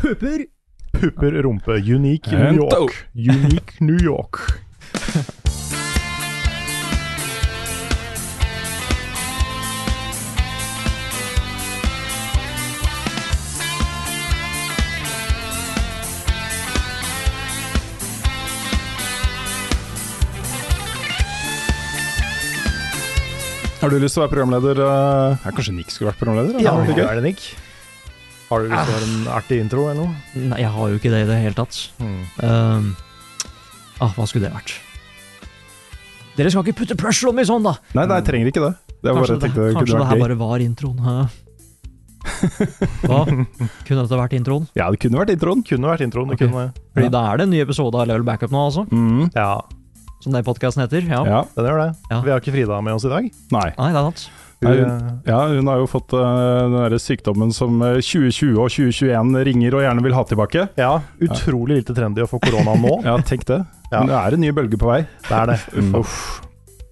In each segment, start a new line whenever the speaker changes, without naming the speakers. Pupper. Pupper, rumpe. Unique New York. Unique New York.
Har du lyst til å være programleder? eh? Ja, kanskje Nick skulle vært programleder?
Ja,
eller?
er det Nick? Har du lyst til å høre en artig intro eller noe?
Nei, jeg har jo ikke det i det hele tatt.
Mm.
Ehm, ah, hva skulle det vært? Dere skal ikke putte pressure on meg sånn, da!
Nei, nei, jeg trenger ikke det. Det var bare,
Kanskje det,
jeg tenkte det
kanskje
kunne
det her
vært gøy.
bare var introen. hæ? Hva? Kunne dette vært introen?
Ja, det kunne vært introen.
Kunne vært introen. Det
Ok.
kunne,
Fordi da er det en ny episode av Level Backup nå, altså.
Mm.
ja,
Som den podkasten heter. Ja.
Ja.
den gjør det.
Ja.
Vi har ikke Frida med oss i dag.
Nei.
Nei, det er sant.
Hun,
Nei,
eh,
Ja, hun har jo fått eh, den der sykdommen som eh, 2020 og 2021 ringer og gjerne vil ha tilbake.
ja, utrolig lite trendy å få korona nå.
Ja, tenk det.
Ja.
Men det er en ny bølge på vei.
Det er det.
Mm.
Uff.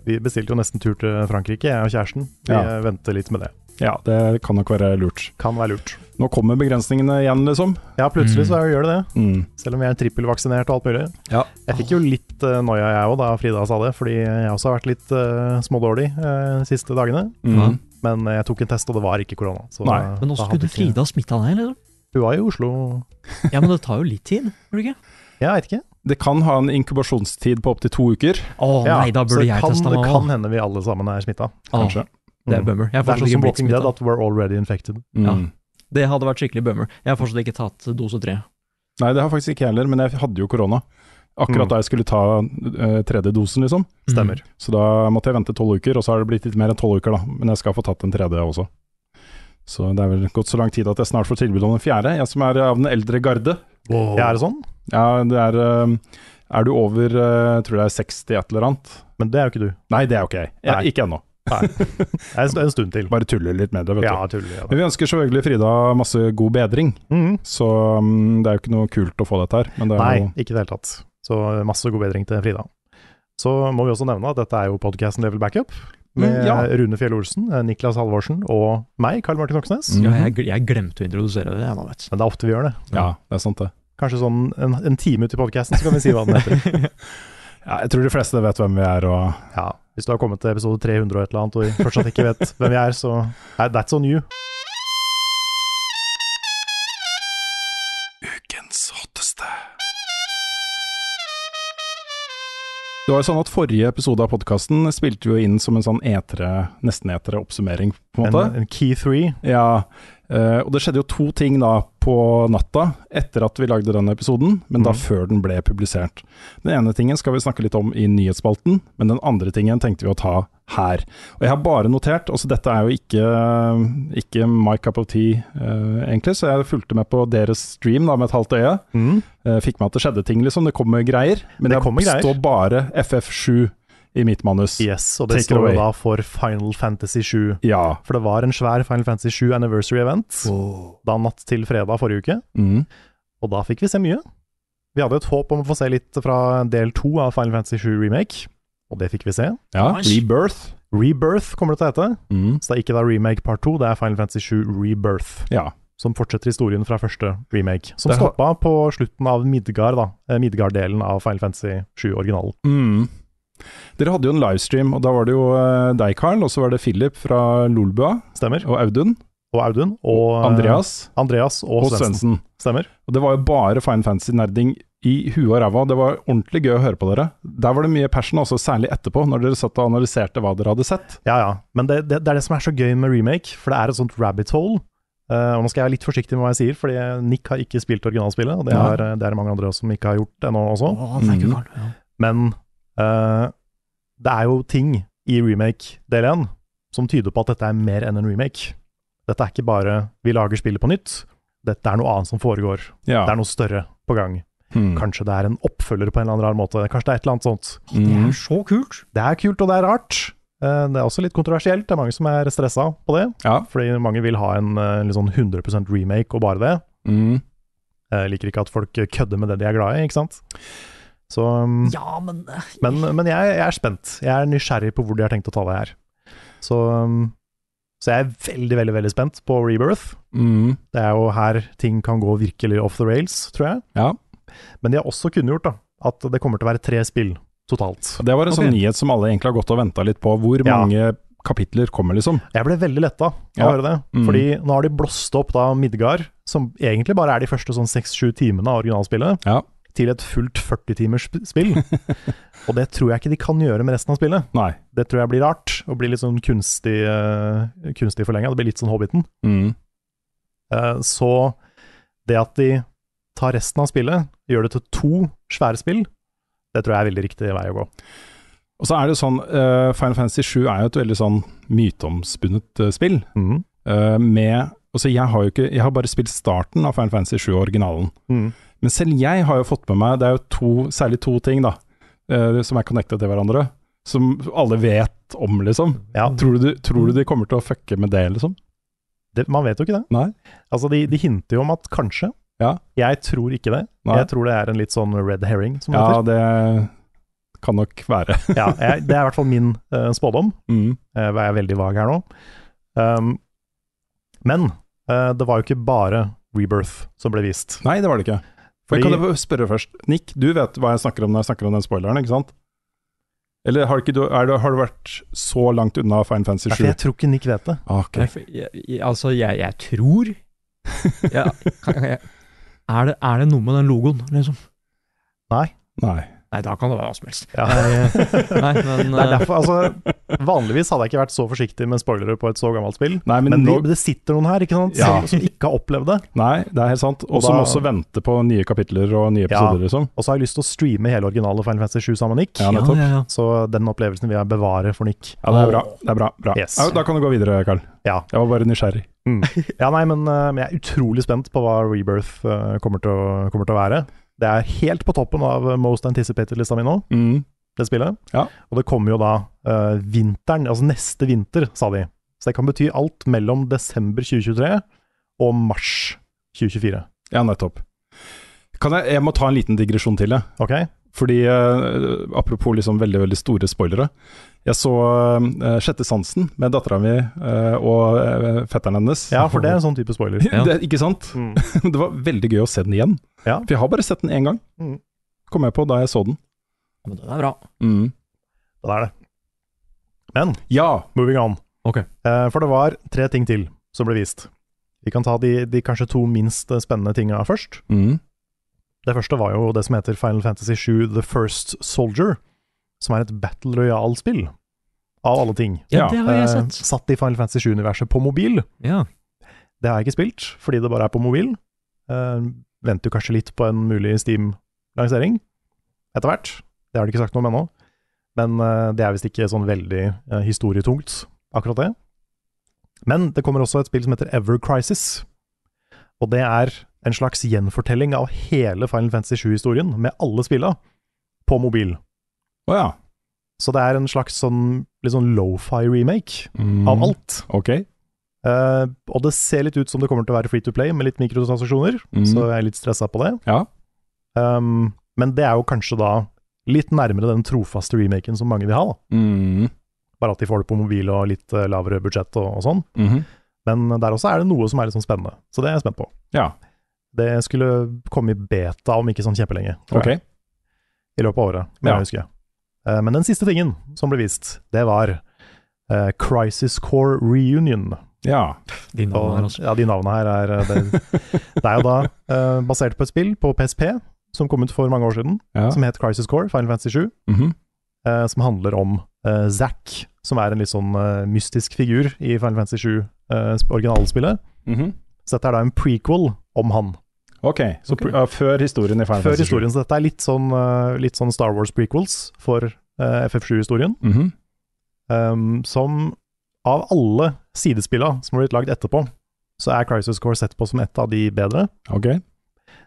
Vi bestilte jo nesten tur til Frankrike, jeg og kjæresten. Vi
Ja.
eh, venter litt med det.
Ja, det kan nok være lurt.
Kan være lurt.
Nå kommer begrensningene igjen, liksom.
Ja, plutselig
Mm.
så gjør det det.
Mm.
Selv om jeg er trippelvaksinert og alt mulig.
Ja.
Jeg fikk jo litt eh, noia jeg òg da Frida sa det, fordi jeg også har vært litt eh, smådårlig eh, de siste dagene.
Mm.
Men jeg tok en test, og det var ikke korona. Så
Nei,
da-
Men
da
også
hadde
skulle
ikke-
Frida smitta deg, liksom.
Hun var i Oslo
Ja, men det tar jo litt tid, gjør det ikke?
Jeg veit ikke.
Det kan ha en inkubasjonstid på opptil to uker,
Å
Ja,
nei, da
så
burde
det
jeg
kan,
testa meg
Det
òg.
kan hende vi alle sammen er smitta.
kanskje.
Det er bummer. Jeg har
Det er
fortsatt
sånn
ikke
som
blitt
Walking Dead
smittet.
at we're already infected.
Mm.
Ja. Det hadde vært skikkelig bummer. Jeg har fortsatt ikke tatt dose tre.
Nei, det har faktisk ikke jeg heller, men jeg hadde jo korona. Akkurat
Mm.
da jeg skulle ta eh, tredje dosen, liksom.
Mm.
Stemmer.
Så da måtte jeg vente tolv uker, og så har det blitt litt mer enn tolv uker, da. Men jeg skal få tatt den tredje også. Så det er vel gått så lang tid at jeg snart får tilbud om den fjerde, jeg som er av den eldre garde.
Jeg er sånn,
Ja, det er eh, Er du over eh, tror det er 60 et eller annet?
men det er jo ikke du.
Nei, det er ok. Ja,
Nei.
ikke ennå.
Det er en st- en stund til.
Bare tuller litt med det, vet
Ja,
du.
tuller. Ja, da.
Men vi ønsker selvfølgelig Frida masse god bedring,
Mhm.
så mm, det er jo ikke noe kult å få dette her. Men det er
Nei,
jo
ikke i det hele tatt. Så eh, masse god bedring til Frida. Så må vi også nevne at dette er jo podkasten Level Backup. Med
Mm, ja.
Rune Fjell Olsen, eh, Niklas Halvorsen og meg, Karl Martin Oksnes.
Mhm.
Ja, jeg, gl- jeg glemte å introdusere det, jeg nå, vet
Men det er ofte vi gjør det.
Ja, det er sant, det.
Kanskje sånn en, en time ut i podkasten, så kan vi si hva den heter.
Ja, jeg tror de fleste vet hvem vi er, og
Ja, hvis du har kommet til episode 300 og et eller annet, og vi fortsatt ikke vet hvem vi er, så Nei, that's on you.
Ukens hotteste. Det var jo sånn at Forrige episode av podkasten spilte vi jo inn som en sånn etere, nesten-etere oppsummering, på en
En,
måte.
en eh, key three.
Ja, eh, og det skjedde jo to ting da på natta etter at vi lagde den episoden, men da
Mhm.
før den ble publisert. Den ene tingen skal vi snakke litt om i nyhetsspalten, men den andre tingen tenkte vi å ta her. Og jeg har bare notert, altså dette er jo ikke, ikke my cup of tea eh, egentlig, så jeg fulgte med på deres stream da med et halvt øye.
Mm.
Eh, fikk med at det skjedde ting liksom, det kommer greier, men
Det
det,
kommer greier.
står bare FF7 i mitt manus.
Yes, og det
Take it
står
away.
jo da for Final Fantasy 7.
Ja.
For det var en svær Final Fantasy 7 anniversary event da natt til fredag forrige uke,
Mhm.
og da fikk vi se mye. Vi hadde et håp om å få se litt fra del to av Final Fantasy 7 remake, og det fikk vi se.
ja.
Nice.
Rebirth.
Rebirth kommer det til å hete,
Mhm.
så det er ikke da remake part 2, det er Final Fantasy 7 Rebirth.
Ja.
som fortsetter historien fra første remake. Som
Det har-
stoppa på slutten av Midgard, da. Eh, Midgard-delen av Final Fantasy 7-originalen.
Mm. Dere hadde jo en livestream, og da var det jo eh, deg, Carl, og så var det Philip fra Lolbua,
Stemmer.
og Audun,
Og Audun. Og eh,
Andreas
Andreas og,
og Svendsen.
Svendsen. Stemmer.
Og det var jo bare fine fancy-nerding i huet og ræva. Det var ordentlig gøy å høre på dere. Der var det mye passion, også særlig etterpå, når dere satt og analyserte hva dere hadde sett.
Ja, ja. Men det, det, det er det som er så gøy med remake, for det er et sånt rabbit hole. Eh, og Nå skal jeg være litt forsiktig med hva jeg sier, fordi Nick har ikke spilt originalspillet. Og det,
Nei.
er, det er det mange andre som ikke har gjort ennå også.
Å, thank you,
Mhm.
Carl. Ja.
Men eh, det er jo ting i remake del 1 som tyder på at dette er mer enn en remake. Dette er ikke bare vi lager spillet på nytt, dette er noe annet som foregår.
Ja.
Det er noe større på gang.
Hmm.
Kanskje det er en oppfølger på en eller annen rar måte. Kanskje det er et eller annet sånt.
Det
Mm.
er så kult!
Det er kult, og det er rart. Eh, Det er også litt kontroversielt. Det er mange som er stressa på det.
Ja.
Fordi mange vil ha en eh, litt sånn 100 remake og bare det.
Mm.
Jeg liker ikke at folk eh, kødder med det de er glad i, ikke sant. Så, um,
Ja, men eh,
Men, men jeg, jeg er spent. Jeg er nysgjerrig på hvor de har tenkt å ta det her. Så, um, så jeg er veldig, veldig veldig spent på Rebirth.
Mm.
Det er jo her ting kan gå virkelig off the rails, tror jeg.
ja.
Men de har også kunngjort da, at det kommer til å være tre spill totalt.
Og Det var en sånn
Ok.
nyhet som alle egentlig har gått og venta litt på. Hvor
Ja.
mange kapitler kommer, liksom?
Jeg ble veldig letta av å
Ja.
høre det.
Mm.
Fordi nå har de blåst opp da Midgard, som egentlig bare er de første sånn seks-sju timene av originalspillet,
Ja.
til et fullt 40-timers sp- spill. og det tror jeg ikke de kan gjøre med resten av spillet.
Nei.
Det tror jeg blir rart, og blir litt sånn kunstig, uh, kunstig forlenga. Det blir litt sånn Hobbiten.
Mm.
Eh, så det at de tar resten av spillet, gjør det til to svære spill, det tror jeg er veldig riktig vei å gå.
Og så er det jo sånn, eh, Final Fantasy 7 er jo et veldig sånn myteomspunnet eh, spill.
Mhm.
eh, med Altså, jeg har jo ikke Jeg har bare spilt starten av Final Fantasy 7, originalen.
Mhm.
Men selv jeg har jo fått med meg Det er jo to, særlig to ting, da, eh, som er connected til hverandre. Som alle vet om, liksom.
Ja,
Tror du, tror du de kommer til å fucke med det, liksom?
det, man vet jo ikke det.
Nei.
Altså, de, de hinter jo om at kanskje.
Ja.
Jeg tror ikke det.
Nei.
Jeg tror det er en litt sånn red herring, som det
Ja,
heter.
det kan nok være.
Ja, jeg, det er i hvert fall min eh, spådom.
Mm.
Eh, Jeg er veldig vag her nå. Um, men eh, det var jo ikke bare Rebirth som ble vist.
Nei, det var det ikke. Men
Fordi-
Kan jeg bare spørre først? Nick, du vet hva jeg snakker om når jeg snakker om den spoileren, ikke sant? Eller har, ikke du, er du, har du vært så langt unna Final Fantasy
Nei, for
7?
jeg tror ikke Nick vet det.
Ok.
jeg, jeg, jeg, altså, jeg, jeg tror ja, kan, kan jeg, er, det, er det noe med den logoen, liksom?
Nei.
Nei, da kan det være hva som helst.
Ja.
Nei, men
Eh, Det er
eh,
derfor, altså, vanligvis hadde jeg ikke vært så forsiktig med spoilere på et så gammelt spill.
Nei, men,
Men,
nå,
det, det sitter noen her ikke sant,
Ja.
som, som ikke har opplevd det.
nei, det er helt sant.
Og
Og som
da-
også venter på nye kapitler og nye
Ja.
episoder, liksom.
Og så har jeg lyst til å streame hele originale Final Fantasy 7 sammen med Nick.
Ja,
ja,
nettopp.
ja, ja.
Så den opplevelsen vil jeg bevare for Nick.
Ja, det er bra. Det er bra, bra.
Yes.
Ja, da kan du gå videre, Carl.
Ja.
Jeg var bare nysgjerrig.
Ja, nei, men, eh, men jeg er utrolig spent på hva Rebirth eh, kommer, til å, kommer til å være. Det er helt på toppen av eh, Most Anticipated-lista mi nå,
Mm.
det spillet.
Ja.
Og det kommer jo da eh, vinteren, altså neste vinter, sa de. Så det kan bety alt mellom desember 2023 og mars 2024.
Ja, nettopp. Kan jeg, jeg må ta en liten digresjon til, jeg.
Ok?
Fordi, eh, apropos liksom veldig veldig store spoilere Jeg så eh, Sjette sansen med dattera mi eh, og eh, fetteren hennes.
Ja, for det er en sånn type spoiler.
Ja.
det, ikke sant?
Mm.
Det var veldig gøy å se den igjen.
Ja.
For jeg har bare sett den én gang,
Mm.
kom jeg på da jeg så den.
Men den er bra.
Mm. Det er det. Men
Ja!
moving on.
Ok.
Eh, for det var tre ting til som ble vist. Vi kan ta de, de kanskje to minst eh, spennende tinga først.
Mm.
Det første var jo det som heter Final Fantasy 7 The First Soldier, som er et battle royale-spill, av alle ting.
Ja,
Ja,
det har jeg
Eh,
sett.
satt i Final Fantasy 7-universet på mobil.
Ja.
Det har jeg ikke spilt, fordi det bare er på mobil. Eh, venter jo kanskje litt på en mulig Steam-lansering etter hvert. Det har de ikke sagt noe om ennå. Men eh, det er visst ikke sånn veldig eh, historietungt, akkurat det. Men det kommer også et spill som heter Ever Crisis. Og det er en slags gjenfortelling av hele Final Fantasy 7-historien, med alle spilla, på mobil.
Å ja.
Så det er en slags sånn litt sånn lofi remake
Mm.
av alt.
Ok.
Eh, og det ser litt ut som det kommer til å være free to play med litt mikrotransaksjoner,
Mm.
så jeg er litt stressa på det.
Ja.
Um, men det er jo kanskje da litt nærmere den trofaste remaken som mange vil ha. Da.
Mm.
Bare at de får det på mobil og litt eh, lavere budsjett og, og sånn.
Mhm.
Men der også er det noe som er litt sånn spennende, så det er jeg spent på.
Ja,
Det skulle komme i beta om ikke sånn kjempelenge, tror
ok.
jeg, i løpet av året. Men,
Ja.
jeg husker. Eh, men den siste tingen som ble vist, det var eh, Crisis Core Reunion.
Ja.
De
Og,
navnene her, altså.
ja, de navnene her er eh, Det, det er jo da eh, basert på et spill på PSP som kom ut for mange år siden,
ja.
som het Crisis Core, Final Fantasy 7,
Mhm.
eh, som handler om eh, Zack, som er en litt sånn eh, mystisk figur i Final Fantasy 7, eh, sp- originalspillet.
Mhm.
Så dette er da en prequel om han,
Ok, så
Ok.
pr- ja, før historien i Final
før
Fantasy 7.
historien. Så dette er litt sånn, eh, litt sånn Star Wars prequels for eh, FF7-historien,
Mhm.
ehm, som av alle sidespilla som har blitt lagd etterpå, så er Crisis Core sett på som et av de bedre.
Ok.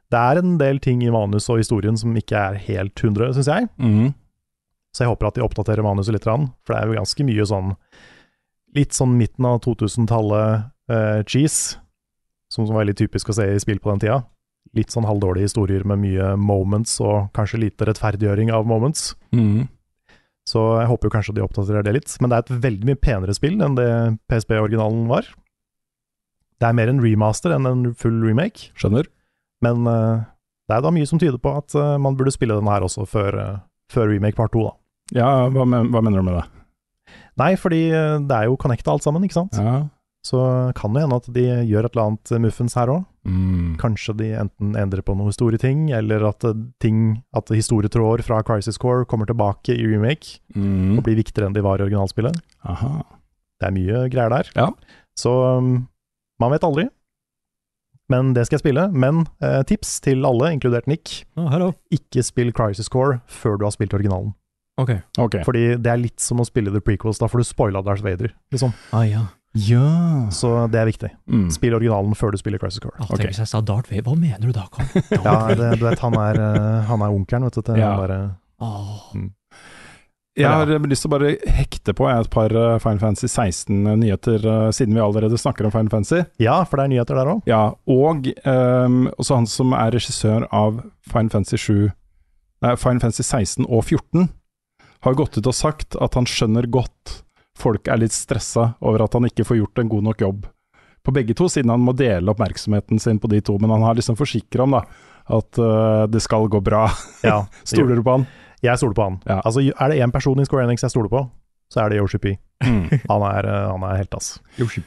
Det er en del ting i manus og historien som ikke er helt 100, syns jeg.
Mm.
Så jeg håper at de oppdaterer manuset litt, grann, for det er jo ganske mye sånn Litt sånn midten av 2000-tallet eh, cheese, som som var veldig typisk å se i spill på den tida. Litt sånn halvdårlige historier med mye moments og kanskje lite rettferdiggjøring av moments. Mm-hmm.
Mm.
Så jeg håper jo kanskje de oppdaterer det litt. Men det er et veldig mye penere spill enn det PSP-originalen var. Det er mer en remaster enn en full remake,
Skjønner.
men eh, det er da mye som tyder på at eh, man burde spille den her også før, eh, før remake part 2, da.
Ja, hva, men, hva mener du med det?
Nei, fordi eh, det er jo connecta alt sammen, ikke sant?
Ja.
Så kan det hende at de gjør et eller annet eh, muffens her òg.
Mm.
Kanskje de enten endrer på noen store ting, eller at, eh, ting, at historietråder fra Crisis Core kommer tilbake i remake
Mm.
og blir viktigere enn de var i originalspillet.
Aha.
Det er mye greier der.
Ja.
Så um, man vet aldri. Men det skal jeg spille. Men eh, tips til alle, inkludert Nick,
Oh, hello.
ikke spill Crisis Core før du har spilt originalen.
Ok.
Ok.
Fordi det er litt som å spille The Prequels, da får du spoila Darth Vader. Liksom.
Ah, ja.
Ja.
Så det er viktig.
Mm.
Spill originalen før du spiller Crisis Core.
Ah,
Ok.
tenk Hvis jeg sa Darth Vader, hva mener du da, Karl?
Ja, det, du vet, han er, eh, han er onkelen, vet du. Til
Ja.
han derre
Ah.
Jeg
Ja.
har eh, lyst til å bare hekte på jeg, et par eh, Final Fantasy 16-nyheter, eh, siden vi allerede snakker om Final Fantasy.
ja, for det er nyheter der òg.
Ja, og ehm, også han som er regissør av Final Fantasy 7 nei, Final Fantasy 16 og 14, har gått ut og sagt at han skjønner godt folk er litt stressa over at han ikke får gjort en god nok jobb på begge to, siden han må dele oppmerksomheten sin på de to. Men han har liksom forsikra om da, at eh, det skal gå bra.
Ja,
Stoler du på han?
Jeg stoler på han.
Ja.
Altså, er det én person i Square Enix jeg stoler på, så er det Yoshi P.
Mm.
Han er, eh, han er helt, ass. Yoshi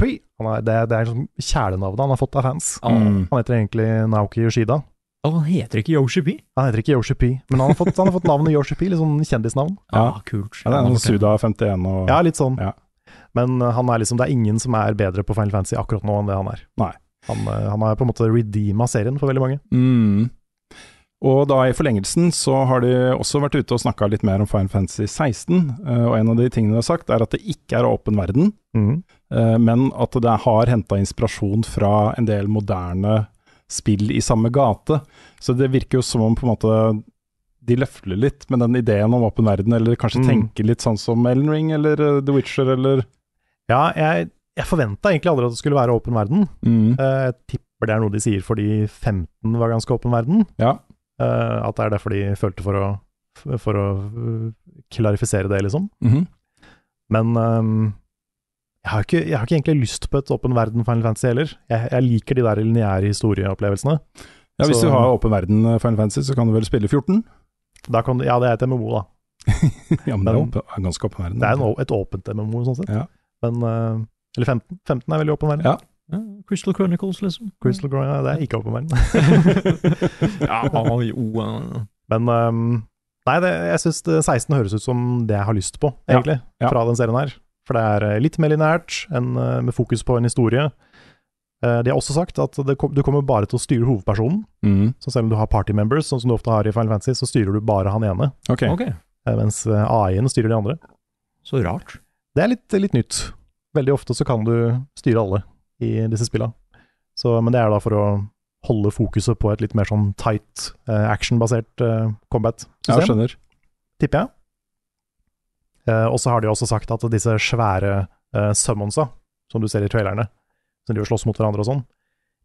P. Han er, det, det er liksom kjælenavnet han har fått av fans.
Ah.
Mm.
Han heter egentlig Naoki Yoshida.
Å, han heter ikke Yoshi P.
Han heter ikke Yoshi P, men han har fått, han har fått navnet Yoshi P, litt sånn kjendisnavn.
Ja.
Ah, kult.
Ja, det er noen Suda51 og
Ja, litt sånn.
Ja.
Men uh, han er liksom, det er ingen som er bedre på Final Fantasy akkurat nå enn det han er.
Nei.
Han, uh, han har på en måte redeema serien for veldig mange.
Mm. Og da i forlengelsen så har de også vært ute og snakka litt mer om Final Fantasy 16. eh, Og en av de tingene de har sagt, er at det ikke er åpen verden, eh, men at det har henta inspirasjon fra en del moderne spill i samme gate. Så det virker jo som om på en måte de løfler litt med den ideen om åpen verden, eller kanskje
Mm.
tenker litt sånn som Ellen Ring eller eh, The Witcher eller
Ja, jeg, jeg forventa egentlig aldri at det skulle være åpen verden.
eh,
Uh, jeg tipper det er noe de sier fordi 15 var ganske åpen verden.
Ja.
Uh, at det er derfor de følte for å, for å uh, klarifisere det, liksom.
Mhm.
Men ehm, jeg, har ikke, jeg har ikke egentlig lyst på et åpen verden Final Fantasy heller. Jeg, jeg liker de der lineære historieopplevelsene.
Ja, Hvis
Så-
du har åpen verden eh, Final Fantasy, så kan du vel spille 14?
Da kan, du- ja, det er et MMO, da.
Ja, men det er,
Men-
åpen, er ganske åpen verden.
Mm. Det er en, å- et åpent MMO, sånn sett.
Ja.
Men, eh, eller 15. 15 er veldig åpen verden.
Ja.
Ja, Crystal Chronicles, liksom.
Crystal Growing, ja, det er ikke åpen verden.
ja, ah, jo, ah.
Men ehm, nei, det, jeg syns 16 høres ut som det jeg har lyst på, egentlig,
Ja, ja.
fra den serien her. For det er eh, litt mer lineært, enn, eh, med fokus på en historie. Eh, de har også sagt at det kom, du kommer bare til å styre hovedpersonen.
Mm.
Så selv om du har party members, sånn som du ofte har i Final Fantasy, så styrer du bare han ene,
Ok.
Ok,
eh, mens eh, AI-en styrer de andre.
så rart.
Det er litt, litt nytt. Veldig ofte så kan du styre alle i disse spilla. Så, men det er da for å holde fokuset på et litt mer sånn tight, eh, actionbasert eh,
Ja,
combat-system,
skjønner.
tipper jeg. Eh, og så har de også sagt at disse svære eh, summonsa, som du ser i trailerne, som de slåss mot hverandre og sånn,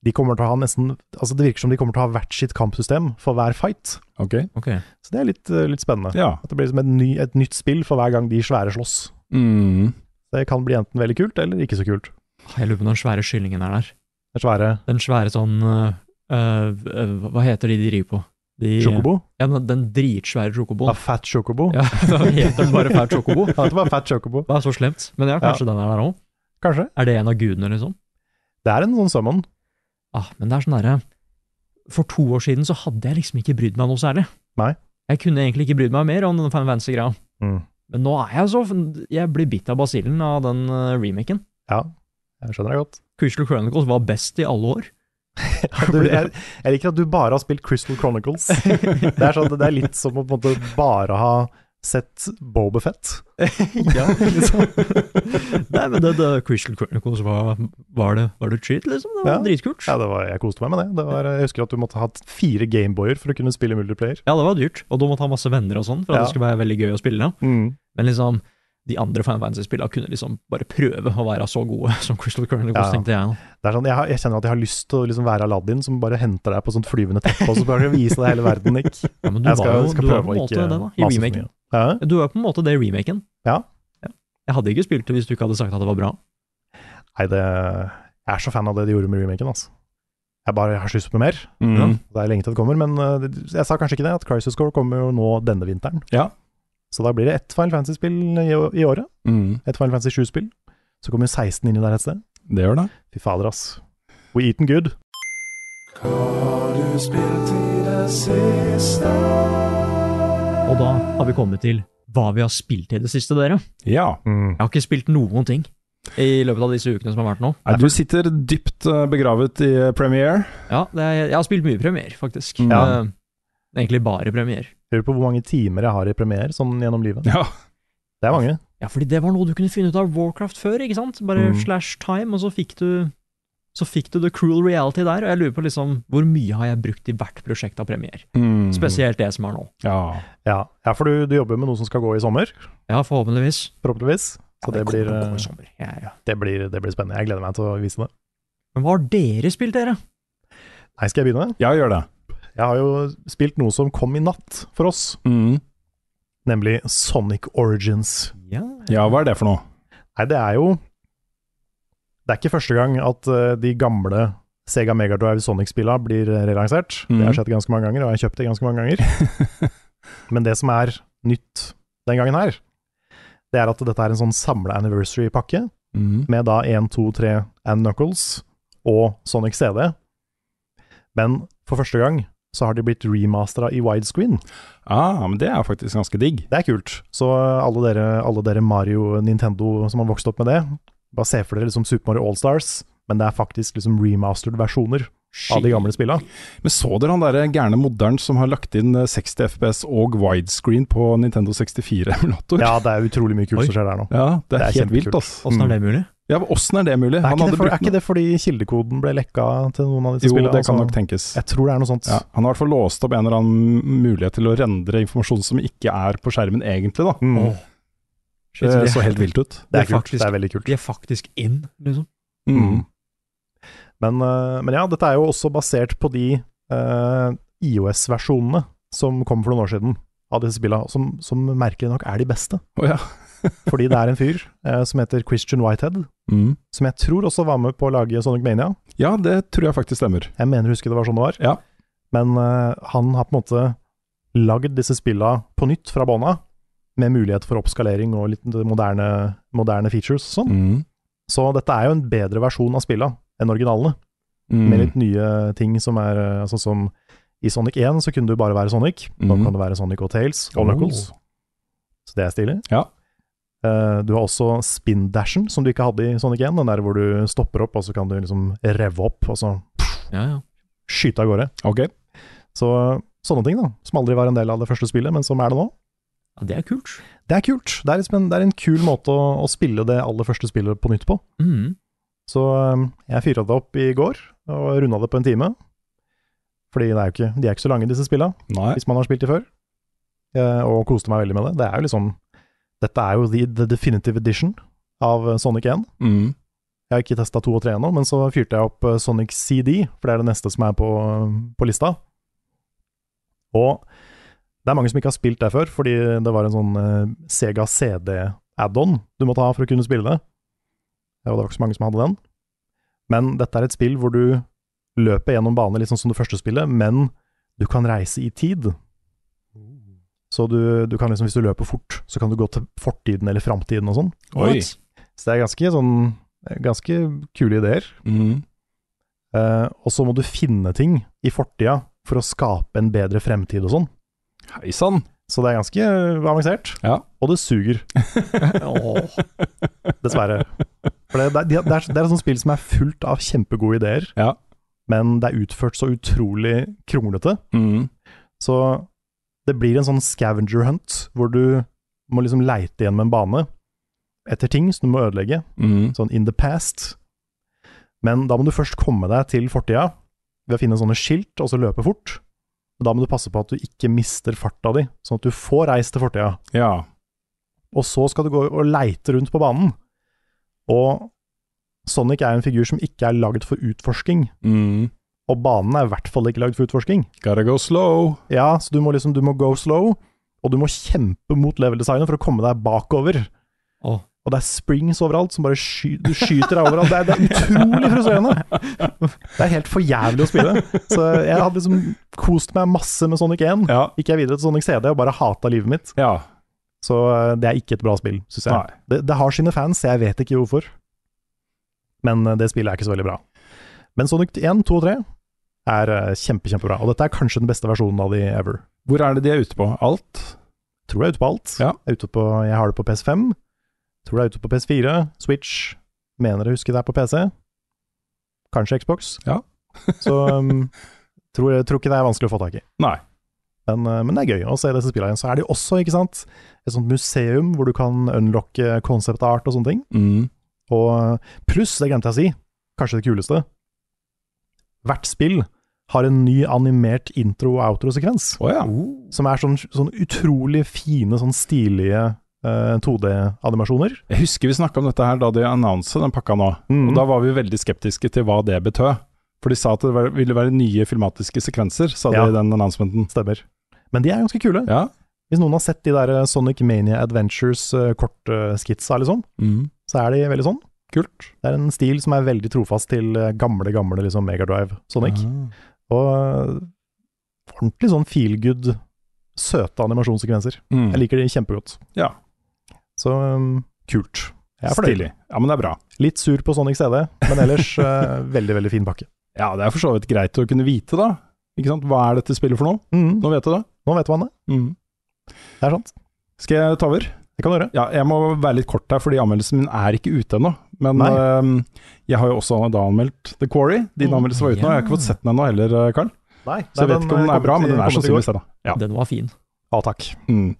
de kommer til å ha nesten Altså, det virker som de kommer til å ha hvert sitt kampsystem for hver fight.
Ok.
Ok.
Så det er litt, eh, litt spennende.
Ja.
At det blir liksom et, ny, et nytt spill for hver gang de svære slåss.
Mm.
Det kan bli enten veldig kult, eller ikke så kult.
Jeg lurer på om den svære kyllingen er der.
Det svære
Den svære sånn øh, øh, øh, Hva heter de de rir på? De,
Chocobo.
Ja, men den dritsvære
Ja,
chocoboen.
fat Chocobo.
Ja, da heter den bare fæl chocobo.
Ja, det var fat Chocobo.
Det er så slemt. Men ja, kanskje den er der òg.
Kanskje.
Er det en av gudene, liksom?
Det er en sånn summon.
Ah, men det er sånn derre For to år siden så hadde jeg liksom ikke brydd meg noe særlig.
Nei.
Jeg kunne egentlig ikke brydd meg mer om den Final Fantasy-greia.
Mm.
Men nå er jeg så Jeg blir bitt av basillen av den øh, remaken.
Ja, jeg skjønner det godt.
Crystal Chronicles var best i alle år.
Du, jeg, jeg liker at du bare har spilt Crystal Chronicles. Det er, sånn, at det er litt som å på en måte bare ha Sett Bobefett.
ja, liksom. Nei, men det, det Crystal Chronicles var, var, det, var det treat, liksom. Det var
Ja.
dritkult.
Ja, det var, jeg koste meg med det. det var, jeg husker at du måtte ha hatt fire Gameboyer for å kunne spille multiplayer.
Ja, det var dyrt, og da måtte han ha masse venner og sånn, for at
Ja.
det skulle være veldig gøy å spille.
Mm.
Men liksom, de andre Final Fantasy-spillene kunne liksom bare prøve å være så gode som Crystal Chronicles,
Ja.
tenkte jeg.
Det er sånn, jeg, har, jeg kjenner at jeg har lyst til å liksom være Aladdin som bare henter deg på sånt flyvende teppe og så bare vise deg hele verden, Nick.
Ja, men du
Jeg skal,
var jo
skal
du var
prøve
på
å
en måte
ikke
det, da, i
mase for
remaken.
mye. Hæ?
Du var på en måte det i remaken.
Ja.
Ja. Jeg hadde ikke spilt det hvis du ikke hadde sagt at det var bra.
Nei, det, jeg er så fan av det de gjorde med remaken, altså. Jeg bare har så lyst på mer.
Mm.
Det er lenge til det kommer, men eh, det- jeg sa kanskje ikke det, at Crisis Core kommer jo nå denne vinteren.
Ja.
Så da blir det ett Final Fantasy-spill i, å- i året.
Mm.
Ett Final Fantasy 7-spill. Så kommer 16 inni der et sted.
Det gjør det.
Fy fader, ass. We eaten good.
Og da har vi kommet til hva vi har spilt i det siste, dere.
Ja.
Jeg har ikke spilt noen ting i løpet av disse ukene som har vært nå.
Nei, du sitter dypt eh, begravet i eh, premiere.
Ja, det er, jeg har spilt mye premier, faktisk.
Ja.
Eh, egentlig bare premier.
Hører på hvor mange timer jeg har i premiere sånn gjennom livet.
Ja.
Det er mange.
Ja, fordi det var noe du kunne finne ut av Warcraft før, ikke sant? Bare
Mm.
slash time, og så fikk du så fikk du the cruel reality der, og jeg lurer på liksom hvor mye har jeg brukt i hvert prosjekt av premier?
Mm.
Spesielt det som er nå.
Ja.
Ja, ja for du, du jobber med noe som skal gå i sommer,
Ja, forhåpentligvis.
forhåpentligvis. Så
Ja,
det
kommer
blir,
til å gå i
eh,
sommer. Ja, ja.
det, blir, det blir spennende. Jeg gleder meg til å vise det.
Men hva har dere spilt, dere?
Nei, skal jeg begynne?
Ja, gjør det.
Jeg har jo spilt noe som kom i natt for oss,
Mm.
nemlig Sonic Origins.
Ja.
Ja, hva er det for noe?
Nei, det er jo Det er ikke første gang at eh, de gamle Sega Mega Drive Sonic-spillene blir eh, relansert. Det
Mhm.
har skjedd ganske mange ganger, og jeg har kjøpt det ganske mange ganger. Men det som er nytt den gangen her, det er at dette er en sånn samle anniversary-pakke,
Mm.
med da 1, 2, 3 and Knuckles og Sonic CD. Men for første gang så har de blitt remastera i widescreen.
Ah, men det er faktisk ganske digg.
Det er kult. Så eh, alle dere, alle dere Mario, Nintendo som har vokst opp med det, bare se for dere liksom Super Mario Allstars, men det er faktisk liksom remastered versjoner av de gamle spilla.
Men så dere han derre gærne modderen som har lagt inn eh, 60 FPS og widescreen på Nintendo 64-emulator?
Ja, det er utrolig mye kult
Oi.
som skjer der nå.
Ja, det er,
Det er
helt vilt,
kjempekult. Mm.
ass.
Åssen er det mulig?
Ja, men åssen er det mulig?
Er
Han
ikke,
hadde
det for, er
brukt
ikke det fordi kildekoden ble lekka til noen av disse
Jo,
spillene?
det kan
Altså,
nok tenkes.
Jeg tror det er noe sånt.
Ja, han har i hvert fall låst opp en eller annen mulighet til å rendre informasjon som ikke er på skjermen egentlig, da.
Mm.
Åh.
Det
Shit, så de-
så helt vilt ut.
det
det
er
er
kult.
faktisk-
Det er veldig kult.
De er faktisk in, liksom.
Mm.
Men, eh, men ja, dette er jo også basert på de eh, IOS-versjonene som kom for noen år siden av disse spillene, som, som merkelig nok er de beste.
Å ja.
Fordi det er en fyr eh, som heter Christian Whitehead,
Mm.
som jeg tror også var med på å lage Sonic Mania.
Ja, det tror jeg faktisk stemmer.
Jeg mener å huske det var sånn det var.
Ja.
Men eh, han har på en måte lagd disse spilla på nytt fra bånn av, med mulighet for oppskalering og litt moderne, moderne features og sånn.
Mm.
Så dette er jo en bedre versjon av spilla enn originalene,
Mm.
med litt nye ting som er eh, sånn som i Sonic 1 så kunne du bare være Sonic. Nå
Mhm.
kan du være Sonic og Tails og
Oh.
Knuckles. Så det er stilig.
Ja.
Eh, du har også spin-dashen, som du ikke hadde i Sonic 1. Den der hvor du stopper opp, og så kan du liksom revve opp, og så
Ja, ja.
skyte av gårde.
Ok.
Så eh, sånne ting, da. Som aldri var en del av det første spillet, men som er det nå.
ja det er kult.
Det er kult. Det er, liksom en, det er en kul måte å, å spille det aller første spillet på nytt på.
Mm.
Så øhm, jeg fyra det opp i går, og runda det på en time. Fordi det er jo ikke, de er ikke så lange, disse spilla,
Nei.
hvis man har spilt de før. Eh, og koste meg veldig med det. Det er jo liksom Dette er jo the, the definitive edition av eh, Sonic 1.
Mm.
Jeg har ikke testa 2 og 3 ennå, men så fyrte jeg opp eh, Sonic CD, for det er det neste som er på, på lista. Og det er mange som ikke har spilt det før, fordi det var en sånn eh, Sega CD-add-on du måtte ha for å kunne spille det. Ja, Og det var ikke så mange som hadde den. Men dette er et spill hvor du løper gjennom bane, litt sånn som det første spillet, men du kan reise i tid. Så du, du kan liksom, hvis du løper fort, så kan du gå til fortiden eller framtiden og sånn.
Oi.
What?
Så det er ganske sånn Ganske kule ideer.
Mm.
Eh, og så må du finne ting i fortida for å skape en bedre fremtid og sånn.
Hei sann.
Så det er ganske eh, avansert.
Ja.
Og det suger,
Åh.
dessverre. For det, det, er- det, er, det er et sånt spill som er fullt av kjempegode ideer,
Ja.
men det er utført så utrolig kronglete.
Mm.
Så Det blir en sånn scavenger hunt, hvor du må liksom leite igjen med en bane etter ting som du må ødelegge,
Mm.
sånn in the past. Men da må du først komme deg til fortida ved å finne sånne skilt, og så løpe fort. Men da må du passe på at du ikke mister farta di, sånn at du får reist til fortida.
Ja.
Og så skal du gå og leite rundt på banen. Og Sonic er en figur som ikke er lagd for utforsking,
Mm.
og banen er i hvert fall ikke lagd for utforsking.
Gotta go slow.
Ja, så du må liksom, du må go slow, og du må kjempe mot level-designet for å komme deg bakover.
Åh.
Og det er springs overalt som bare sky, du skyter deg overalt. Det er, det er utrolig frustrerende! Det er helt for jævlig å spille. Så jeg hadde liksom kost meg masse med Sonic 1.
Ja.
Gikk jeg videre til Sonic CD og bare hata livet mitt.
ja.
Så eh, det er ikke et bra spill, syns jeg.
Nei.
Det, det har sine fans, jeg vet ikke hvorfor. Men eh, det spillet er ikke så veldig bra. Men Sonic 1, 2 og 3 er eh, kjempe, kjempebra. Og dette er kanskje den beste versjonen av de ever.
Hvor er det de er ute på? Alt?
Tror det er ute på alt.
Ja.
Jeg, er ute på, jeg har det på PS5. Tror det er ute på PS4, Switch. Mener jeg husker det er på PC. Kanskje Xbox.
Ja.
så um, tror, tror ikke det er vanskelig å få tak i.
Nei.
Men, uh, men det er gøy å se disse spillene igjen. Så er det jo også ikke sant, et sånt museum hvor du kan unlocke concept art og sånne ting.
Mm.
Og uh, pluss, det glemte jeg å si, kanskje det kuleste Hvert spill har en ny animert intro- og outro-sekvens
Å ja.
som er sånn, sånn utrolig fine, sånn stilige eh, 2D-animasjoner.
Jeg husker vi snakka om dette her da de annonset den pakka nå.
Mm.
Og da var vi veldig skeptiske til hva det betød. For de sa at det var- ville være nye filmatiske sekvenser, sa
Ja.
de i den announcementen.
Stemmer. Men de er ganske kule.
Ja.
Hvis noen har sett de der eh, Sonic Mania Adventures-kortskitsa, liksom,
Mm.
så er de veldig sånn.
Kult.
Det er en stil som er veldig trofast til eh, gamle, gamle liksom Megadrive Sonic.
Ah.
Og eh, ordentlig sånn feel good, søte animasjonssekvenser.
Mm.
Jeg liker de kjempegodt.
Ja.
Så eh, kult. Jeg er fornøyd.
Stilig. Ja, men det er bra.
Litt sur på Sonic CD, men ellers eh, veldig, veldig fin pakke.
Ja, det er for så vidt greit å kunne vite, da. Ikke sant? Hva er dette spillet for noe?
Mm.
Nå vet du det.
Nå vet man det. Det er sant.
Skal jeg ta over?
Det kan du gjøre.
Ja, jeg må være litt kort her, fordi anmeldelsen min er ikke ute ennå. Men
Nei.
øhm, jeg har jo også da anmeldt The Quarry. Din anmeldelse var ute nå. Jeg har ikke fått sett den ennå heller, eh, Karl.
Nei, eh,
Så jeg vet ikke om den er bra, men den er sannsynligvis det. da. Ja.
Den var fin.
Ja, takk.
Mm.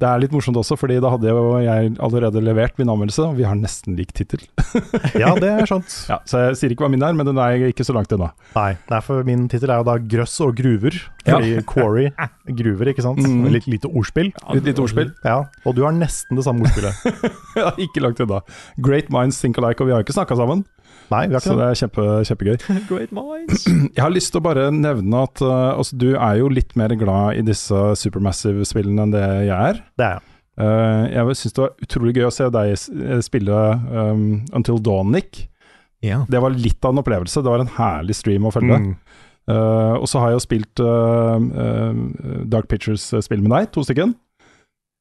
Det er litt morsomt også, fordi da hadde jo jeg allerede levert min anmeldelse, og vi har nesten lik tittel.
Ja, det er sant.
Ja, så jeg sier ikke hva min er, men den er ikke så langt unna.
Nei, nei, for min tittel er jo da 'Grøss og gruver', fordi quarry gruver, ikke sant?
Mm.
Litt lite ordspill.
Litt lite ordspill.
Ja, og du har nesten det samme ordspillet.
Ja, ikke langt unna. Great minds think alike, og vi har jo ikke snakka sammen,
Nei, vi har
så
ikke det.
det er kjempe, kjempegøy.
Great minds.
Jeg har lyst til å bare nevne at eh, altså, du er jo litt mer glad i disse Supermassive-spillene enn det jeg er.
Det er jeg.
Eh, jeg syns det var utrolig gøy å se deg s- eh, spille um, Until Dawn, Nick.
Ja.
Det var litt av en opplevelse. Det var en herlig stream å følge. Eh, og så har jeg jo spilt eh, eh, Dark Pictures-spill med deg, to stykken.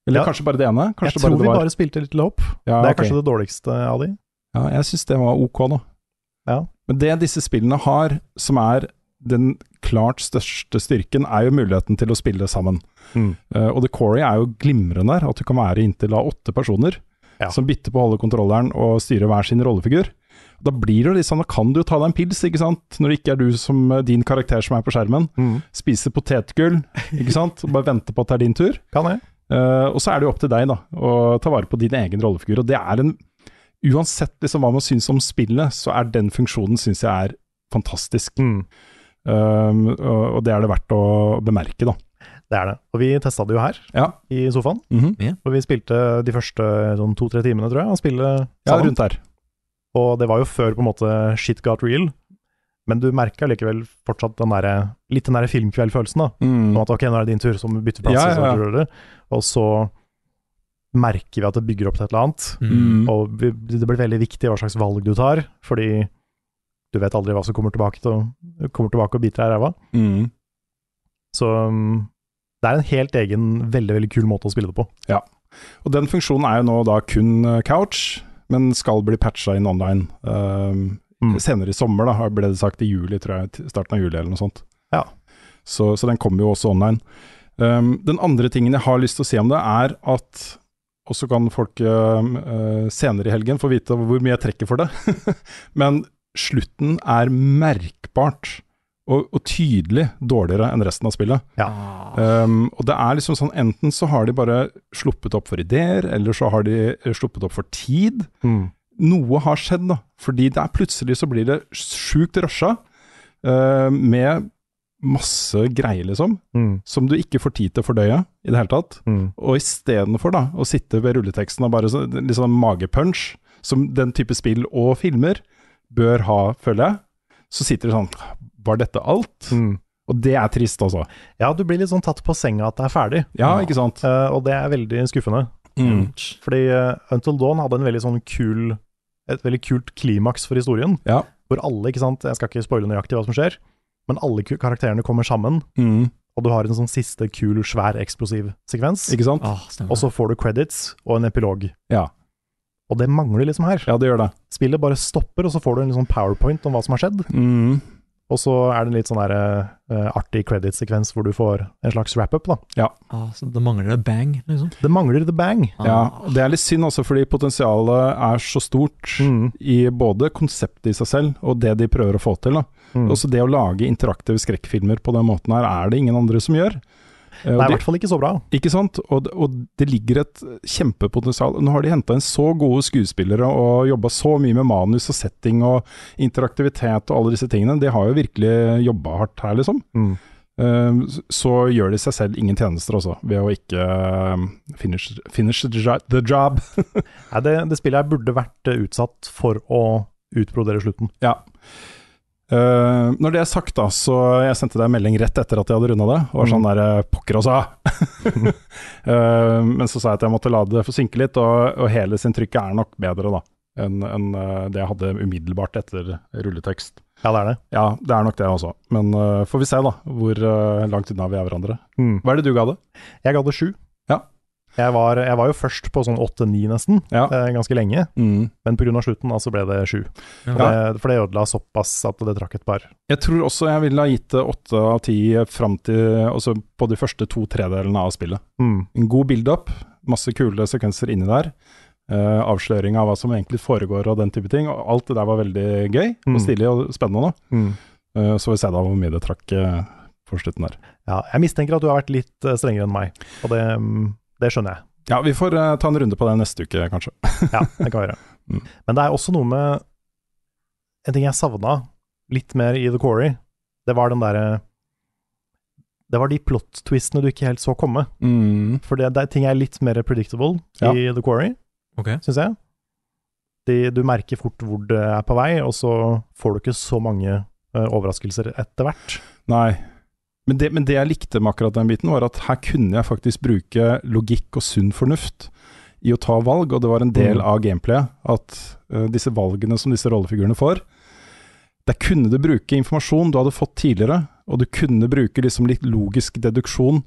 Eller
Ja.
kanskje bare det ene?
Jeg
Kanskje det
tror
bare
vi
det var.
bare spilte Little Hope.
Ja,
det er
ok.
kanskje det dårligste av de.
Ja, jeg syns det var ok nå.
Ja.
Men det disse spillene har, som er den klart største styrken, er jo muligheten til å spille sammen.
Mm.
Eh, og The Quarry er jo glimrende her, at du kan være inntil da åtte personer
Ja.
som bytter på å holde kontrolleren og styre hver sin rollefigur. Da blir det jo litt sånn, da kan du jo ta deg en pils, ikke sant, når det ikke er du som eh, din karakter som er på skjermen. Spise potetgull, ikke sant, og bare vente på at det er din tur.
Kan jeg?
Eh, og så er det jo opp til deg da, å ta vare på din egen rollefigur. Og det er en Uansett liksom hva man syns om spillet, så er den funksjonen syns jeg er fantastisk. Um, og og det er det verdt å bemerke, da.
Det er det. Og vi testa det jo her,
Ja,
i sofaen.
mhm.
Og vi spilte de første sånn to-tre timene, tror jeg, å spille
ja
sammen.
rundt der.
Og det var jo før på en måte shit got real. Men du merka likevel fortsatt den der, litt den der filmkveldfølelsen. da. Om
Mm.
at ok, nå er det din tur, så må vi bytte plass.
Ja,
og så
ja, ja.
rører det. Og så merker vi at det bygger opp til et eller annet.
Mm.
Og vi, det blir veldig viktig hva slags valg du tar, fordi du vet aldri hva som kommer tilbake, til, å- kommer tilbake og biter deg i ræva.
Mm.
Så um, det er en helt egen, veldig veldig kul måte å spille det på.
Og den funksjonen er jo nå da kun eh, couch, men skal bli patcha inn online. ehm,
Mm.
Senere i sommer, da, har- ble det sagt i juli, tror jeg. til Starten av juli eller noe sånt.
Ja.
Så, så den kommer jo også online. Ehm, den andre tingen jeg har lyst til å si om det, er at og så kan folk ehm, eh, senere i helgen få vite hvor mye jeg trekker for det. Men slutten er merkbart og, og tydelig dårligere enn resten av spillet.
Ah.
Um, og det er liksom sånn, enten så har de bare sluppet opp for ideer, eller så har de eh, sluppet opp for tid.
Mm.
Noe har skjedd, da. Fordi det er plutselig så blir det sjukt rusha, eh, med masse greier, liksom,
Mm.
som du ikke får tid til å fordøye i det hele tatt.
Mm.
Og istedenfor da, å sitte ved rulleteksten og bare så, litt sånn magepunch, som den type spill og filmer bør ha, føler jeg, så sitter du sånn Var dette alt?
Mm.
Og det er trist, altså.
Ja, du blir litt sånn tatt på senga at det er ferdig,
Ja, ikke sant?
Eh, og det er veldig skuffende.
Mm.
Fordi eh, Until Dawn hadde en veldig sånn kul et veldig kult klimaks for historien,
Ja.
hvor alle, ikke sant, jeg skal ikke spoile nøyaktig hva som skjer, men alle ku- karakterene kommer sammen,
Mm.
og du har en sånn siste kul, svær, eksplosiv sekvens,
Ikke sant?
Ah, stemmer.
og så får du credits og en epilog.
Ja.
Og det mangler liksom her.
Ja, det gjør det.
Spillet bare stopper, og så får du en litt sånn powerpoint om hva som har skjedd,
Mm.
og så er det en litt sånn der eh, artig credit-sekvens hvor du får en slags wrap-up, da.
ah, så det mangler det bang, liksom.
Det mangler the bang.
Ah.
Ja, og det er litt synd også, fordi potensialet er så stort
Mm.
i både konseptet i seg selv og det de prøver å få til. Da.
Mm.
Også det å lage interaktive skrekkfilmer på den måten her, er det ingen andre som gjør. Eh, og
det er i
de-
hvert fall ikke så bra.
Ikke sant? Og, det- og det ligger et kjempepotensial. Nå har de henta inn så gode skuespillere og jobba så mye med manus og setting og interaktivitet og alle disse tingene. De har jo virkelig jobba hardt her, liksom.
Mm.
Eh, s- Så gjør de seg selv ingen tjenester også, ved å ikke eh, finish, finish the jo- the job.
Nei, det, det spillet her burde vært eh, utsatt for å utbrodere slutten.
Ja. Eh, når det er sagt, da, så jeg sendte deg en melding rett etter at jeg hadde runda det. Og var sånn der eh, Pokker også! Eh, men så sa jeg at jeg måtte la det få synke litt, og, og helhetsinntrykket er nok bedre da enn enn, eh, det jeg hadde umiddelbart etter rulletekst.
Ja, det er det.
Ja, det er nok det også, men eh, får vi se da hvor eh, langt unna vi er hverandre. Hva er det du ga det?
Jeg ga det sju.
Ja.
Jeg var, jeg var jo først på sånn åtte-ni, nesten,
Ja.
eh, ganske lenge.
Mm.
Men pga. slutten da, så ble det sju.
Ja.
For det- For det ødela såpass at det trakk et par.
Jeg tror også jeg ville ha gitt det åtte av ti fram til altså på de første to tredelene av spillet.
Mm.
En god build-up, masse kule sekvenser inni der. eh, avsløring av hva som egentlig foregår og den type ting. Og alt det der var veldig gøy og
Mm.
stilig og spennende.
Mm.
da. Eh, så får vi se da hvor mye det trakk eh, på slutten der.
Ja, jeg mistenker at du har vært litt eh, strengere enn meg, og det, mm, det skjønner jeg.
Ja, vi får eh, ta en runde på det neste uke, kanskje.
Ja, det kan være.
Mm.
Men det er også noe med En ting jeg savna litt mer i The Quarry, det var den derre Det var de plot-twistene du ikke helt så komme. For det, det er ting er litt mer predictable
Ja.
i The Quarry,
Ok.
syns jeg. De, du merker fort hvor det er på vei, og så får du ikke så mange eh, overraskelser etter hvert.
Nei. Men det, men det jeg likte med akkurat den biten, var at her kunne jeg faktisk bruke logikk og sunn fornuft i å ta valg, og det var en del
Mm.
av gameplayet at eh, disse valgene som disse rollefigurene får Der kunne du bruke informasjon du hadde fått tidligere, og du kunne bruke liksom litt logisk deduksjon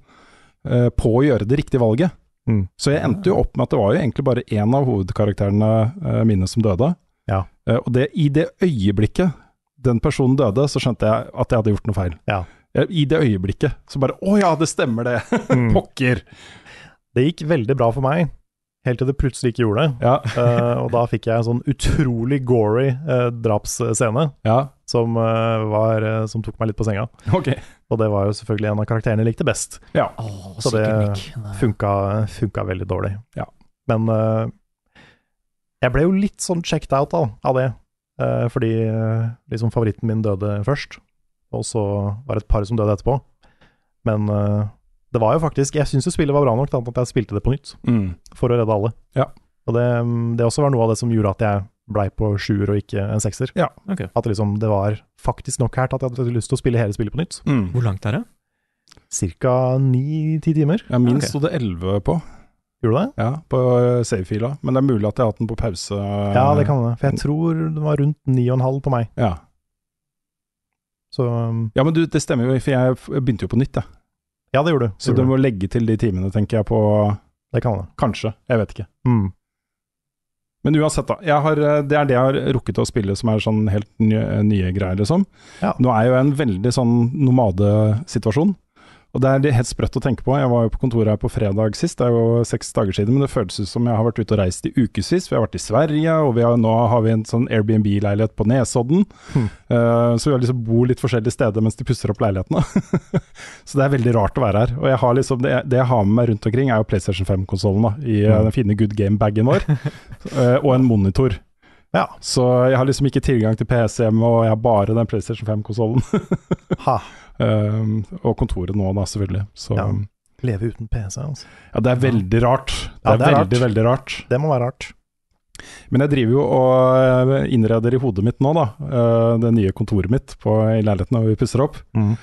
eh, på å gjøre det riktige valget.
Mm.
Så jeg endte jo opp med at det var jo egentlig bare én av hovedkarakterene eh, mine som døde.
Ja.
Eh, og det, i det øyeblikket den personen døde, så skjønte jeg at jeg hadde gjort noe feil.
Ja.
Jeg- I det øyeblikket. Så bare Å ja, det stemmer det!
Mm.
Pokker!
Det gikk veldig bra for meg, helt til det plutselig ikke gjorde det.
Ja,
Eh, og da fikk jeg en sånn utrolig gory eh, drapsscene
ja,
som, eh, var, eh, som tok meg litt på senga.
ok.
Og det var jo selvfølgelig en av karakterene jeg likte best.
Åh,
Så det
sikkert Nick. Nei.
Funka, funka veldig dårlig.
Ja.
Men eh, jeg ble jo litt sånn checked out av, av det, eh, fordi eh, liksom favoritten min døde først, og så var det et par som døde etterpå. Men eh, det var jo faktisk Jeg syns jo spillet var bra nok til at jeg spilte det på nytt,
Mm.
for å redde alle.
Ja.
Og det, mm, det også var noe av det som gjorde at jeg blei på sjuer og ikke en sekser.
Ja,
ok.
At liksom det var faktisk nok her til at jeg hadde lyst til å spille hele spillet på nytt.
Mm.
Hvor langt er det?
Cirka ni-ti timer,
Ja, min
Ok.
sto det 11 på,
gjorde det?
ja, på eh, save-fila. Men det er mulig at jeg har hatt den på pause.
Ja,
Eh,
det kan det. For jeg tror det var rundt 9,5 på meg.
Ja,
Så um,
ja men du, det stemmer jo, for jeg f- begynte jo på nytt, jeg.
ja, det gjorde du.
Så
Gjorde
du må legge til de timene, tenker jeg, på
Det kan det.
Kanskje, jeg vet ikke.
Mm.
Men uansett, da. Jeg har, eh, det er det jeg har rukket å spille som er sånn helt nye, nye greier, liksom.
Ja.
Nå er jeg jo i en veldig sånn nomadesituasjon. Og det er det helt sprøtt å tenke på. Jeg var jo på kontoret her på fredag sist, det er jo seks dager siden, men det føles ut som jeg har vært ute og reist i ukevis. Vi har vært i Sverige, og vi har, nå har vi en sånn Airbnb-leilighet på Nesodden.
Hmm.
Eh, så vi har liksom bor litt forskjellige steder mens de pusser opp leilighetene. så det er veldig rart å være her. Og jeg har liksom, det, det jeg har med meg rundt omkring, er jo PlayStation 5-konsollen, da, i
Hmm.
eh, den fine good game-bagen vår, eh, og en monitor.
Ja.
Så jeg har liksom ikke tilgang til PC hjemme, og jeg har bare den PlayStation 5-konsollen.
Ha.
og kontoret nå, da, selvfølgelig. Så ja.
Ja. Leve uten PC, altså.
det er veldig rart. Det
Ja,
er,
det er
veldig, veldig rart.
Det må være rart.
Men jeg driver jo og eh, innreder i hodet mitt nå, da. eh, Det nye kontoret mitt på, i leiligheten, og vi pusser opp.
Mhm.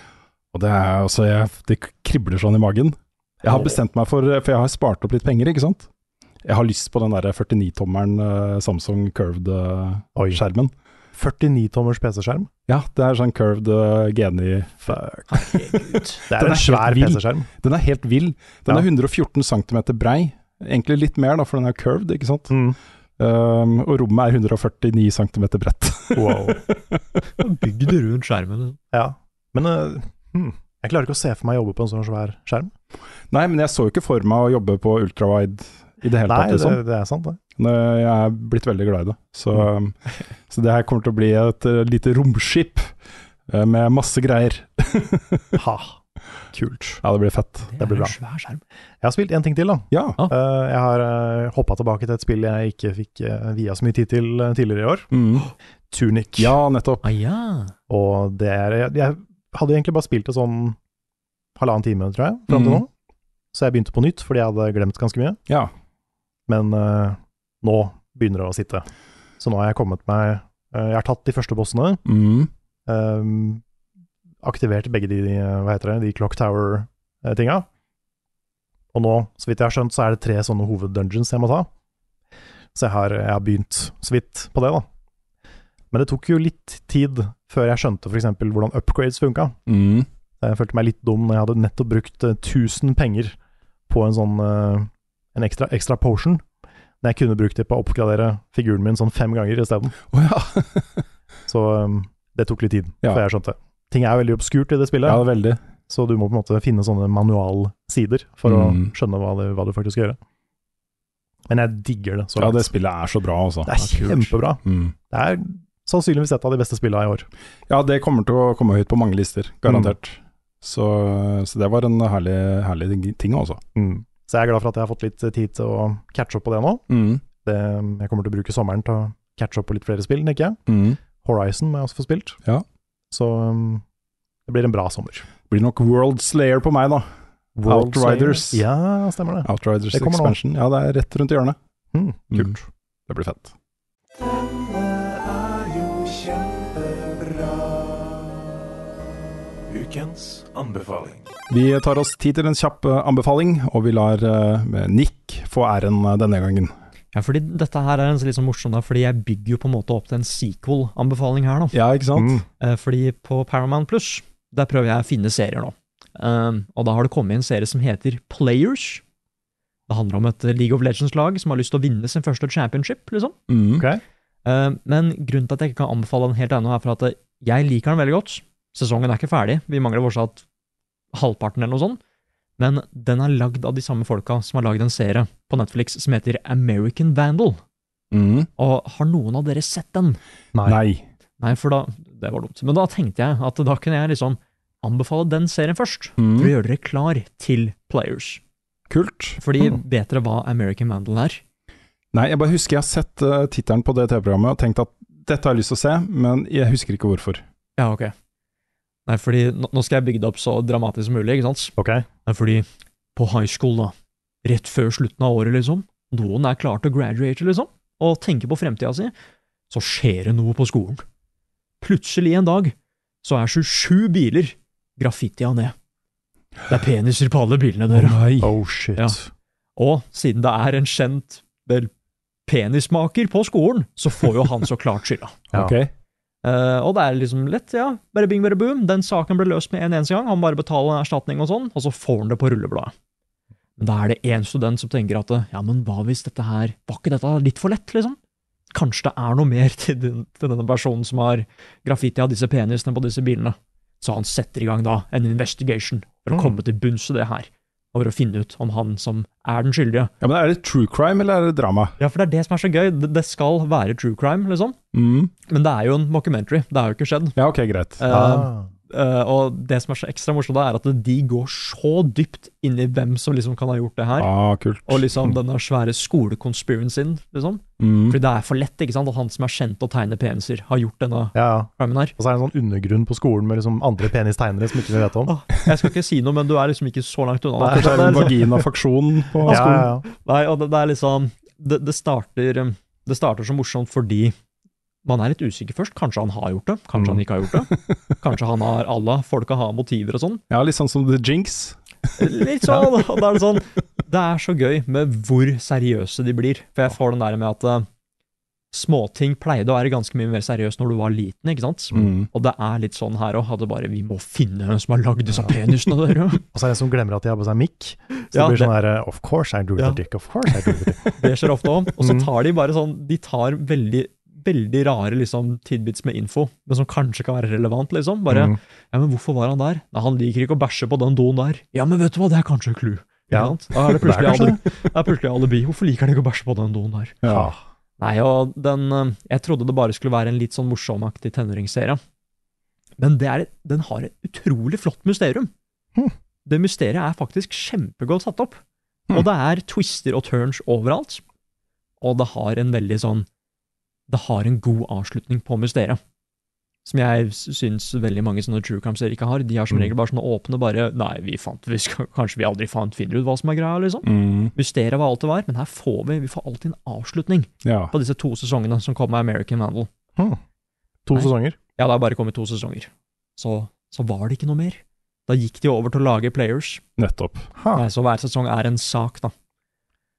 Og det er altså jeg, Det kribler sånn i magen. Jeg har bestemt meg for For jeg har spart opp litt penger, ikke sant. Jeg har lyst på den der 49-tommeren eh, Samsung eh,
Oi.
curved-skjermen.
49-tommers PC-skjerm.
Ja, det er sånn curved eh, geni
Fuck.
Herregud.
Det
Den
er
er
en svær
helt vill.
PC-skjerm.
Den er helt vill. Den
Ja.
er 114 cm brei. Egentlig litt mer, da, for den er curved, ikke sant.
Mm.
Um, og rommet er 149 cm bredt.
Wow.
Bygd rundt skjermen.
Ja. Men eh, hmm. jeg klarer ikke å se for meg å jobbe på en sånn svær skjerm.
Nei, men jeg så jo ikke for meg å jobbe på ultrawide i det hele
Nei,
tatt.
det, Mm.
Liksom.
det er sant, det.
Men Jeg er blitt veldig glad i det. Så, så det her kommer til å bli et eh, lite romskip eh, med masse greier.
Ha. Kult.
Ja, det blir fett.
Det,
blir
er
bra.
en svær skjerm.
Jeg har spilt én ting til, da.
Ja.
Eh, jeg har uh, hoppa tilbake til et spill jeg ikke fikk uh, via så mye tid til eh, tidligere i år.
Mm.
Tunic.
ja, nettopp.
Ah, ja.
Og det er jeg, jeg hadde egentlig bare spilt det sånn halvannen time, tror jeg, fram til
Mhm.
nå. Så jeg begynte på nytt, fordi jeg hadde glemt ganske mye.
Ja.
Men eh, nå begynner det å sitte. Så nå har jeg kommet meg eh, Jeg har tatt de første bossene.
Mm.
eh, aktivert begge de, de, eh, hva heter det, de Clock Tower-tinga. Og nå, så vidt jeg har skjønt, så er det tre sånne hoveddungeons jeg må ta. Så jeg har, jeg har begynt så vidt på det, da. Men det tok jo litt tid før jeg skjønte f.eks. hvordan upgrades funka.
Mm.
Jeg følte meg litt dum når jeg hadde nettopp brukt eh, 1000 penger på en sånn eh, en ekstra, ekstra potion, når jeg kunne brukt det på å oppgradere figuren min sånn fem ganger isteden.
Å ja.
Så um, det tok litt tid
Ja.
før jeg skjønte. Ting er veldig obskurt i det spillet,
ja, veldig.
så du må på en måte finne sånne manualsider for
Mm.
å skjønne hva, det, hva du faktisk skal gjøre. Men jeg digger det så
Ja,
langt.
det spillet er så bra, altså.
det er kjempebra.
Mm.
Det er sannsynligvis et av de beste spillene i år.
Ja, det kommer til å komme høyt på mange lister, garantert. Så, så det var en herlig, herlig ting, altså.
Mm. Så jeg er glad for at jeg har fått litt tid til å catche opp på det nå.
Mm.
Det, um, jeg kommer til å bruke sommeren til å catche opp på litt flere spill, tenker jeg.
Mm.
Horizon må jeg også få spilt.
Ja.
Så um, det blir en bra sommer.
Blir nok World Slayer på meg, da. Outriders.
Ja, stemmer det.
Outriders
Det kommer nå.
Expansion. Ja, det er rett rundt hjørnet.
Mm, kult.
Mm. Det blir fett.
Ukens anbefaling.
Vi tar oss tid til en kjapp eh, anbefaling, og vi lar eh, Nick få æren eh, denne gangen.
ja, fordi dette her er en litt sånn morsom, da, fordi jeg bygger jo på en måte opp til en sequel-anbefaling her nå.
Ja, ikke sant?
Mm.
Eh, Fordi på Paramount Plus, der prøver jeg å finne serier nå. Um, og da har det kommet en serie som heter Players. Det handler om et League of Legends-lag som har lyst til å vinne sin første championship, liksom.
Mm.
Ok.
Eh, men grunnen til at jeg ikke kan anbefale den helt ennå, er for at eh, jeg liker den veldig godt. Sesongen er ikke ferdig, vi mangler fortsatt halvparten eller noe sånt. Men den er lagd av de samme folka som har lagd en serie på Netflix som heter American Vandal.
Mm.
Og har noen av dere sett den?
Nei.
Nei, for da Det var dumt. Men da tenkte jeg at da kunne jeg liksom anbefale den serien først. For å
Mm.
gjøre dere klar til Players.
Kult.
Fordi
Mm.
vet dere hva American Vandal er?
Nei, jeg bare husker jeg har sett uh, tittelen på det TV-programmet og tenkt at dette har jeg lyst til å se, men jeg husker ikke hvorfor.
Ja, ok. Nei, fordi nå, nå skal jeg bygge det opp så dramatisk som mulig, ikke sant?
Ok.
Nei, fordi på high school, da, rett før slutten av året, liksom, noen er klar til å graduate, liksom, og tenker på fremtida si, så skjer det noe på skolen. Plutselig en dag så er 27 biler graffitia ned. Det er peniser på alle bilene, dere.
nei.
Oh shit.
Ja. Og siden det er en kjent vel, penismaker på skolen, så får jo han så klart skylda.
Ja.
Ok.
Eh, og det er liksom lett, ja. Bare bing, bare boom. Den saken ble løst med en eneste gang. Han bare betaler erstatning og sånn, og så får han det på rullebladet. Men da er det én student som tenker at ja, men hva hvis dette her Var ikke dette litt for lett, liksom? Kanskje det er noe mer til, den, til denne personen som har graffiti av disse penisene på disse bilene. Så han setter i gang da en investigation for å
Mm.
komme til bunns i det her, og for å finne ut om han som er den skyldige.
Ja, men Er det true crime eller er det drama?
Ja, for det er det som er så gøy. Det, det skal være true crime, liksom.
Mm.
Men det er jo en mockumentary. Det har jo ikke skjedd.
Ja, ok, greit.
Eh,
Ah.
eh, og det som er så ekstra morsomt, da, er at de går så dypt inn i hvem som liksom kan ha gjort det her.
Ah, kult.
Og
sånn-
liksom denne svære skolekonspiracyen, liksom.
Mm.
Fordi det er for lett, ikke sant, at han som er kjent til å tegne peniser, har gjort denne
Ja, ja.
crimen her.
Og så er det en sånn undergrunn på skolen med liksom andre penistegnere som ikke vi vet om.
Åh, Jeg skal ikke si noe, men du er liksom ikke så langt unna.
Kanskje det er en
liksom-
vaginafaksjon på
Ja, ja,
skolen?
ja.
Nei, og det, det er liksom det, det starter um, Det starter så morsomt fordi man er litt usikker først. Kanskje han har gjort det, kanskje han ikke har gjort det. Kanskje han har Allah, folka har motiver og sånn.
Ja, litt sånn som The Jinx.
Litt sånn, og da er Det sånn Det er så gøy med hvor seriøse de blir. For jeg får den der med at eh, småting pleide å være ganske mye mer seriøst når du var liten, ikke sant?
Mm.
Og det er litt sånn her òg, at det bare Vi må finne hvem som har lagd disse penisene, dere.
Og så er det en som glemmer at de har på seg mikk. Så
Ja,
det blir
det-
sånn her Of course I drew
Ja.
the dick, of course I drew the dick.
Det skjer ofte òg. Og så
Mm.
tar de bare sånn De tar veldig Veldig rare liksom, tidbits med info, men som kanskje kan være relevant. liksom. Bare
Mm.
'Ja, men hvorfor var han der?' Nei, 'Han liker ikke å bæsje på den doen der.' 'Ja, men vet du hva, det er kanskje et clue.' Ikke
Ja.
sant? Da er det plutselig,
Det er kanskje
alibi. Det er plutselig alibi. Hvorfor liker han ikke å bæsje på den doen der?
Ja.
Ah.
Nei, og den eh, Jeg trodde det bare skulle være en litt sånn morsommaktig tenåringsserie. Men det er, den har et utrolig flott mysterium.
Hm.
Det mysteriet er faktisk kjempegodt satt opp. Og det er twister og turns overalt. Og det har en veldig sånn Det har en god avslutning på mysteriet. Som jeg s- syns veldig mange sånne true crime-serier ikke har. De har som regel bare sånne åpne bare Nei, vi fant vi skal, Kanskje vi aldri fant, finner ut hva som er greia, liksom.
Mm.
Mysteriet var alt det var, men her får vi Vi får alltid en avslutning
ja.
på disse to sesongene som kom med American Vandal.
To
Nei.
sesonger.
Ja, det har bare kommet to sesonger. Så, så var det ikke noe mer. Da gikk de over til å lage Players.
Nettopp.
Ha,
Nei, så hver sesong er en sak, da.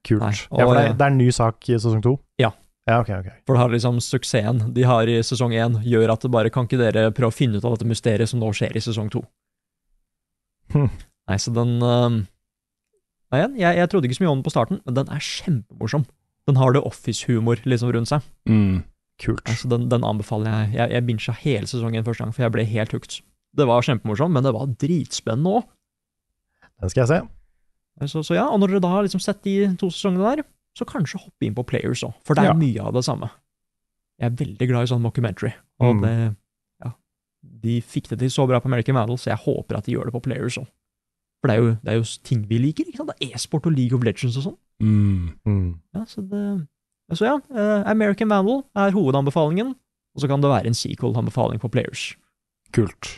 kult.
nei,
ja,
og- eh,
for det, er- det er en ny sak i sesong to?
Ja.
Ja, ok, ok.
For det har liksom suksessen de har i sesong én, gjør at det bare kan ikke dere prøve å finne ut av dette mysteriet som nå skjer i sesong to.
Hm.
Nei, så den øhm, Nei, igjen, jeg, jeg trodde ikke så mye om den på starten, men den er kjempemorsom. Den har det office-humor liksom rundt seg.
Mm.
Kult.
Nei, så den, den anbefaler jeg. Jeg, jeg bincha hele sesongen første gang, for jeg ble helt hooked. Det var kjempemorsomt, men det var dritspennende òg.
Den skal jeg se.
Så, så ja, og når dere da har liksom sett de to sesongene der, så kanskje hoppe inn på Players òg, for det er
Ja.
mye av det samme. Jeg er veldig glad i sånn mockumentary, og
Mm.
det Ja. De fikk det til så bra på American Vandal, så jeg håper at de gjør det på Players òg. For det er, jo, det er jo ting vi liker, ikke sant? Det er e-sport og League of Legends og sånn.
Mm.
Mm.
Ja, så det Så ja, eh, American Vandal er hovedanbefalingen, og så kan det være en sequel-anbefaling på Players.
Kult.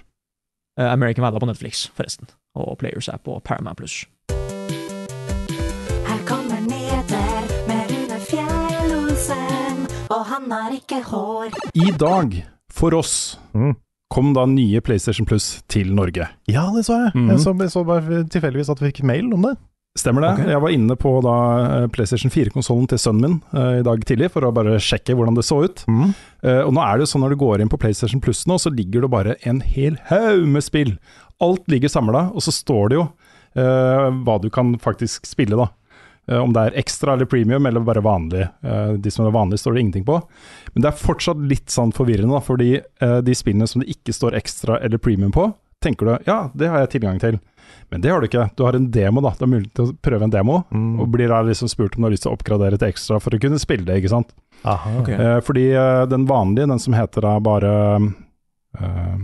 Eh, American Vandal på Netflix, forresten, og Players er på Paramount Pluss.
Her kommer Neder med Rune Fjellosen, og han har ikke hår.
I dag, for oss,
Mm.
kom da nye PlayStation Plus til Norge.
Ja, det så jeg.
Mhm.
Jeg så, jeg så bare tilfeldigvis at vi fikk mail om det.
Stemmer det? Jeg var inne på da eh, PlayStation 4-konsollen til sønnen min eh, i dag tidlig, for å bare sjekke hvordan det så ut. Eh, og nå er det jo sånn når du går inn på PlayStation Plus nå, så ligger det bare en hel haug med spill. Alt ligger samla, og så står det jo eh, hva du kan faktisk spille, da. Eh, om det er ekstra eller premium, eller bare vanlig. Eh, de som er vanlige, står det ingenting på. Men det er fortsatt litt sånn forvirrende, da, fordi eh, de spillene som det ikke står ekstra eller premium på, tenker du ja, det har jeg tilgang til. Men det har du ikke. Du har en demo, da. Det er mulig til å prøve en demo,
Mm.
Mm.
og blir da liksom spurt om du har lyst til å oppgradere til ekstra for å kunne spille det, ikke sant.
Aha.
Ok.
Eh, fordi eh, den vanlige, den som heter da bare eh,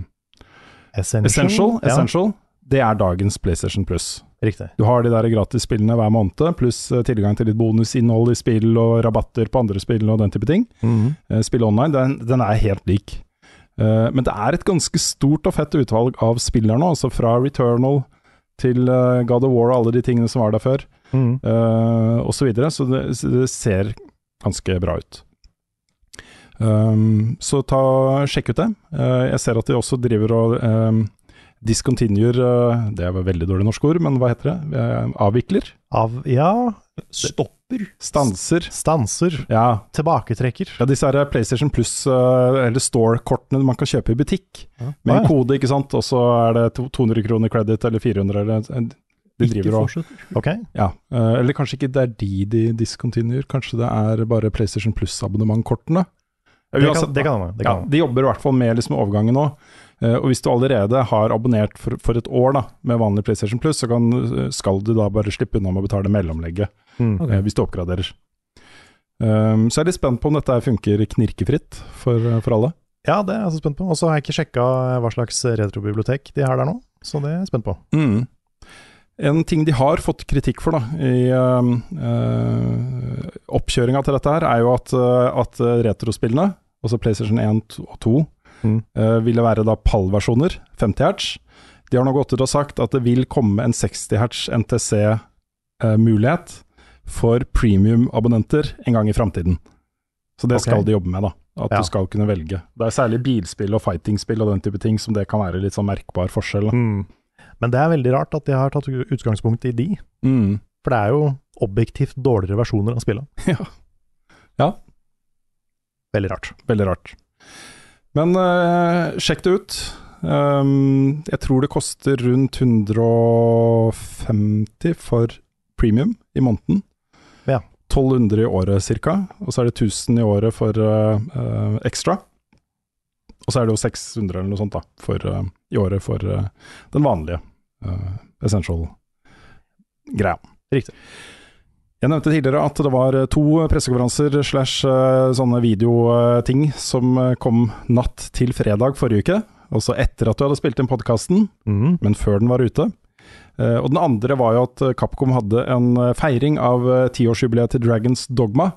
Essential.
Essential,
Ja,
Essential det er dagens PlayStation Plus.
Riktig.
Du har de der gratisspillene hver måned, pluss eh, tilgang til litt bonusinnhold i spill og rabatter på andre spill og den type ting.
Mhm.
Eh, Spill online, den, den er helt lik. Eh, Men det er et ganske stort og fett utvalg av spillere nå, altså fra Returnal til eh, God of War og alle de tingene som var der før
Mm.
Mhm.
eh, og så videre, så det, så det ser ganske bra ut. Um, så ta, sjekk ut det. Eh, jeg ser at de også driver og um, discontinuer eh, Det var veldig dårlig norsk ord, men hva heter det? Eh, avvikler?
Av Ja,
Stopper
Stanser?
stanser.
Ja.
Tilbaketrekker.
ja, disse her PlayStation Plus, eh, eller Store-kortene man kan kjøpe i butikk, med
Ah, ja.
en kode, ikke sant, og så er det to- 200 kroner credit, eller 400, eller de
ikke
driver og
fortsatt.
Ok.
Ja, eh, eller kanskje ikke det er de de discontinuer, kanskje det er bare PlayStation Plus-abonnementkortene.
Det kan det kan hende. Det
ja,
kan hende.
de jobber i hvert fall med liksom overgangen nå. Eh, Og hvis du allerede har abonnert for, for et år da, med vanlig PlayStation Plus, så kan, eh, skal du da bare slippe unna med å betale mellomlegget
Mm.
Ok.
eh, hvis du oppgraderer. Um, så jeg er litt spent på om dette her funker knirkefritt for, eh, for alle.
Ja, det er jeg så spent på. Og så har jeg ikke sjekka hva slags retrobibliotek de har der nå, så det er jeg spent på.
Mm. En ting de har fått kritikk for da, i um, eh, oppkjøringa til dette, her, er jo at, eh, at retrospillene, altså PlayStation 1 to- og 2,
Mm.
eh, ville være da PAL-versjoner, 50 hertz. De har nå gått ut og sagt at det vil komme en 60 hertz NTC-mulighet eh, for premium-abonnenter en gang i framtiden. Så det
Ok.
skal de jobbe med, da. At
Ja.
du skal kunne velge. Det er særlig bilspill og fightingspill og den type ting som det kan være litt sånn merkbar forskjell. Da.
Men det er veldig rart at de har tatt utgangspunkt i de,
Mm.
for det er jo objektivt dårligere versjoner av spillet.
Ja. Ja.
Veldig rart.
Veldig rart. Men eh, sjekk det ut. Um, jeg tror det koster rundt 150 for premium i måneden.
Ja.
1200 i året ca. Og så er det 1000 i året for eh, eh, ekstra. Og så er det jo 600 eller noe sånt da, for, eh, i året for eh, den vanlige eh, essential-greia.
Riktig.
Jeg nevnte tidligere at det var eh, to pressekonferanser slash eh, sånne videoting som eh, kom natt til fredag forrige uke. Altså etter at du hadde spilt inn podkasten,
Mm.
men før den var ute. Eh, Og den andre var jo at eh, Capcom hadde en eh, feiring av eh, tiårsjubileet til Dragons Dogma,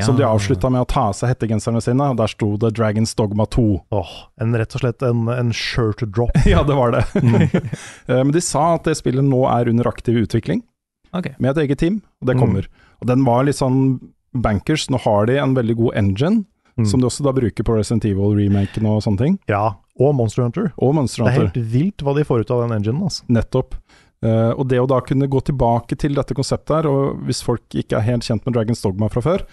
som de avslutta med å ta av seg hettegenserne sine, og der sto det Dragons Dogma 2.
Åh, en, rett og slett en, en shirt drop.
Ja, det var det.
Mm.
Eh, Men de sa at det spillet nå er under aktiv utvikling.
Ok.
med et eget team, og det
Mm.
kommer. Og den var litt sånn bankers. Nå har de en veldig god engine,
Mm.
som de også da bruker på Resident Evil-remaken og sånne ting.
Ja, og Monster Hunter.
Og Monster
Det er
Hunter.
helt vilt hva de får ut av den enginen, altså.
Nettopp. Eh, og det å da kunne gå tilbake til dette konseptet her, og hvis folk ikke er helt kjent med Dragons Dogma fra før,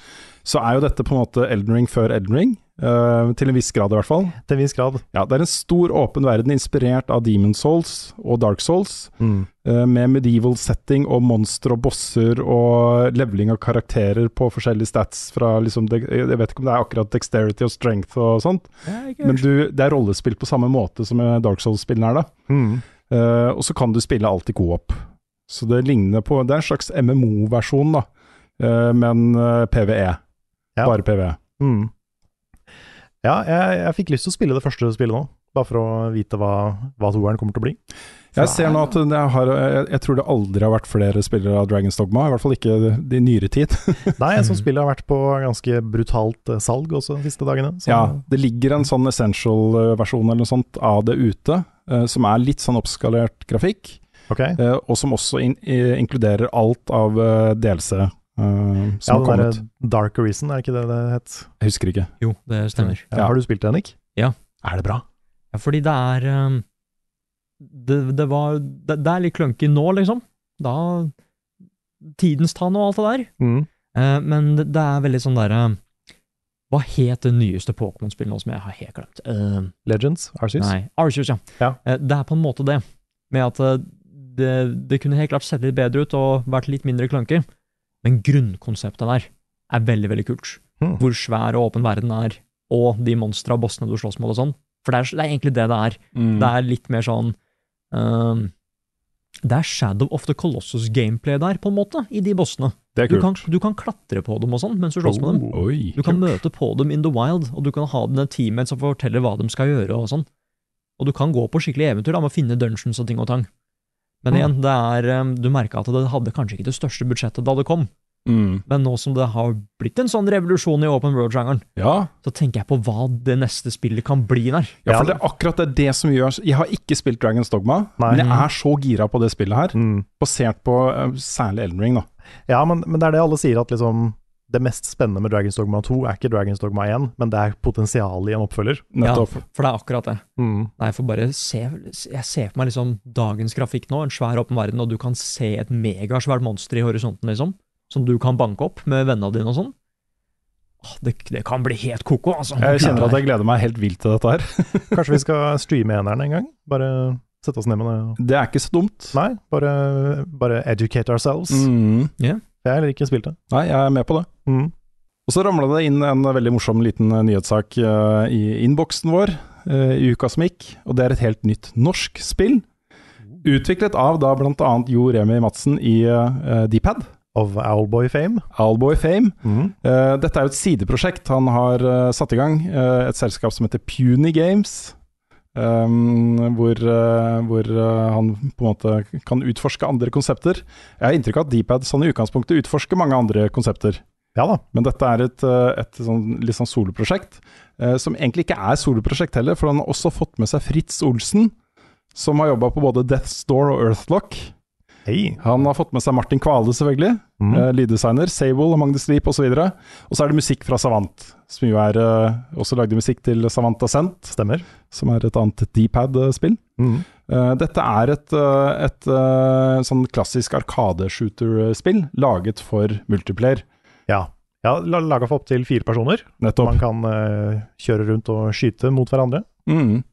så er jo dette på en måte Elden Ring før Elden Ring. eh, til en viss grad, i hvert fall.
Til en viss grad.
Ja, det er en stor, åpen verden inspirert av Demon Souls og Dark Souls. eh, med medieval setting og monstre og bosser og leveling av karakterer på forskjellige stats fra liksom de- Jeg vet ikke om det er akkurat dexterity og strength og sånt, men du, det er rollespill på samme måte som eh, Dark Souls-spillene er, da.
Mm.
Eh, og så kan du spille alltid co-op. Så det ligner på Det er en slags MMO-versjon, da, eh, men eh, PVE.
Ja.
Bare E. PVE.
Mm. Ja, jeg, jeg fikk lyst til å spille det første spillet nå, bare for å vite hva, hva toeren kommer til å bli.
Jeg ser nå at det har, jeg, jeg tror det aldri har vært flere spillere av Dragons Dogma, i hvert fall ikke i- i nyere tid.
Nei, jeg som spillet har vært på ganske brutalt eh, salg også de siste dagene. Så
Ja, det ligger en sånn essential-versjon eller noe sånt av det ute, eh, som er litt sånn oppskalert grafikk,
ok.
eh, og som også in i- inkluderer alt av eh, DLC eh,
Ja,
som har kommet.
den derre Dark Horizon, er ikke det det het?
Jeg husker ikke.
Jo, det stemmer.
Ja,
Ja.
Har du spilt det, Nick?
Ja.
Er det bra?
Ja, fordi det er ehm, det, det var det, det er litt clunky nå, liksom. Da Tidens tann og alt det der.
Mm.
Eh, men det, det er veldig sånn derre Hva het det nyeste Pokémon-spillet nå som jeg har helt glemt? Eh,
Legends, Arceus?
nei, Arceus, ja.
Ja.
Eh, det er på en måte det. Med at eh, det, det kunne helt klart sett litt bedre ut og vært litt mindre clunky. Men grunnkonseptet der er veldig, veldig kult.
Hmm.
Hvor svær og åpen verden er, og de monstra og bossene du slåss mot og sånn. For det er, det er egentlig det det er.
Mm. Hmm.
Det er litt mer sånn ehm, Det er Shadow of the Colossus-gameplay der, på en måte, i de bossene.
Det er
Du
kult. Oh.
kan, du kan klatre på dem og sånn mens du slåss med dem.
Oi.
Du kan møte på dem in the wild, og du kan ha dine teammates som forteller hva de skal gjøre og sånn. Og du kan gå på skikkelig eventyr da, med å finne dungeons og ting og tang. Men igjen, det er, ehm, du merka at det hadde kanskje ikke det største budsjettet da det kom,
Mm.
men nå som det har blitt en sånn revolusjon i open world-sjangeren,
Ja.
så tenker jeg på hva det neste spillet kan bli der.
ja, for det er akkurat det, er det som gjør Jeg har ikke spilt Dragons Dogma,
Nei.
men jeg er så gira på det spillet her,
Mm.
basert på eh, særlig Elden Ring, da.
Ja, men, men det er det alle sier, at liksom det mest spennende med Dragons Dogma 2 er ikke Dragons Dogma 1, men det er potensialet i en oppfølger.
Nettopp.
Ja, for det er akkurat det.
Mm.
Nei, for bare se Jeg ser på meg liksom dagens grafikk nå, en svær åpen verden, og du kan se et megasvært monster i horisonten, liksom, som du kan banke opp med vennene dine og sånn. Åh, det, det kan bli helt koko, altså.
Jeg kjenner at jeg gleder meg helt vilt til dette her.
Kanskje vi skal streame eneren en gang? Bare sette oss ned med det. og-
Det er ikke så dumt.
Nei, bare, bare educate ourselves.
Mm.
Jeg har heller ikke spilt det.
Nei, jeg er med på det.
Mm.
Og så ramla det inn en veldig morsom liten eh, nyhetssak eh, i innboksen vår. eh, i uka som gikk, og det er et helt nytt norsk spill. Utviklet av da bl.a. Jo Remi Madsen i eh, Dpad,
Of Owlboy fame.
Alboy Fame.
Mhm.
Eh, dette er jo et sideprosjekt. Han har eh, satt i gang eh, et selskap som heter Puny Games. ehm, hvor eh, hvor eh, han på en måte kan utforske andre konsepter. Jeg har inntrykk av at Dpad sånn i utgangspunktet utforsker mange andre konsepter.
Ja da.
Men dette er et, eh, et sånn, litt sånn soloprosjekt, eh, som egentlig ikke er soloprosjekt heller, for han har også fått med seg Fritz Olsen, som har jobba på både Death's Door og Earthlock.
Hei.
Han har fått med seg Martin Kvale, selvfølgelig.
Mhm.
Eh, lyddesigner. Sable, Among the Sleep osv. Og så er det musikk fra Savant, som jo er eh, også lagde musikk til Savant Ascent,
Stemmer.
som er et annet Dpad-spill.
Mhm.
Eh, dette er et, eh, et eh, sånn klassisk arkade-shooter-spill laget for multiplayer,
Ja. Ja, Laga for opptil fire personer.
nettopp.
Man kan eh, kjøre rundt og skyte mot hverandre.
Mm.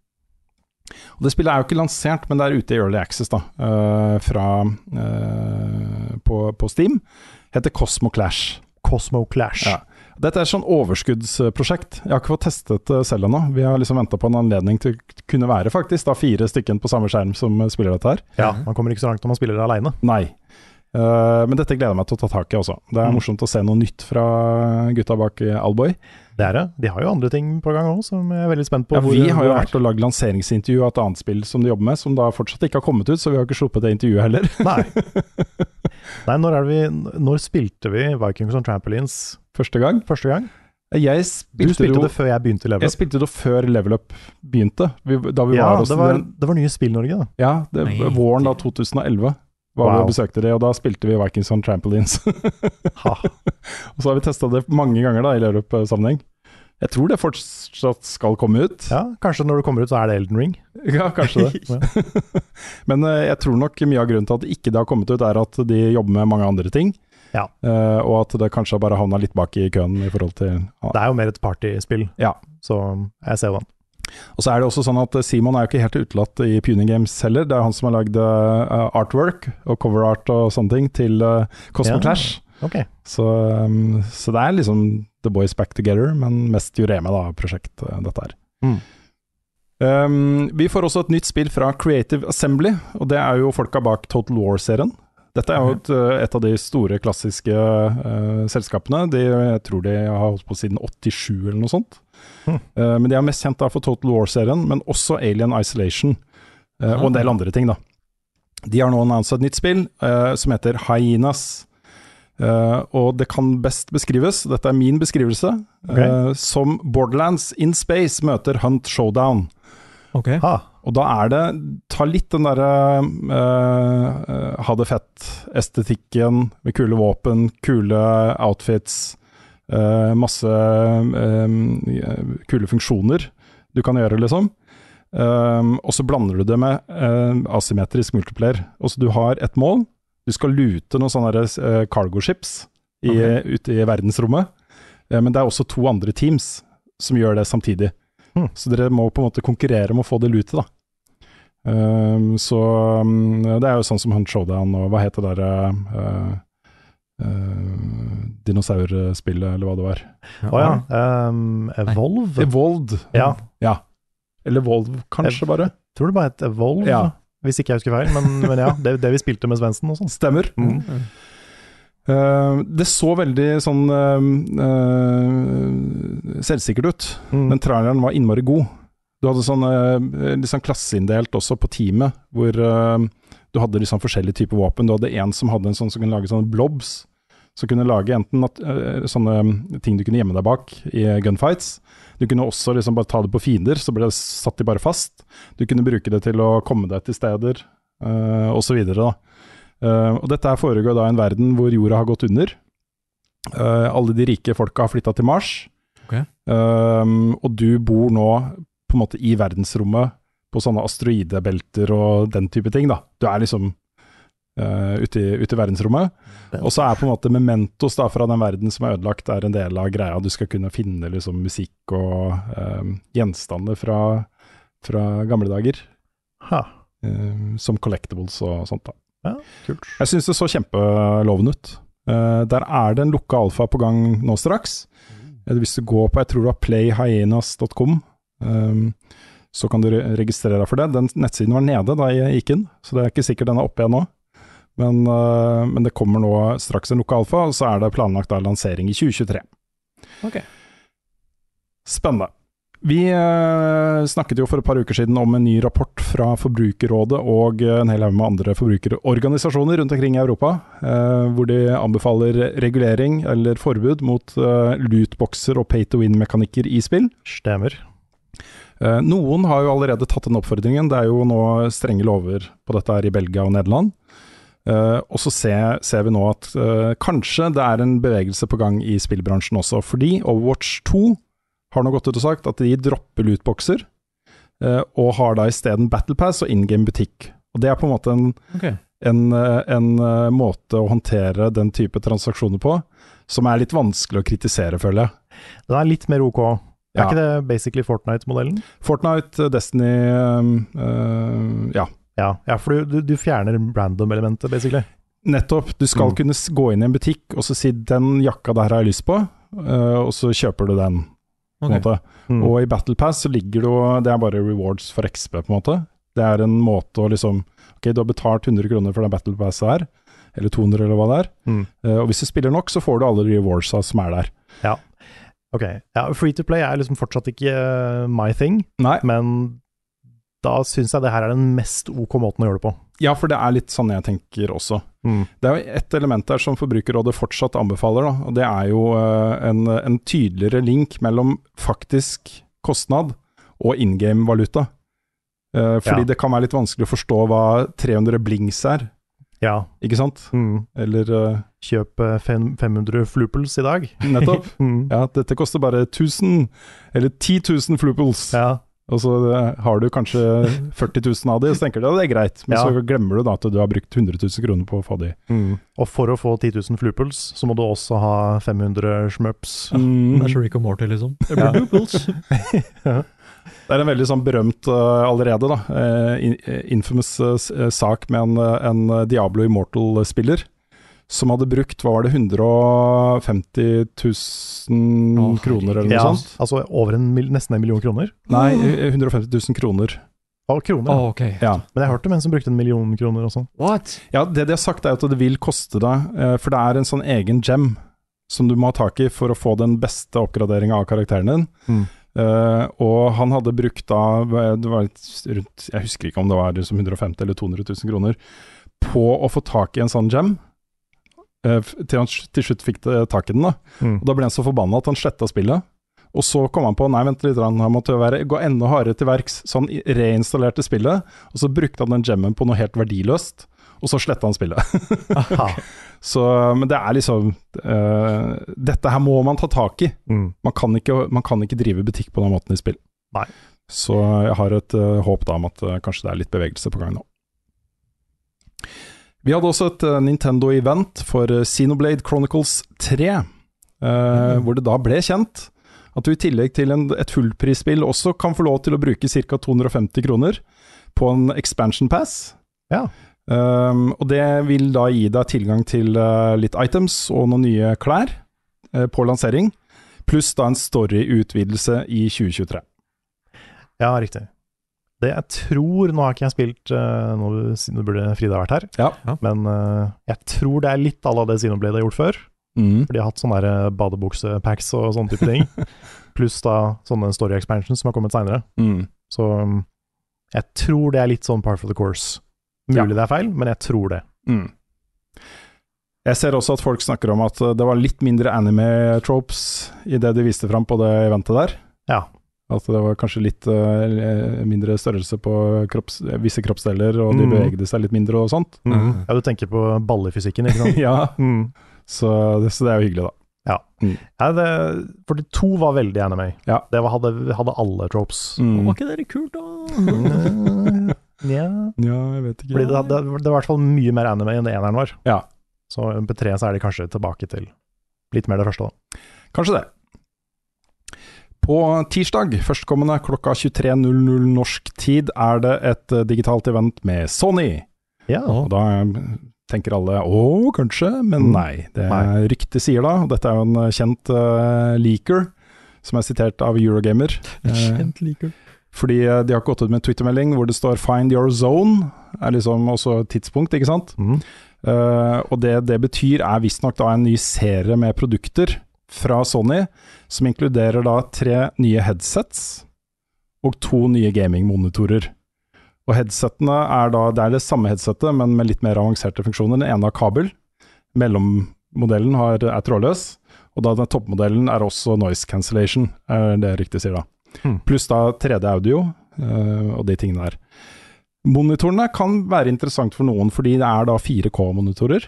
Og det spillet er jo ikke lansert, men det er ute i Early Access da, eh, fra, eh, på, på Steam. Heter Cosmo Clash.
Cosmo Clash.
Ja. Dette er et sånn overskuddsprosjekt. Jeg har ikke fått testet det selv ennå. Vi har liksom venta på en anledning til å kunne være faktisk da fire stykken på samme skjerm som eh, spiller dette her.
Ja, Man kommer ikke så langt når man spiller aleine.
Nei. Eh, men dette gleder jeg meg til å ta tak i også. Det er
Mm.
morsomt å se noe nytt fra gutta bak eh, Alboy.
Det er det. De har jo andre ting på gang òg, som jeg er veldig spent på.
Ja,
hvor-
vi har jo
hvor er.
vært og lagd lanseringsintervju av et annet spill som de jobber med, som da fortsatt ikke har kommet ut, så vi har ikke sluppet det intervjuet heller.
Nei. Nei, når, er det vi, når spilte vi Vikings on Trampolines
Første gang.
første gang?
Jeg
Du
spilte,
spilte
jo,
det før jeg begynte i Level
Jeg
Up.
spilte det før Level Up begynte. Vi, da vi
Ja,
var hos
det var,
den-
det var nye Spill-Norge, da.
ja, det,
Nei.
våren da 2011 var vi
Wow.
og besøkte det, og da spilte vi Vikings on Trampolines.
Ha.
og så har vi testa det mange ganger da i Level Up-sammenheng. Jeg tror det fortsatt skal komme ut.
Ja, kanskje når det kommer ut, så er det Elden Ring.
Ja, kanskje det. Men eh, jeg tror nok mye av grunnen til at ikke det har kommet ut, er at de jobber med mange andre ting.
Ja.
Eh, og at det kanskje har bare havna litt bak i køen i forhold til
Det er jo mer et partyspill,
Ja.
så um, jeg ser jo den.
Og så er det også sånn at eh, Simon er jo ikke helt utelatt i Puny Games heller. Det er han som har lagd eh, artwork og coverart og sånne ting til eh, Cosmo
Ja.
Clash.
Ok.
Så, um, så det er liksom The Boys Back Together, men mest Jurema, da, prosjekt eh, dette her.
Mm.
Um, vi får også et nytt spill fra Creative Assembly, og det er jo folka bak Total War-serien. Dette er jo et, eh, et av de store, klassiske eh, selskapene. De, jeg tror de har holdt på siden 87 eller noe sånt.
Mm.
Eh, men de er mest kjent da for Total War-serien, men også Alien Isolation eh, og en del andre ting. da. De har nå annonset et nytt spill eh, som heter Hyenas. Eh, og det kan best beskrives, dette er min beskrivelse,
Ok.
eh, som Borderlands in space møter Hunt Showdown.
Ok.
Ha.
Og da er det Ta litt den derre eh, eh, ha det fett-estetikken med kule våpen, kule outfits, eh, masse eh, kule funksjoner du kan gjøre, liksom. Eh, og så blander du det med eh, asymmetrisk multiplayer. Altså du har et mål, du skal lute noen sånne der, eh, cargo ships i, ute i verdensrommet. Eh, Men det er også to andre teams som gjør det samtidig.
Hmm.
Så dere må på en måte konkurrere om å få det lutet, da. Um, så um, det er jo sånn som Hunt Showdown og hva heter det der eh, eh, dinosaurspillet, eller hva det var.
Å ja. Um, Evolve?
Evolved.
Ja.
ja. Eller Evolve, kanskje, bare.
Tror det bare het Evolve,
Ja.
hvis ikke jeg husker feil. Men, men ja, det, det vi spilte med Svendsen og sånn.
Stemmer.
Mm.
Eh, det så veldig sånn eh, eh, selvsikkert ut.
Mm.
Men traileren var innmari god. Du hadde sånn eh, litt sånn klasseinndelt også på teamet, hvor eh, du hadde liksom forskjellige typer våpen. Du hadde en som hadde en sånn som kunne lage sånne blobs, som kunne lage enten at, eh, sånne eh, ting du kunne gjemme deg bak i gunfights. Du kunne også liksom bare ta det på fiender, så ble det satt de bare fast. Du kunne bruke det til å komme deg til steder, eh, og så videre da. Eh, og dette her foregår da i en verden hvor jorda har gått under. Eh, alle de rike folka har flytta til Mars. Um, og du bor nå på en måte i verdensrommet på sånne asteroidebelter og den type ting. da. Du er liksom eh, ute, i, ute i verdensrommet. Og så er på en måte mementos da, fra den verden som er ødelagt, er en del av greia. Du skal kunne finne liksom, musikk og um, gjenstander fra, fra gamle dager.
Ha.
eh, som collectibles og sånt. da.
Kult.
Jeg syns det så kjempelovende ut. Eh, der er det en lukka alfa på gang nå straks. Eh, Hvis du går på jeg tror det var playhyenas.com, eh, så kan du re- registrere deg for det. Den nettsiden var nede da jeg gikk inn, så det er ikke sikkert den er oppe igjen nå. Men, øh, men det kommer nå straks en lokal alfa, og så er det planlagt da lansering i 2023.
Ok.
Spennende. Vi øh, snakket jo for et par uker siden om en ny rapport fra Forbrukerrådet og øh, en hel haug med andre forbrukerorganisasjoner rundt omkring i Europa, øh, hvor de anbefaler regulering eller forbud mot øh, lootboxer og pay-to-win-mekanikker i spill.
Stemmer.
Eh, Noen har jo allerede tatt den oppfordringen. Det er jo nå strenge lover på dette her i Belgia og Nederland. Eh, og så ser, ser vi nå at eh, kanskje det er en bevegelse på gang i spillbransjen også. Fordi Overwatch 2 har nå gått ut og sagt at de dropper lootboxer, eh, og har da isteden Battle Pass og in game butikk. Og det er på en måte en
Ok.
en, eh, en eh, måte å håndtere den type transaksjoner på, som er litt vanskelig å kritisere, føler jeg.
Den er litt mer OK. Er
Ja.
ikke det basically Fortnite-modellen?
Fortnite, eh, Destiny eh, eh, Ja,
Ja. ja, for du, du, du fjerner random-elementet, basically.
nettopp. Du skal
Mm.
kunne s- gå inn i en butikk og så si 'den jakka der har jeg lyst på', eh, og så kjøper du den. på en
Ok.
måte.
Mm.
Og i Battle Pass så ligger det jo Det er bare rewards for XP, på en måte. Det er en måte å liksom Ok, du har betalt 100 kroner for den Battle Pass her, eller 200, eller hva det er.
Mm.
Eh, og hvis du spiller nok, så får du alle rewardsa som er der.
Ok, ja, Free to play er liksom fortsatt ikke eh, my thing,
Nei,
men da syns jeg det her er den mest OK måten å gjøre det på.
Ja, for det er litt sånn jeg tenker også.
Mm.
Det er jo ett element der som Forbrukerrådet fortsatt anbefaler, da, og det er jo eh, en, en tydeligere link mellom faktisk kostnad og in game-valuta. Eh, fordi
Ja.
det kan være litt vanskelig å forstå hva 300 blings er,
Ja.
ikke sant?
Mm.
Eller eh,
Kjøp eh, fem- 500 fluples i dag.
nettopp.
Mm.
ja, dette koster bare 1000, eller 10 000 fluples.
Ja.
Og så eh, har du kanskje 40 000 av de, og så tenker du at det er greit. Men
Ja.
så glemmer du da at du har brukt 100 000 kroner på å få de.
Mm. Og for å få 10 000 fluples, så må du også ha 500 schmups.
Mm,
Det er så Rick og Morty, liksom. Det blir loopholes.
Det er en veldig sånn berømt eh, allerede, da. eh, in- eh, infamous eh, s- eh, sak med en, eh, en eh, Diablo Immortal-spiller som hadde brukt, hva var det, 150 000
Å, herregud.
kroner eller noe
Ja,
sånt?
altså over en, mil- nesten en million kroner.
Nei, eh, 150 000 kroner.
Å, kroner.
Ah, ok.
Ja.
Men jeg hørte om en som brukte en million kroner også.
What?
ja, det de har sagt er at det vil koste deg, eh, for det er en sånn egen gem som du må ha tak i for å få den beste oppgraderinga av karakteren din.
Mm.
Eh, og han hadde brukt da hva- det var litt rundt, Jeg husker ikke om det var liksom 150 eller 200 000 kroner på å få tak i en sånn gem. Eh, f- til han s- til slutt fikk det, tak i den. Da
Mm.
Og da ble han så forbanna at han sletta spillet. Og så kom han på nei, vent litt, grann, han måtte jo være, gå enda hardere til verks. Så han i- reinstallerte spillet, og så brukte han den gemmen på noe helt verdiløst. Og så sletta han spillet.
Aha.
Så, men det er liksom eh, Dette her må man ta tak i.
Mm.
Man kan, ikke, man kan ikke drive butikk på den måten i spill.
Nei.
Så jeg har et eh, håp da om at eh, kanskje det er litt bevegelse på gang nå. Vi hadde også et eh, Nintendo-event for eh, Xenoblade Chronicles 3, eh,
Mhm.
hvor det da ble kjent at du i tillegg til en, et fullprisspill også kan få lov til å bruke ca. 250 kroner på en expansion pass.
Ja.
Um, og det vil da gi deg tilgang til eh, litt items og noen nye klær eh, på lansering. Pluss da en storyutvidelse i 2023.
Ja, riktig. Det jeg tror Nå har ikke jeg spilt eh, nå, siden det burde Frida vært her,
Ja.
Ja.
men eh, jeg tror det er litt à la det Xenoblade har gjort før. For de har hatt sånne der, eh, badebuksepacks og sånne type ting. Pluss da sånne story expansions som har kommet seinere. Så um, jeg tror det er litt sånn part of the course. Mulig det er feil, men jeg tror det.
Mm. Jeg ser også at folk snakker om at eh, det var litt mindre anime-tropes i det de viste fram på det eventet der.
Ja.
At det var kanskje litt eh, mindre størrelse på kropps, visse kroppsdeler, og de
Mm.
bevegde seg litt mindre og sånt.
Ja, du tenker på ballefysikken, ikke sant?
ja,
Mm.
så, så det er jo hyggelig, da.
Ja, det, for de to var veldig anime.
Ja. Mm.
Det var, hadde, hadde alle tropes.
Var ikke det litt kult, da?
Mm. ja.
Ja, jeg vet ikke.
Fordi det, det, det var i hvert fall mye mer anime enn det eneren var.
Ja.
Så på tre så er de kanskje tilbake til litt mer det første, da.
Kanskje det. På tirsdag førstkommende klokka 23.00 norsk tid er det et eh, digitalt event med Sony.
Ja.
Og da eh, tenker alle å, kanskje, men
Mm.
nei. Det
Nei.
ryktet sier da, og dette er jo en eh, kjent eh, leaker som er sitert av Eurogamer. Eh,
Kjent liker.
Fordi eh, de har gått ut med en Twitter-melding hvor det står 'find your zone', er liksom også et tidspunkt, ikke sant?
Mhm.
Eh, og det det betyr er visstnok da en ny serie med produkter fra Sony, som inkluderer da tre nye headsets og to nye gamingmonitorer. Og headsettene er da, det er det samme headsetet, men med litt mer avanserte funksjoner. Den ene har kabel, mellommodellen har, er trådløs, og da den toppmodellen er også noise cancellation, er det jeg riktig sier da.
Hmm.
Pluss da 3D-audio og de tingene der. Monitorene kan være interessant for noen, fordi det er da 4K-monitorer.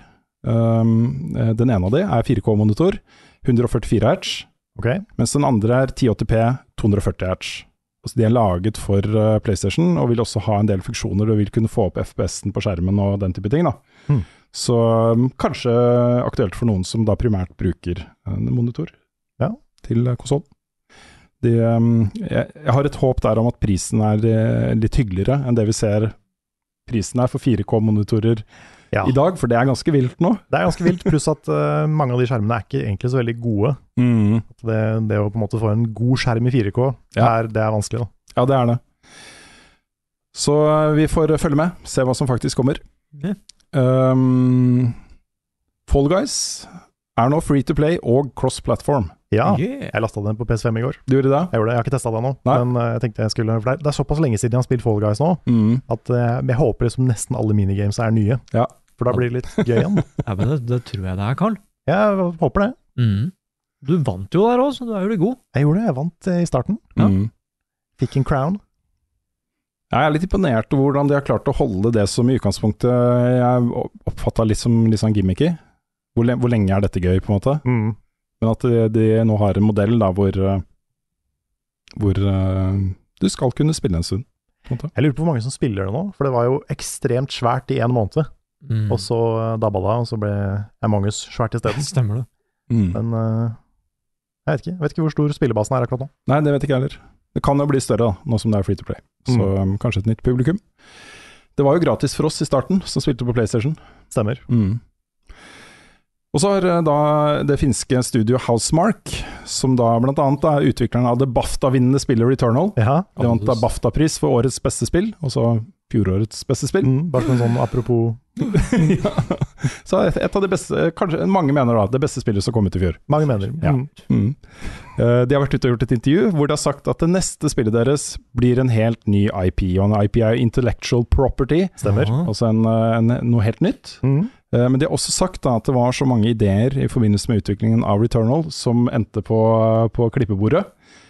Um, eh, den ene av de er 4K-monitor, 144 hertz,
Ok,
mens den andre er 1080p 240 hertz. Altså de er laget for eh, PlayStation og vil også ha en del funksjoner. Du vil kunne få opp FPS-en på skjermen og den type ting. Da.
Mhm.
Så um, kanskje aktuelt for noen som da primært bruker en monitor
Ja.
til eh, konsoll. De, um, jeg, jeg har et håp der om at prisen er eh, litt hyggeligere enn det vi ser prisen er for 4K-monitorer
Ja.
i dag, for det er ganske vilt nå.
Det er ganske vilt, pluss at eh, mange av de skjermene er ikke egentlig så veldig gode.
Mm.
At det, det å på en måte få en god skjerm i 4K,
Ja.
er, det er vanskelig. da.
Ja, det er det. Så eh, vi får følge med, se hva som faktisk kommer.
Ja.
Um, Fall Guys er nå free to play og cross-platform.
Ja,
Yeah.
jeg lasta den på PS5 i går.
Du gjorde det?
Jeg gjorde det, jeg har ikke testa det ennå,
Nei.
men eh, jeg tenkte jeg skulle for det er- Det er såpass lenge siden jeg har spilt Fall Guys nå,
Mm.
at eh, jeg håper liksom nesten alle minigames er nye.
Ja.
For da blir det litt gøy igjen.
Ja, men det, det tror jeg det er, Karl.
Jeg håper det.
Mm. Du vant jo der òg, så du er jo litt god.
Jeg gjorde det, jeg vant eh, i starten.
Ja.
Mm.
Fikk en crown.
Jeg er litt imponert over hvordan de har klart å holde det som i utgangspunktet jeg oppfatta litt som litt sånn gimmicky. Hvor, le hvor lenge er dette gøy, på en måte?
Mm.
Men at de, de nå har en modell da hvor, eh, hvor eh, du skal kunne spille en stund.
Jeg lurer på hvor mange som spiller det nå, for det var jo ekstremt svært i en måned.
Mm.
Og så eh, dabba det, av, og så ble Among us svært isteden.
Stemmer det.
Men eh, jeg vet ikke Jeg vet ikke hvor stor spillebasen er akkurat nå.
Nei, det vet ikke jeg heller. Det kan jo bli større, da, nå som det er free to play. Så um, kanskje et nytt publikum. Det var jo gratis for oss i starten, som spilte på PlayStation.
Stemmer.
Og så har eh, da det finske studioet Housemark, som da blant annet er utvikleren av det BAFTA-vinnende spillet Returnal.
Ja.
De vant da BAFTA-pris for årets beste spill, og så fjorårets beste spill.
Mm, bare som en sånn apropos
ja. Så et, et av de beste, eh, kanskje mange mener da, det beste spillet som kom ut i fjor.
Mange mener.
Ja.
Mm.
Mm. Eh, De har vært ute og gjort et intervju hvor de har sagt at det neste spillet deres blir en helt ny IP. Og en IP er Intellectual Property,
Stemmer.
Ja.
altså en, eh, en, noe helt nytt.
Mm.
Eh, Men de har også sagt da, at det var så mange ideer i forbindelse med utviklingen av Returnal som endte på, på klippebordet,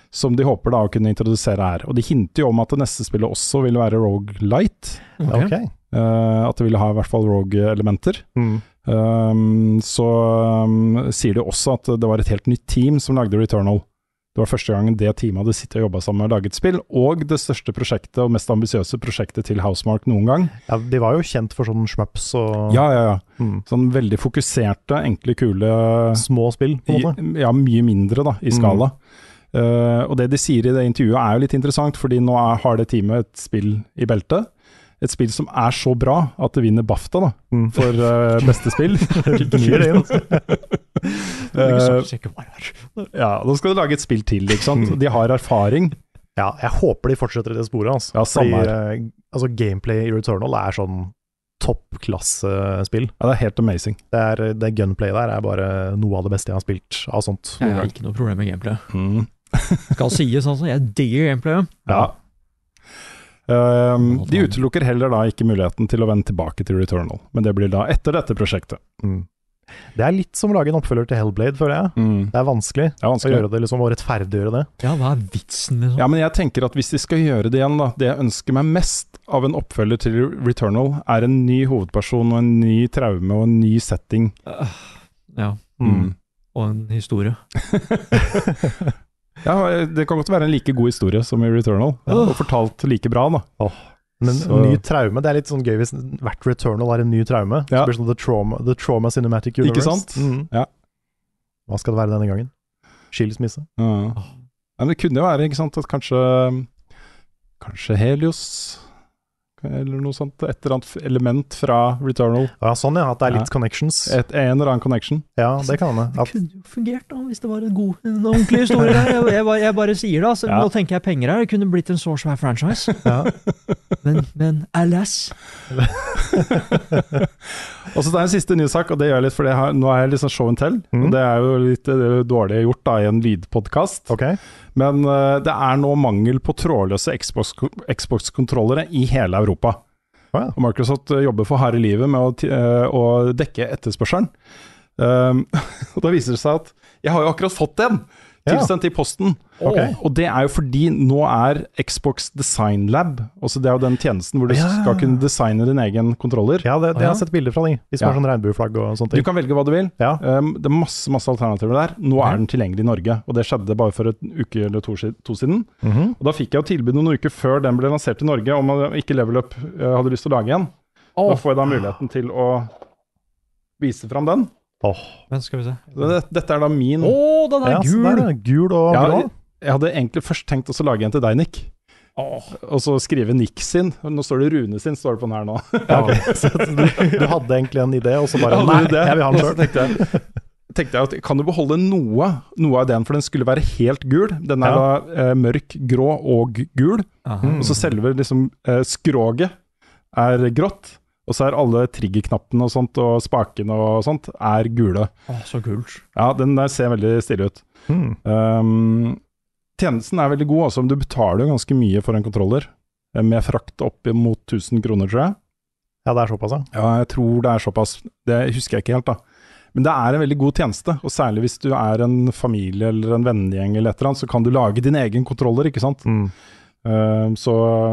som de håper da å kunne introdusere her. Og de hinter jo om at det neste spillet også vil være Rogue Light. eh,
Ok.
Ok.
At det ville ha i hvert fall Rogue-elementer.
Mm.
Um, så um, sier de også at det var et helt nytt team som lagde Returnal. Det var første gangen det teamet hadde sittet og jobba sammen og laget spill, og det største prosjektet og mest ambisiøse prosjektet til Housemark noen gang.
Ja, de var jo kjent for sånn shmups og
Ja, ja, ja.
mm,
Sånn veldig fokuserte, enkle, kule
små spill, på en måte.
i- Ja, mye mindre, da, i
Mm.
skala. Eh, og det de sier i det intervjuet er jo litt interessant, fordi nå er, har det teamet et spill i beltet. Et spill som er så bra at det vinner BAFTA, da,
Mm.
for eh, beste spill.
Gir det inn.
Det er ikke så
Eh,
sikker på hva det er.
Ja, da skal du lage et spill til, ikke sant.
Mm.
De har erfaring.
Ja, jeg håper de fortsetter i det sporet. Altså.
Ja, samme
Fordi, eh, altså, gameplay i Returnal er sånn toppklassespill.
Ja, det er helt amazing.
Det, er- det gunplay der er bare noe av det beste jeg har spilt av sånt.
Jeg har ikke noe problem med gameplay.
Mm.
Skal sies, altså. Jeg digger gameplay.
Ja. Um, de utelukker heller da ikke muligheten til å vende tilbake til Returnal, men det blir da etter dette prosjektet.
Mm. Det er litt som å lage en oppfølger til Hellblade, føler jeg. Det er vanskelig
Det er
å
vanskelig.
gjøre det, liksom, å rettferdiggjøre det.
Ja, hva er vitsen, liksom?
Ja, men jeg tenker at hvis de skal gjøre det igjen, da Det jeg ønsker meg mest av en oppfølger til Returnal, er en ny hovedperson og en ny traume og en ny setting. Mm.
Ja, Øh,
Mm.
Og en historie.
ja, det kan godt være en like god historie som i Returnal,
Ja.
og fortalt like bra, da.
Men
Så-
ny traume, det er litt sånn gøy hvis hvert Returnal er en ny traume.
Ja.
Så blir det sånn the trauma, the trauma Cinematic Universe.
Ikke sant?
Mm.
Ja.
Hva skal det være denne gangen? Skilsmisse?
Ja. Ja, men det kunne jo være ikke sant, at kanskje Kanskje Helios eller noe sånt. Et eller annet f- element fra Returnal.
Ja, sånn ja, at det er litt connections.
Et, en eller annen connection.
Ja, det kan hende.
Det
At-
kunne jo fungert da, hvis det var en god, en ordentlig historie der. Jeg, jeg, bare- jeg bare sier det. altså.
Ja.
Nå tenker jeg penger her. Det kunne blitt en så svær franchise.
Ja.
Men, men alas.
Og så det er en siste nyhetssak, og det gjør jeg litt fordi jeg har, nå er jeg litt sånn show and tell.
Mm.
Og det er jo litt eh, dårlig gjort da i en lydpodkast.
Ok.
Men eh, det er nå mangel på trådløse Xbox- Xbox-kontrollere i hele Europa.
Å ja.
Og Microsoft eh, jobber for harde livet med å, ti- eh, å dekke etterspørselen. Um, og da viser det seg at jeg har jo akkurat fått en
Ja.
tilsendt i posten.
Ok.
Og det er jo fordi nå er Xbox Design Lab, altså det er jo den tjenesten hvor du
Ja.
skal kunne designe din egen kontroller.
Ja, det, det, jeg
ja.
har sett bilder fra de. De som
Ja.
har sånn regnbueflagg og sånne
Du
ting.
kan velge hva du vil.
Ja.
Um, det er masse masse alternativer der. Nå
Ja.
er den tilgjengelig i Norge, og det skjedde bare for en uke eller to, si- to siden.
Mhm.
Og Da fikk jeg jo tilbud noen uker før den ble lansert i Norge, om at ikke Level Up eh, hadde lyst til å lage en. Da får jeg da muligheten til å vise fram den.
Åh.
Men skal vi se.
Det- Dette er da min
Å, den Sånn er
Ja, så der
gul!
er det. Gul og
ja,
blå.
Jeg hadde egentlig først tenkt også å lage en til deg, Nick. Og så skrive Nick sin. Nå står det Rune sin, står det på den her nå.
Ja, ok. Så du, du hadde egentlig en idé, og så bare
Jeg hadde
Nei,
jo det.
jeg vil ha den
Og så
sjøl.
tenkte jeg, tenkte jeg at kan du beholde noe, noe av ideen, for den skulle være helt gul. Den er
Ja. Mm.
da eh, mørk, grå og gul.
Aha.
Og så selve liksom, eh, skroget er grått. Og så er alle triggerknappene og sånt, og spakene og sånt, er gule.
Å, så kult.
Ja, den der ser veldig stille ut.
Mm.
Um, tjenesten er veldig god, altså. men Du betaler jo ganske mye for en kontroller. eh, Med frakt opp mot 1000 kroner, tror jeg.
Ja, det er såpass, ja.
Ja, jeg tror det er såpass. Det husker jeg ikke helt, da. Men det er en veldig god tjeneste, og særlig hvis du er en familie eller en vennegjeng eller et eller annet, så kan du lage din egen kontroller, ikke sant.
Mm.
Eh, så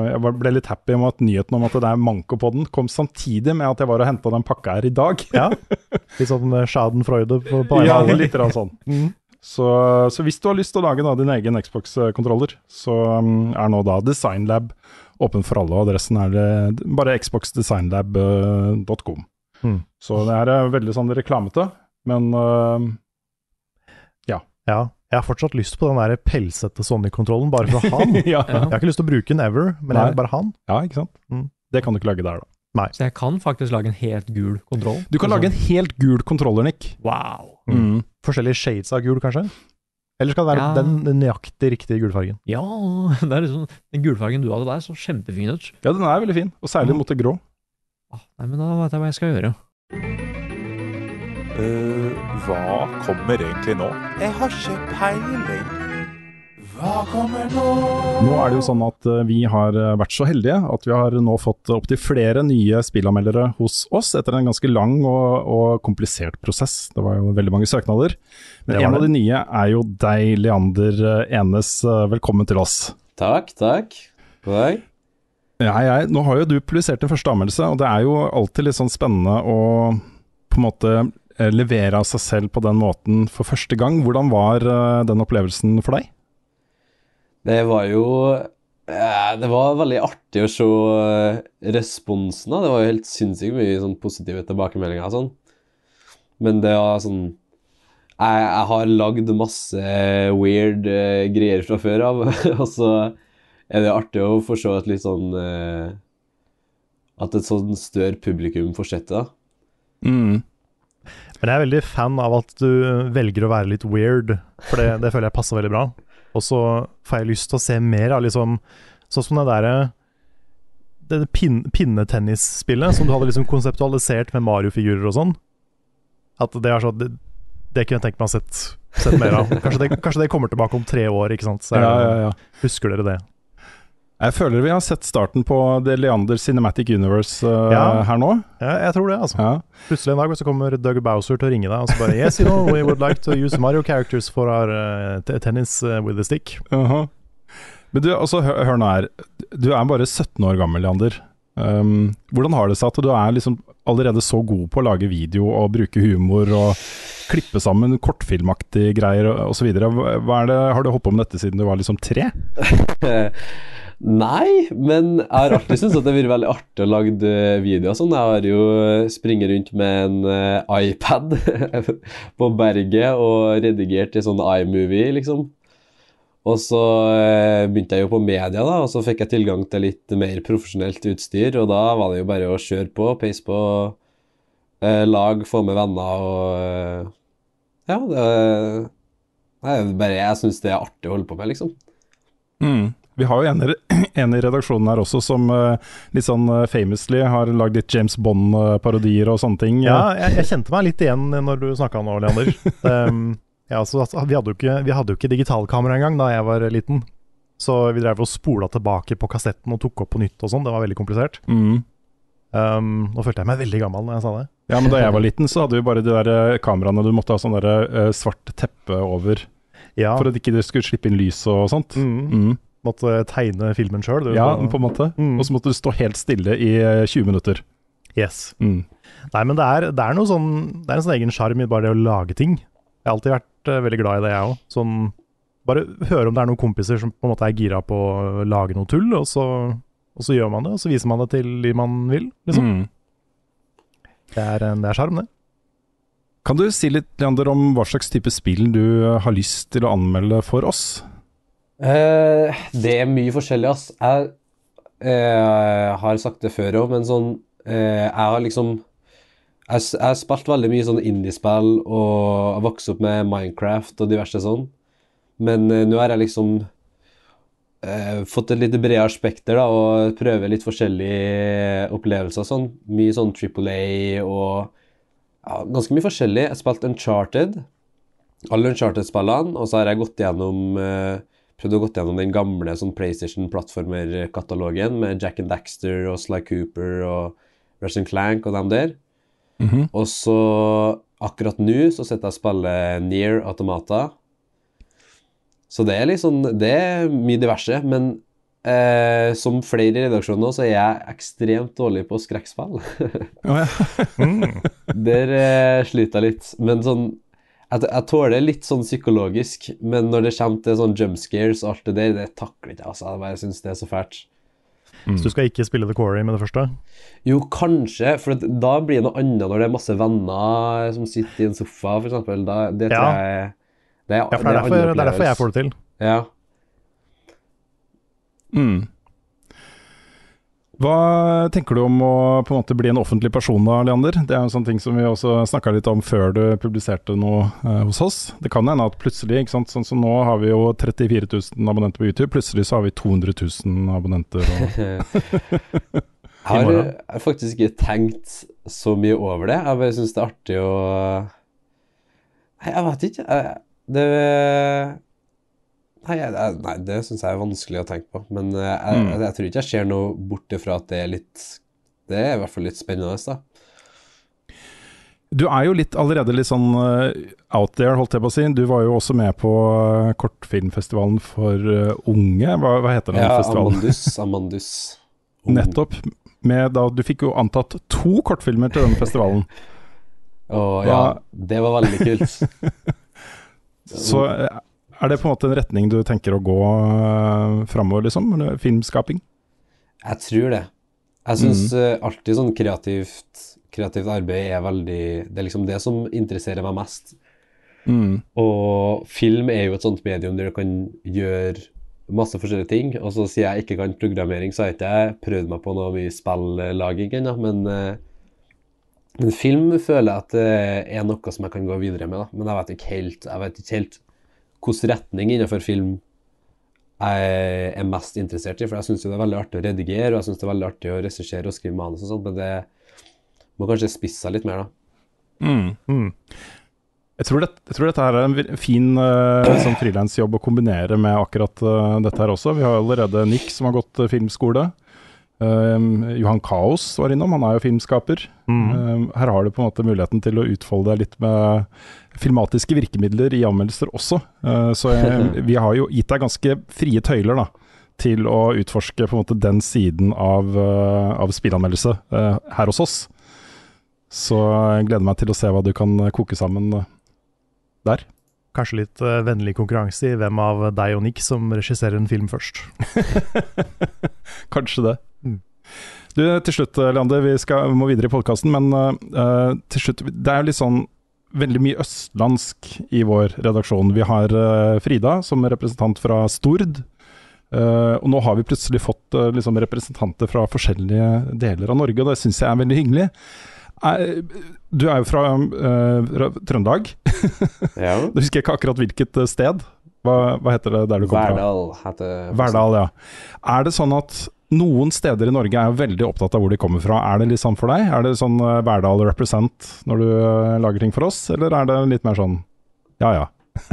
jeg var- ble litt happy med at nyheten om at det er manko på den, kom samtidig med at jeg var og henta den pakka her i dag.
Ja. Litt sånn eh, schadenfreude på, på vegne
Ja,
av alle.
litt grann sånn. Så, så hvis du har lyst til å lage da, din egen Xbox-kontroller, så um, er nå da Designlab åpen for alle, og adressen er det bare xboxdesignlab.com.
Mm.
eh, Så det her er veldig sånn reklamete, men uh,
Ja. Jeg har fortsatt lyst på den der pelsete Sony-kontrollen, bare for å ha den.
ja.
Ja.
Jeg har ikke lyst til å bruke den ever, men jeg
Nei.
vil bare ha den.
ja, ikke sant?
Mm.
Det kan du ikke lage der, da.
Så jeg kan faktisk lage en helt gul kontroll.
Du kan lage en helt gul kontroller, Nick.
Wow!
sånn. Mm.
Forskjellige shades av gul, kanskje? Eller skal det være
Ja.
den nøyaktig riktige gulfargen?
Ja, det er liksom den gulfargen du hadde der, så kjempefin ut.
Ja, den er veldig fin, og særlig mot det grå.
Ah, Nei, men da vet jeg hva jeg skal gjøre.
Eh, hva kommer egentlig nå? Jeg har ikke peiling. Hva kommer nå?
Nå er det jo sånn at eh, vi har eh, vært så heldige at vi har nå fått opptil flere nye spillanmeldere hos oss etter en ganske lang og, og komplisert prosess. Det var jo veldig mange søknader. Men
Det var
en
det.
av de nye er jo deg, Leander eh, Enes. Eh, Velkommen til oss.
Takk, takk. God dag.
Ja, jeg, nå har jo du publisert din første anmeldelse, og det er jo alltid litt sånn spennende å på en måte eh, levere av seg selv på den måten for første gang. Hvordan var eh, den opplevelsen for deg?
Det var jo eh, Det var veldig artig å se eh, responsen. da. Det var jo helt sinnssykt mye sånn positive tilbakemeldinger og sånn. Men det var sånn Jeg, jeg har lagd masse weird eh, greier fra før av, og så er det artig å få se et litt sånn eh, At et sånn større publikum får sett det. da.
Mm.
Men jeg er veldig fan av at du eh, velger å være litt weird, for det, det føler jeg passer veldig bra. Og så får jeg lyst til å se mer av liksom Sånn som det derre det der pin, pinnetennisspillet som du hadde liksom konseptualisert med Mario-figurer og sånn. At det er sånn det, det kunne jeg tenkt meg å ha sett, sett mer av. Kanskje det, kanskje det kommer tilbake om tre år, ikke sant. Så er det-
ja.
husker dere det.
Jeg føler vi har sett starten på The Leander Cinematic Universe eh,
Ja.
her nå.
Ja, jeg tror det, altså.
Ja.
Plutselig en dag så kommer Doug Bowser til å ringe deg og så bare Yes, you know, we would like to use Mario characters for our eh, t- tennis eh, with a stick.
Aha. Men du, altså, hør, hør nå her. Du er bare 17 år gammel, Leander. Um, hvordan har det seg at du er liksom allerede så god på å lage video og bruke humor og klippe sammen kortfilmaktige greier osv.? Har du holdt på med dette siden du var liksom tre?
Nei, men jeg har alltid syntes at det har vært veldig artig å lage eh, videoer og sånn. Jeg har jo eh, springer rundt med en eh, iPad på berget og redigert i sånn iMovie, liksom. Og så eh, begynte jeg jo på media, da, og så fikk jeg tilgang til litt mer profesjonelt utstyr, og da var det jo bare å kjøre på, peise på, eh, lag, få med venner og eh, Ja, det det er bare Jeg syns det er artig å holde på med, liksom.
Mm. Vi har jo en, i- en i redaksjonen her også som eh, litt sånn eh, famously har lagd litt James Bond-parodier og sånne ting.
Ja, jeg, jeg kjente meg litt igjen når du snakka nå, Leander. Ehm, ja, altså, altså, vi, hadde jo ikke, vi hadde jo ikke digitalkamera engang da jeg var liten. Så vi drev og spola tilbake på kassetten og tok opp på nytt og sånn. Det var veldig komplisert.
Mm.
Ehm, nå følte jeg meg veldig gammel når jeg sa det.
Ja, men da jeg var liten, så hadde vi bare de der eh, kameraene du måtte ha sånn der eh, svart teppe over
Ja,
for at ikke det skulle slippe inn lys og sånt.
mm,
Mm.
Måtte tegne filmen sjøl.
Ja, på en måte.
Mm.
Og så måtte du stå helt stille i eh, 20 minutter.
Yes.
Mm.
Nei, men det er, det er noe sånn Det er en sånn egen sjarm i bare det å lage ting. Jeg har alltid vært eh, veldig glad i det, jeg òg. Sånn Bare høre om det er noen kompiser som på en måte er gira på å lage noe tull, og så, og så gjør man det, og så viser man det til de man vil, liksom.
Mm.
Det er en- det er sjarm, det.
Kan du si litt, Leander, om hva slags type spill du eh, har lyst til å anmelde for oss?
Eh, det er mye forskjellig, ass. Jeg eh, har sagt det før òg, men sånn eh, Jeg har liksom Jeg s- jeg har spilt veldig mye sånn indiespill og jeg vokste opp med Minecraft og diverse sånn, men eh, nå har jeg liksom eh, fått et litt bredere spekter da, og prøver litt forskjellige opplevelser og sånn. Mye sånn Triple A og ja, ganske mye forskjellig. Jeg spilte Uncharted, alle Uncharted-spillene, og så har jeg gått gjennom eh, prøvd å gått gjennom den gamle sånn PlayStation-plattformer-katalogen med Jack and Daxter og Sly Cooper og Rush and Clank og dem der.
Mhm.
Og så akkurat nå så sitter jeg og spiller Near Automata. Så det er litt sånn, det er mye diverse, men eh, som flere i redaksjonen nå, så er jeg ekstremt dårlig på skrekkspill.
Å ja. Mm.
Der eh, sliter jeg litt. Men sånn jeg, jeg tåler litt sånn psykologisk, men når det kommer til sånn jump scares og alt det der, det takler ikke jeg, altså. Jeg bare syns det er så fælt.
Så du skal ikke spille The Quarry med det første?
Jo, kanskje, for at da blir det noe annet når det er masse venner som sitter i en sofa, for eksempel. Da, det tror
Ja.
jeg det er,
Ja, for det er
en
derfor,
annen
det er derfor jeg får
opplevelse.
det til.
Ja.
Mm. Hva tenker du om å på en måte bli en offentlig person da, Leander? Det er jo en sånn ting som vi også snakka litt om før du publiserte noe eh, hos oss. Det kan hende at plutselig, ikke sant? sånn som nå har vi jo 34 000 abonnenter på YouTube, plutselig så har vi 200 000 abonnenter. Og,
Jeg har,
morgen.
jeg har eh, faktisk ikke tenkt så mye over det. Jeg bare syns det er artig å Nei, jeg vet ikke. Jeg, det Nei, jeg, jeg- nei det syns jeg er vanskelig å tenke på. Men eh, jeg,
Mm.
jeg, jeg tror ikke jeg ser noe bort ifra at det er litt Det er i hvert fall litt spennende, da.
du er jo litt allerede litt sånn eh, out there, holdt jeg på å si. Du var jo også med på eh, kortfilmfestivalen for eh, unge, hva, hva heter den
Ja,
festivalen?
Amandus. Amandus.
Nettopp. Med da, du fikk jo antatt to kortfilmer til den festivalen.
Og ja, det var veldig kult.
Så eh, er det på en måte en retning du tenker å gå eh, framover, liksom? Eller Filmskaping?
Jeg tror det. Jeg syns alltid sånn kreativt, kreativt arbeid er veldig Det er liksom det som interesserer meg mest. Og film er jo et sånt medium der du kan gjøre masse forskjellige ting. Og så sier jeg ikke kan programmering, så har ikke jeg prøvd meg på noe mye spilllaging ennå. Men, eh, men film føler jeg at det er noe som jeg kan gå videre med, da. Men jeg vet ikke helt, jeg vet ikke helt hvilken retning innenfor film jeg er mest interessert i. For jeg syns det er veldig artig å redigere, og jeg syns det er veldig artig å regissere og skrive manus og sånt, men det må kanskje spisse seg litt mer, da.
Mm.
Jeg, tror det, jeg tror dette her er en vir- fin eh, sånn frilansjobb å kombinere med akkurat eh, dette her også. Vi har allerede Nick som har gått eh, filmskole. Eh, Johan Kaos var innom, han er jo filmskaper.
Mm.
Eh, her har du på en måte muligheten til å utfolde deg litt med filmatiske virkemidler i anmeldelser også. Eh, så jeg, vi har jo gitt deg ganske frie tøyler da, til å utforske på en måte den siden av, eh, av spillanmeldelse eh, her hos oss. Så eh, jeg gleder meg til å se hva du kan eh, koke sammen eh, der.
Kanskje litt eh, vennlig konkurranse i hvem av deg og Nick som regisserer en film først.
Kanskje det.
Mm.
Du, eh, til slutt, Leander, vi skal, vi må videre i podkasten, men eh, eh, til slutt Det er jo litt sånn veldig mye østlandsk i vår redaksjon. Vi har eh, Frida som representant fra Stord. eh, og nå har vi plutselig fått eh, liksom representanter fra forskjellige deler av Norge, og det syns jeg er veldig hyggelig. Er- du er jo fra eh, fra Trøndelag.
Ja.
Du husker jeg ikke akkurat hvilket eh, sted. Hva, hva heter det der du kommer fra?
Verdal heter
Verdal, ja. Er det sånn at noen steder i Norge er veldig opptatt av hvor de kommer fra? Er det litt sånn for deg? Er det sånn eh, Verdal represent når du eh, lager ting for oss, eller er det litt mer sånn ja ja.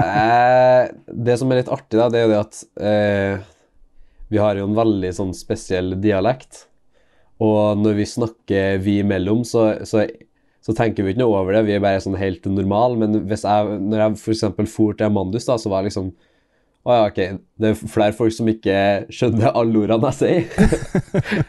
Eh, det som er litt artig, da, det er jo det at eh, vi har jo en veldig sånn spesiell dialekt. Og når vi snakker vi imellom, så, så, så tenker vi ikke noe over det. Vi er bare sånn helt normal. Men hvis jeg, når jeg for eksempel for til Amandus, da, så var jeg liksom Å ja, ok, det er flere folk som ikke skjønner alle ordene jeg sier.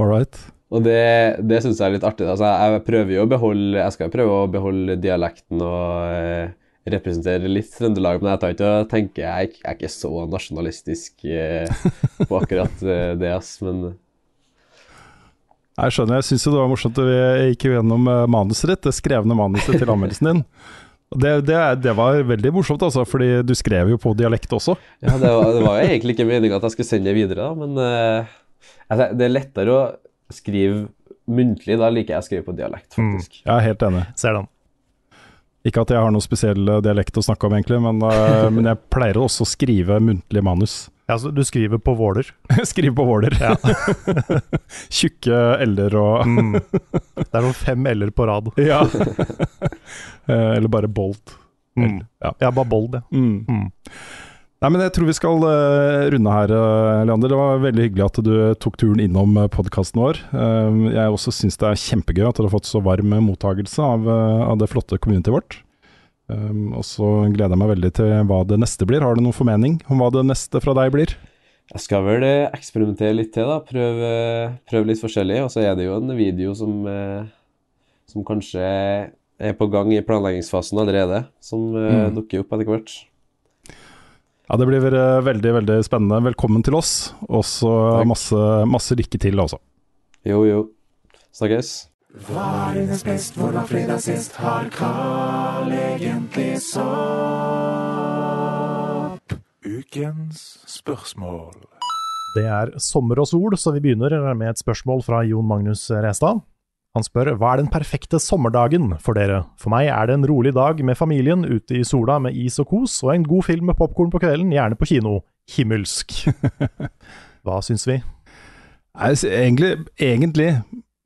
All right.
Og det, det syns jeg er litt artig. da. Altså, jeg, jeg prøver jo å beholde Jeg skal prøve å beholde dialekten og eh, representere litt Trøndelag, men jeg tar ikke og tenker jeg, er ikke- jeg er ikke så nasjonalistisk eh, på akkurat eh, det, ass. Men
Jeg skjønner, jeg syns jo det var morsomt at vi gikk jo gjennom eh, manuset ditt, det skrevne manuset til anmeldelsen din. Og Det, det, det var veldig morsomt, altså, fordi du skrev jo på dialekt også.
ja, det var, det var jo egentlig ikke meninga at jeg skulle sende det videre, da, men eh, altså, det er lettere å skrive muntlig. Da liker jeg å skrive på dialekt, faktisk.
Jeg er helt enig.
Ser den.
Ikke at jeg har noen spesiell eh, dialekt å snakke om, egentlig, men, eh, men jeg pleier også å skrive muntlig manus.
Ja, så du skriver på Våler.
Skriv på Våler. Tjukke l-er
Mm.
og
Det er sånn fem l-er på rad.
Ja. Eh, Eller bare Bolt.
Mm.
Ja.
Jeg er bare bold, jeg.
Mm.
Mm.
Nei, men jeg tror vi skal eh, runde her, eh, Leander. Det var veldig hyggelig at du tok turen innom podkasten vår. Eh, jeg også syns det er kjempegøy at dere har fått så varm mottagelse av, eh, av det flotte communityet vårt. Eh, og så gleder jeg meg veldig til hva det neste blir. Har du noen formening om hva det neste fra deg blir?
Jeg skal vel eh, eksperimentere litt til, da. Prøve, prøve litt forskjellig. Og så er det jo en video som, eh, som kanskje er på gang i planleggingsfasen allerede, som eh, dukker opp etter hvert.
Ja, Det blir eh, veldig veldig spennende. Velkommen til oss, og så
Takk.
masse, masse lykke til, altså.
Jo, jo. Snakkes.
Ukens spørsmål.
Det er sommer og sol, så vi begynner med et spørsmål fra Jon Magnus Restad. Han spør hva er den perfekte sommerdagen for dere? For meg er det en rolig dag med familien ute i sola med is og kos, og en god film med popkorn på kvelden, gjerne på kino. Himmelsk. Hva syns vi?
Nei, s- egentlig, egentlig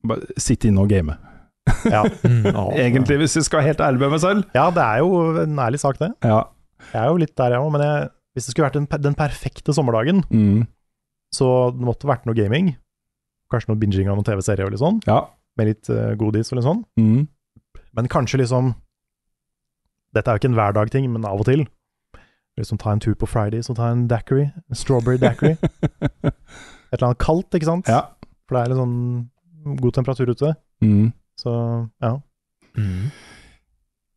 bare sitte inne og game.
Ja.
Mm, ja.
Egentlig, hvis jeg skal være helt ærlig med meg selv.
ja, det er jo en ærlig sak, det.
Ja.
Jeg er jo litt der, jeg òg, men jeg, hvis det skulle vært den, per- den perfekte sommerdagen,
Mm.
så det måtte vært noe gaming. Kanskje noe binging av noen TV-serier eller sånn,
Ja.
med litt eh, godis eller sånn.
Mm.
Men kanskje liksom Dette er jo ikke en hverdag-ting, men av og til. Liksom ta en tur på Friday, så ta en daiquiri. En strawberry daiquiri. Et eller annet kaldt, ikke sant?
ja.
For det er litt sånn god temperatur ute.
Mm.
Så ja.
Mm.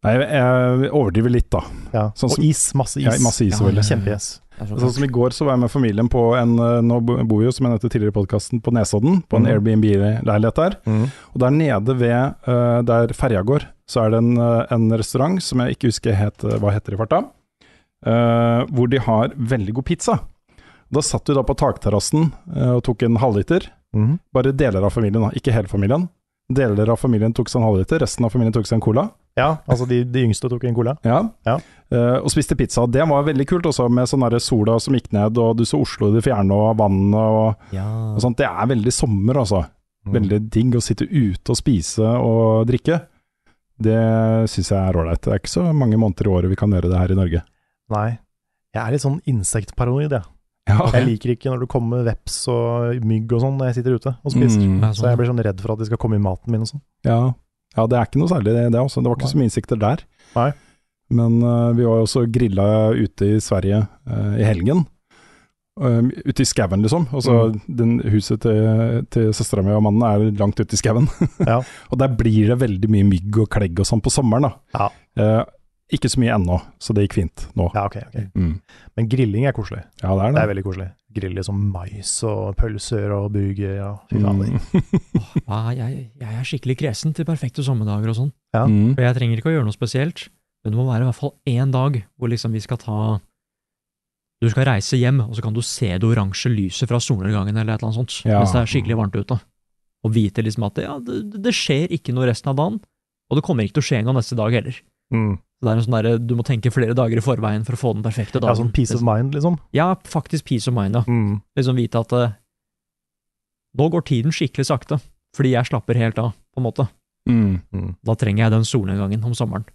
Nei, jeg- jeg overdriver litt, da.
ja.
Sånn som-
og is. Masse is.
Ja, masse is,
Ja,
selvfølgelig.
Kjempe-is.
Jeg tror
Sånn som I går så var jeg med familien på en eh, Nå bo- bor vi jo, som jeg nevnte tidligere i podkasten, på Nesodden. På en
Mhm.
Airbnb-leilighet der. Og der nede ved eh, der ferja går, så er det en, eh, en restaurant som jeg ikke husker het, hva heter i farta, eh, hvor de har veldig god pizza. Da satt vi da på takterrassen eh, og tok en halvliter.
Mhm.
Bare deler av familien, da, ikke hele familien. Deler av familien tok seg en halvliter, resten av familien tok seg en cola.
Ja, altså de, de yngste tok en cola.
Ja.
Ja.
Eh, og spiste pizza. Det var veldig kult, også med sånn derre sola som gikk ned, og du så Oslo i det fjerne, og vannet og,
ja.
og sånt. Det er veldig sommer, altså.
Mm.
Veldig digg å sitte ute og spise og drikke. Det syns jeg er ålreit. Det er ikke så mange måneder i året vi kan gjøre det her i Norge.
Nei. Jeg er litt sånn insektparanoid, jeg.
Ja,
Jeg liker ikke når det kommer veps og mygg og sånn når jeg sitter ute og spiser.
Mm.
Ja,
Så jeg
sånn.
blir sånn redd for at de skal komme i maten min og sånn.
ja. ja, det er ikke noe særlig det, det også. Det var ikke så mye insekter der.
Nei.
Men eh, vi var jo også grilla ute i Sverige eh, i helgen. Um, ute i skauen, liksom. Altså,
Mm.
den Huset til, til søstera mi og mannen er langt ute i skauen.
Ja.
og der blir det veldig mye mygg og klegg og sånn på sommeren. da.
Ja.
Eh, Ikke så mye ennå, så det gikk fint nå.
Ja, ok, ok.
Mm.
Men grilling er koselig.
Ja, det
Det
er
er
det.
veldig koselig. Grille liksom mais og pølser og burger og fy faen.
Mm.
Ah, jeg, jeg er skikkelig kresen til perfekte sommerdager og sånn.
Ja.
Mm.
Og jeg trenger ikke å gjøre noe spesielt, men det må være i hvert fall én dag hvor liksom vi skal ta Du skal reise hjem, og så kan du se det oransje lyset fra solnedgangen eller et eller annet sånt,
Ja.
mens det er skikkelig varmt ute. Og vite liksom at ja, det, det skjer ikke noe resten av dagen, og det kommer ikke til å skje noe neste dag heller.
Mm.
Så det er en sånn derre du må tenke flere dager i forveien for å få den perfekte dagen.
Ja, sånn peace of mind, liksom.
Ja, faktisk peace of mind, ja.
Mm.
Liksom vite at eh, nå går tiden skikkelig sakte, fordi jeg slapper helt av, på en måte.
Mm.
Da trenger jeg den solnedgangen om sommeren.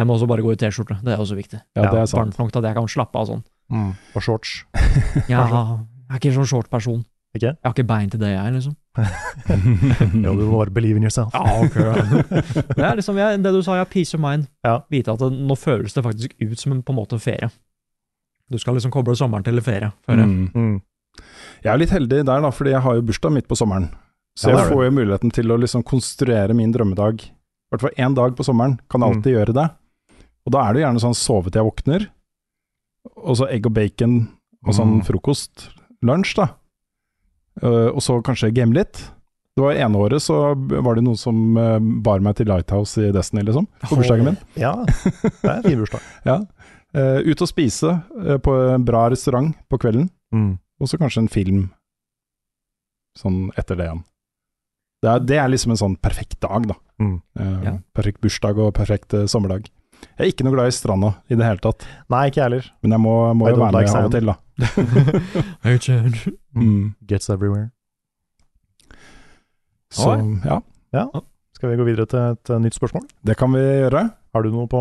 Jeg må også bare gå i T-skjorte, det er også viktig.
Ja, det er sant.
Varmt nok til at jeg kan slappe av sånn.
Mm. Og shorts.
Jeg, har- jeg er ikke en sånn short person.
Ikke?
Jeg har ikke bein til det, jeg, liksom.
Mm.
Jo, du må bare believe in yourself.
Det er liksom jeg, det du sa, jeg har peace of mind.
Ja.
Vite at det, nå føles det faktisk ut som en, på en måte en ferie. Du skal liksom koble sommeren til ferie. Før
Mm.
Mm.
Jeg er jo litt heldig der, da, fordi jeg har jo bursdag midt på sommeren. Så
Ja, det
jeg
er
får jo muligheten til å liksom konstruere min drømmedag. I hvert fall én dag på sommeren kan jeg
Mm.
alltid gjøre det. Og da er det jo gjerne sånn sove til jeg våkner, og så egg og bacon og sånn
Mm.
frokost. Lunsj, da. Eh, og så kanskje game litt. Det var ene året så var det noen som eh, bar meg til Lighthouse i Destiny, liksom. På bursdagen min.
Ja, det er en fin bursdag.
Eh, ut og spise eh, på en bra restaurant på kvelden.
Mm.
Og så kanskje en film sånn etter det igjen. Det er, det er liksom en sånn perfekt dag, da.
Mm.
Eh,
Ja.
Perfekt bursdag og perfekt eh, sommerdag. Jeg er ikke noe glad i stranda i det hele tatt,
Nei, ikke jeg heller.
men jeg må, må
I
jo
don't
være med av
like
og
sand.
til, da.
jeg
Mm.
Gets everywhere.
Så ja,
Skal vi gå videre til et eh, nytt spørsmål?
det kan vi gjøre.
Har du noe på,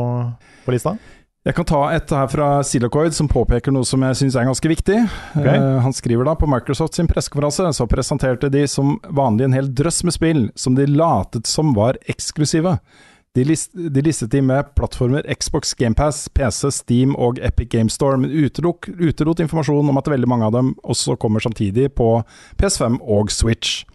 på lista?
Jeg kan ta et her fra Silacoid som påpeker noe som jeg syns er ganske viktig.
Ok.
Eh, han skriver da på Microsoft sin pressekonferanse så presenterte de som vanlig en hel drøss med spill som de latet som var eksklusive. De, list, de listet de med plattformer Xbox, GamePass, PC, Steam og Epic Game Store, men utelok, utelot informasjon om at veldig mange av dem også kommer samtidig på PS5 og Switch.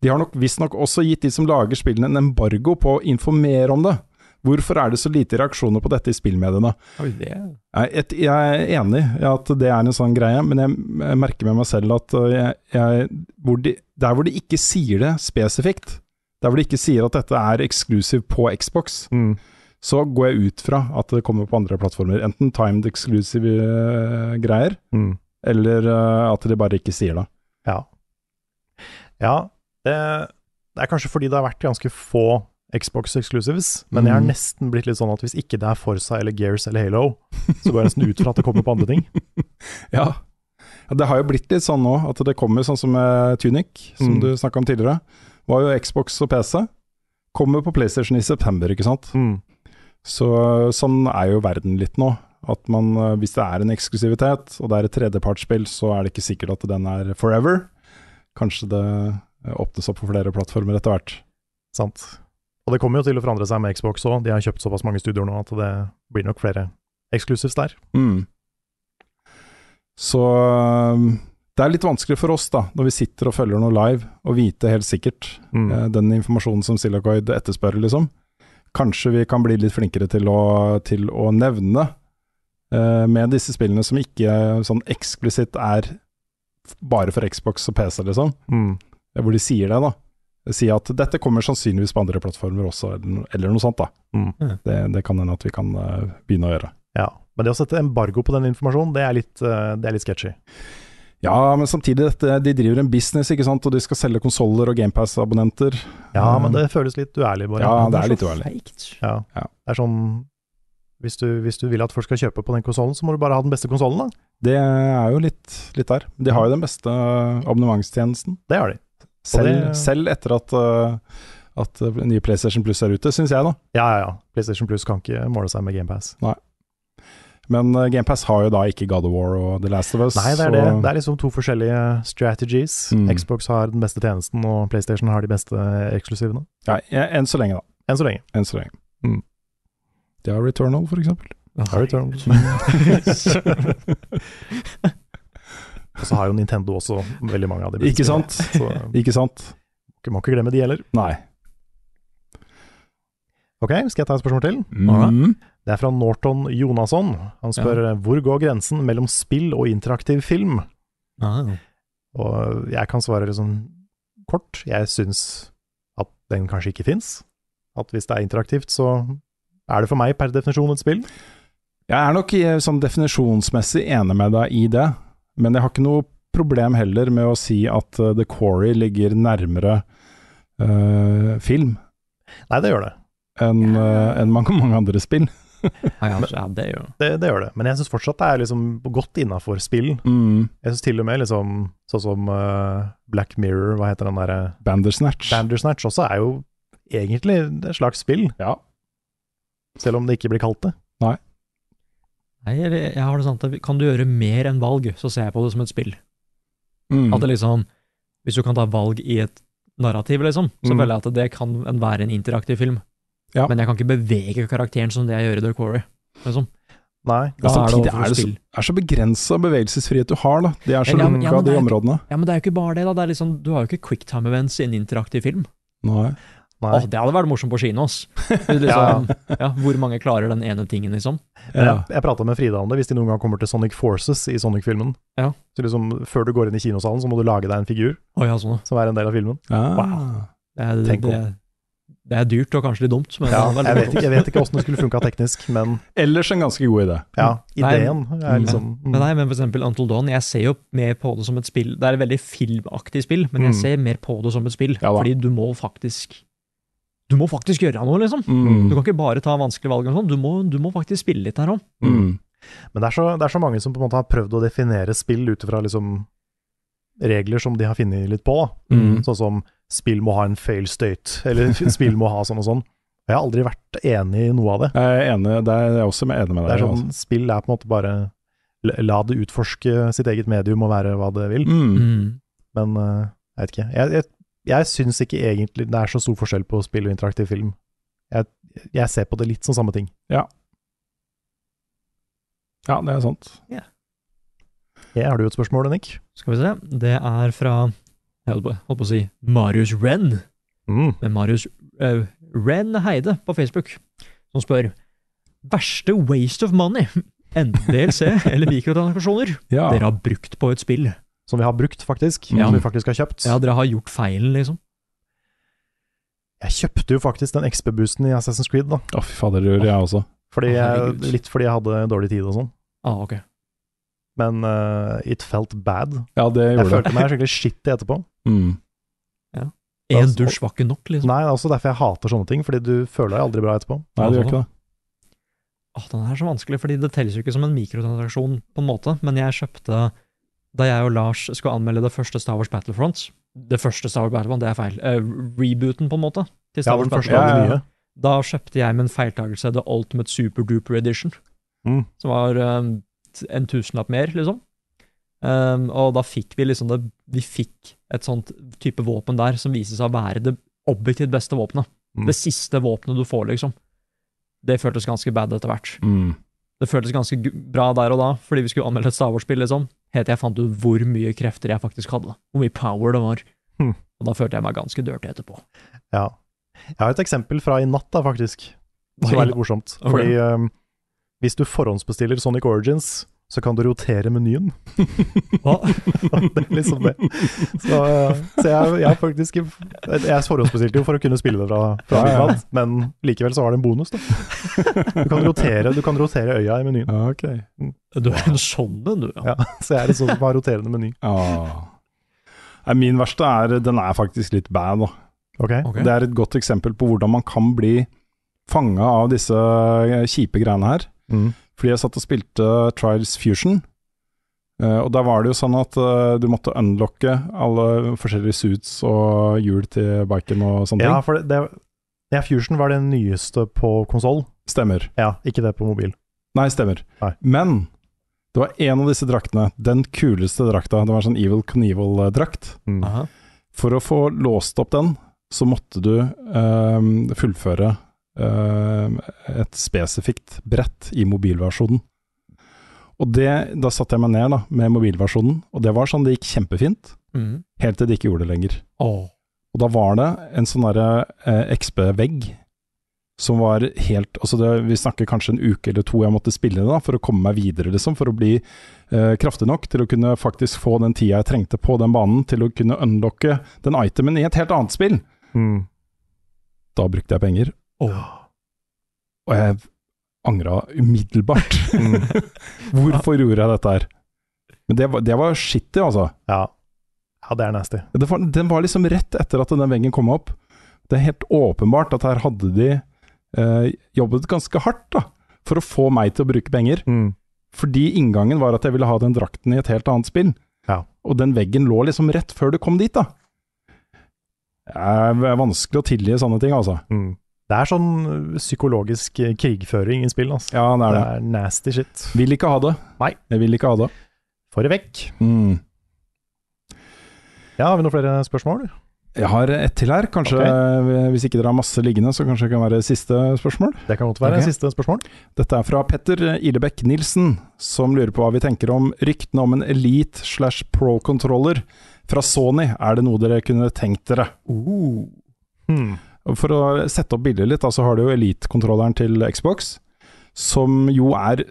De har nok visstnok også gitt de som lager spillene en embargo på å informere om det. Hvorfor er det så lite reaksjoner på dette i spillmediene? Nei, et, jeg er enig i at det er en sånn greie, men jeg, jeg merker med meg selv at øh, jeg, jeg, hvor de, der hvor de ikke sier det spesifikt, der hvor de ikke sier at dette er eksklusiv på Xbox,
Mm.
så går jeg ut fra at det kommer på andre plattformer. Enten timed exclusive øh, greier,
Mm.
eller øh, at de bare ikke sier det.
Ja. Ja, det, det er kanskje fordi det har vært ganske få Xbox Exclusives, men jeg har
Mm.
nesten blitt litt sånn at hvis ikke det er Forsa eller Gears eller Halo, så går jeg nesten ut fra at det kommer på andre ting.
Ja. Ja, Det har jo blitt litt sånn nå, at det kommer sånn som eh, Tunic, som
Mm.
du snakka om tidligere. Var jo Xbox og PC. Kommer på PlayStation i september, ikke sant. Så sånn er jo verden litt nå. At man, eh, hvis det er en eksklusivitet, og det er et tredjepartsspill, så er det ikke sikkert at den er forever. Kanskje det eh, åpnes opp for flere plattformer etter hvert.
Sant. Og det kommer jo til å forandre seg med Xbox òg, de har kjøpt såpass mange studioer nå at det blir nok flere exclusives der.
Mm. Så eh, det er litt vanskelig for oss, da, når vi sitter og følger noe live, å vite helt sikkert
Mm.
eh, den informasjonen som Silacoid etterspør, liksom. Kanskje vi kan bli litt flinkere til å, til å nevne eh, med disse spillene som ikke eh, sånn eksplisitt er f- bare for Xbox og PC, liksom.
Mm.
Eh, Hvor de sier det, da. De sier at dette kommer sannsynligvis på andre plattformer også, eller, no- eller noe sånt, da.
Mm.
Det, det kan hende at vi kan eh, begynne å gjøre.
Ja. Men det å sette embargo på den informasjonen, det er litt, eh, det er litt sketchy.
Ja, men samtidig, dette, de driver en business, ikke sant, og de skal selge konsoller og GamePass-abonnenter.
Ja,
Mm.
men det føles litt uærlig, bare.
Ja, det er litt uærlig.
Ja.
Ja.
Det er sånn hvis du, hvis du vil at folk skal kjøpe på den konsollen, så må du bare ha den beste konsollen, da.
Det er jo litt, litt der. De har jo den beste eh, abonnementstjenesten.
Det har de.
Selv,
det-
selv etter at, uh, at uh, nye PlayStation Plus er ute, syns jeg, da.
Ja, ja, ja. PlayStation Plus kan ikke måle seg med GamePass.
Men uh, GamePass har jo da ikke God of War og The Last of Us.
Nei, det er
så,
det. Det er liksom to forskjellige strategies.
Mm.
Xbox har den beste tjenesten, og PlayStation har de beste eksklusivene.
Ja, en- enn så lenge, da.
Enn så lenge.
Enn så lenge. Mm. De har Returnal, for eksempel.
Harry Turn. Og så har jo Nintendo også veldig mange av de beste.
Ikke sant?
spillene,
Ikke sant?
Så må ikke glemme de heller.
Nei.
Ok, skal jeg ta et spørsmål til?
Mm.
Det er fra Norton Jonasson. Han spør hvor går grensen mellom spill og interaktiv film?
Ah,
Og jeg kan svare liksom kort. Jeg syns at den kanskje ikke fins. At hvis det er interaktivt, så er det for meg per definisjon et spill.
Jeg er nok eh, sånn definisjonsmessig enig med deg i det, men jeg har ikke noe problem heller med å si at eh, The Quarry ligger nærmere eh, film
Nei, det gjør det.
enn eh, enn mange, mange andre spill.
ja, altså, ja, det er jo
Det, det gjør det. Men jeg syns fortsatt det er liksom godt innafor spill. Jeg syns til og med liksom sånn som eh, Black Mirror, hva heter den derre
Bandersnatch.
Bandersnatch også er jo egentlig et slags spill,
ja.
selv om det ikke blir kalt det.
Nei, jeg, jeg har det sånn at kan du gjøre mer enn valg, så ser jeg på det som et spill.
Mm.
At det liksom Hvis du kan ta valg i et narrativ, liksom, så
Mm.
føler jeg at det kan en- være en interaktiv film.
Ja.
Men jeg kan ikke bevege karakteren som det jeg gjør i The Quarry. Liksom. Da er
Men
Nei.
det
samtidig
overfor
Altså, er det så,
spill.
er så begrensa bevegelsesfrihet du har, da. De er så
Ja, men-
lukka,
ja, men det
de
er ikke-
områdene.
Ja, men det er jo ikke bare det, da. Det er liksom, du har jo ikke quicktime events i en interaktiv film.
Nei.
nei.
Åh, det hadde vært morsomt på kino, ass. Liksom, ja. hvor mange klarer den ene tingen, liksom?
Men
Ja.
jeg, jeg prata med Frida om det, hvis de noen gang kommer til Sonic Forces i Sonic-filmen.
Ja.
Så liksom, før du går inn i kinosalen, så må du lage deg en figur
Å ja, sånn. ja.
som er en del av filmen.
Ah.
Wow.
Det er,
Tenk
det, det er dyrt og kanskje litt dumt, men
Ja,
det er
jeg
veldig
vet ikke, jeg vet ikke åssen det skulle funka teknisk, men
Ellers en ganske god idé.
ja,
Nei,
ideen er liksom mm.
Men nei, men for eksempel Until Dawn, jeg ser jo mer på det som et spill. Det er et veldig filmaktig spill, men jeg
Mm.
ser mer på det som et spill.
Ja da.
fordi du må faktisk Du må faktisk gjøre noe, liksom.
Mm.
Du kan ikke bare ta vanskelige valg, og sånn. Du, må- du må faktisk spille litt her òg.
Mm.
Men det er, så, det er så mange som på en måte har prøvd å definere spill ut ifra liksom regler som de har funnet litt på. da.
Mm.
Sånn som spill må ha en fail state, eller spill må ha sånn og sånn. Jeg har aldri vært enig i noe av det.
Jeg er enig, det er jeg også enig med
Det
deg altså.
er
i,
sånn, Spill er på en måte bare la- La det utforske sitt eget medium og være hva det vil.
altså. Mm.
Men eh, jeg vet ikke. Jeg, jeg, jeg syns ikke egentlig det er så stor forskjell på spill og interaktiv film. Jeg, jeg ser på det litt som samme ting.
Ja, det er sant.
Jeg har du et spørsmål, Nick?
Skal vi se. Det er fra Jeg holdt på, holdt på å si Marius Renn.
Mm.
med Marius eh, Ren Heide på Facebook, som spør Verste waste of money, enten DLC eller mikrotransaksjoner,
Ja.
dere har brukt på et spill?
Som vi har brukt, faktisk.
Ja.
Som vi faktisk har kjøpt.
Ja, dere har gjort feilen, liksom.
Jeg kjøpte jo faktisk den XP-boosten i Assassin's Creed, da.
Å, fy fader, det gjorde jeg også.
Fordi
Å,
jeg,
herregud.
litt fordi jeg hadde dårlig tid og sånn.
Ah, ok.
Men eh, it felt bad.
Ja, det
Jeg
gjorde jeg.
følte meg skikkelig shitty etterpå.
Mm.
Én dusj var ikke nok, liksom.
Nei, det er også derfor jeg hater sånne ting, fordi du føler deg aldri bra etterpå.
Nei, det gjør ikke det.
Åh, den er så vanskelig, fordi det telles jo ikke som en mikrotransaksjon, på en måte, men jeg kjøpte Da jeg og Lars skulle anmelde det første Star Wars Battlefront Det første Star Wars Battlefront, det er feil. Eh, rebooten, på en måte, til
Ja,
Star Wars
den første
Battlefront.
Ja,
av de
ja, ja.
nye.
Da kjøpte jeg med en feiltagelse The Ultimate Super Duper Edition,
Mm.
som var um, en tusenlapp mer, liksom. Um, og da fikk vi liksom det Vi fikk et sånt type våpen der som viste seg å være det objektivt beste våpenet.
Mm.
Det siste våpenet du får, liksom. Det føltes ganske bad etter hvert.
Mm.
Det føltes ganske gu- bra der og da, fordi vi skulle anmelde et Star Wars-spill, liksom. Helt til jeg fant ut hvor mye krefter jeg faktisk hadde. Hvor mye power det var.
Hmm.
Og da følte jeg meg ganske dirty etterpå.
Ja. Jeg har et eksempel fra i natt, da, faktisk. Som
Oi.
er litt morsomt.
Ok.
Fordi eh, hvis du forhåndsbestiller Sonic Origins, så kan du rotere menyen.
Hva?
det er liksom det. Så, eh, så jeg, jeg har faktisk Jeg forhåndsbestilte jo for å kunne spille det fra, fra
Ja, ja.
Big Bad, men likevel så har det en bonus, da. Du kan rotere, du kan rotere øya i menyen.
Ja, ok.
Du er en sånn en, du, ja.
Ja, så jeg er liksom har roterende meny.
Ah. Nei, min verste er Den er faktisk litt bad, da.
Ok?
Ok.
Det er et godt eksempel på hvordan man kan bli fanga av disse eh, kjipe greiene her.
Mm.
Fordi jeg satt og spilte Trials Fusion. eh, og der var det jo sånn at eh, du måtte unlocke alle forskjellige suits og hjul til biken og sånne
Ja, for det, det ja, Fusion var den nyeste på konsoll.
ting. Stemmer.
Ja, ikke det på mobil.
Nei, stemmer.
Nei.
Men det var en av disse draktene, den kuleste drakta. Det var en sånn Evil Knievel-drakt.
Aha.
For å få låst opp den, så måtte du eh, fullføre eh, et spesifikt brett i mobilversjonen. Og det, da satte jeg meg ned da, med mobilversjonen, og det var sånn det gikk kjempefint,
Mm.
helt til det ikke gjorde det lenger.
Åh.
Og da var det en sånn derre eh, XB-vegg som var helt altså det, Vi snakker kanskje en uke eller to jeg måtte spille det da, for å komme meg videre, liksom. For å bli eh, kraftig nok til å kunne faktisk få den tida jeg trengte på den banen til å kunne unlocke den itemen i et helt annet spill.
Mm.
Da brukte jeg penger, og jeg angra umiddelbart.
Mm.
Hvorfor gjorde jeg dette her? Men det var, det var shitty, altså.
Ja. ja, det er nasty.
Det var, den var liksom rett etter at den veggen kom opp. Det er helt åpenbart at her hadde de eh, jobbet ganske hardt da, for å få meg til å bruke penger.
Mm.
Fordi inngangen var at jeg ville ha den drakten i et helt annet spill.
Ja.
Og den veggen lå liksom rett før du kom dit, da. Det er vanskelig å tilgi sånne ting, altså.
Mm. Det er sånn øh, psykologisk øh, krigføring i spill. Altså.
Ja, det er
det
det.
er nasty shit.
Vil ikke ha det.
Nei.
Jeg vil ikke ha det.
Får det vekk.
Mm.
Ja, Har vi noen flere spørsmål?
Jeg har ett til her. Kanskje, eh, Hvis ikke dere har masse liggende, så kanskje det kan være siste spørsmål.
Det kan godt være
Ok.
siste spørsmål.
Dette er fra Petter Ilebekk Nilsen, som lurer på hva vi tenker om ryktene om en Elite slash Pro-controller fra Sony. Er det noe dere kunne tenkt dere?
Hmm.
Og For å sette opp bildet litt, da, så har du jo Elite-kontrolleren til Xbox, som jo er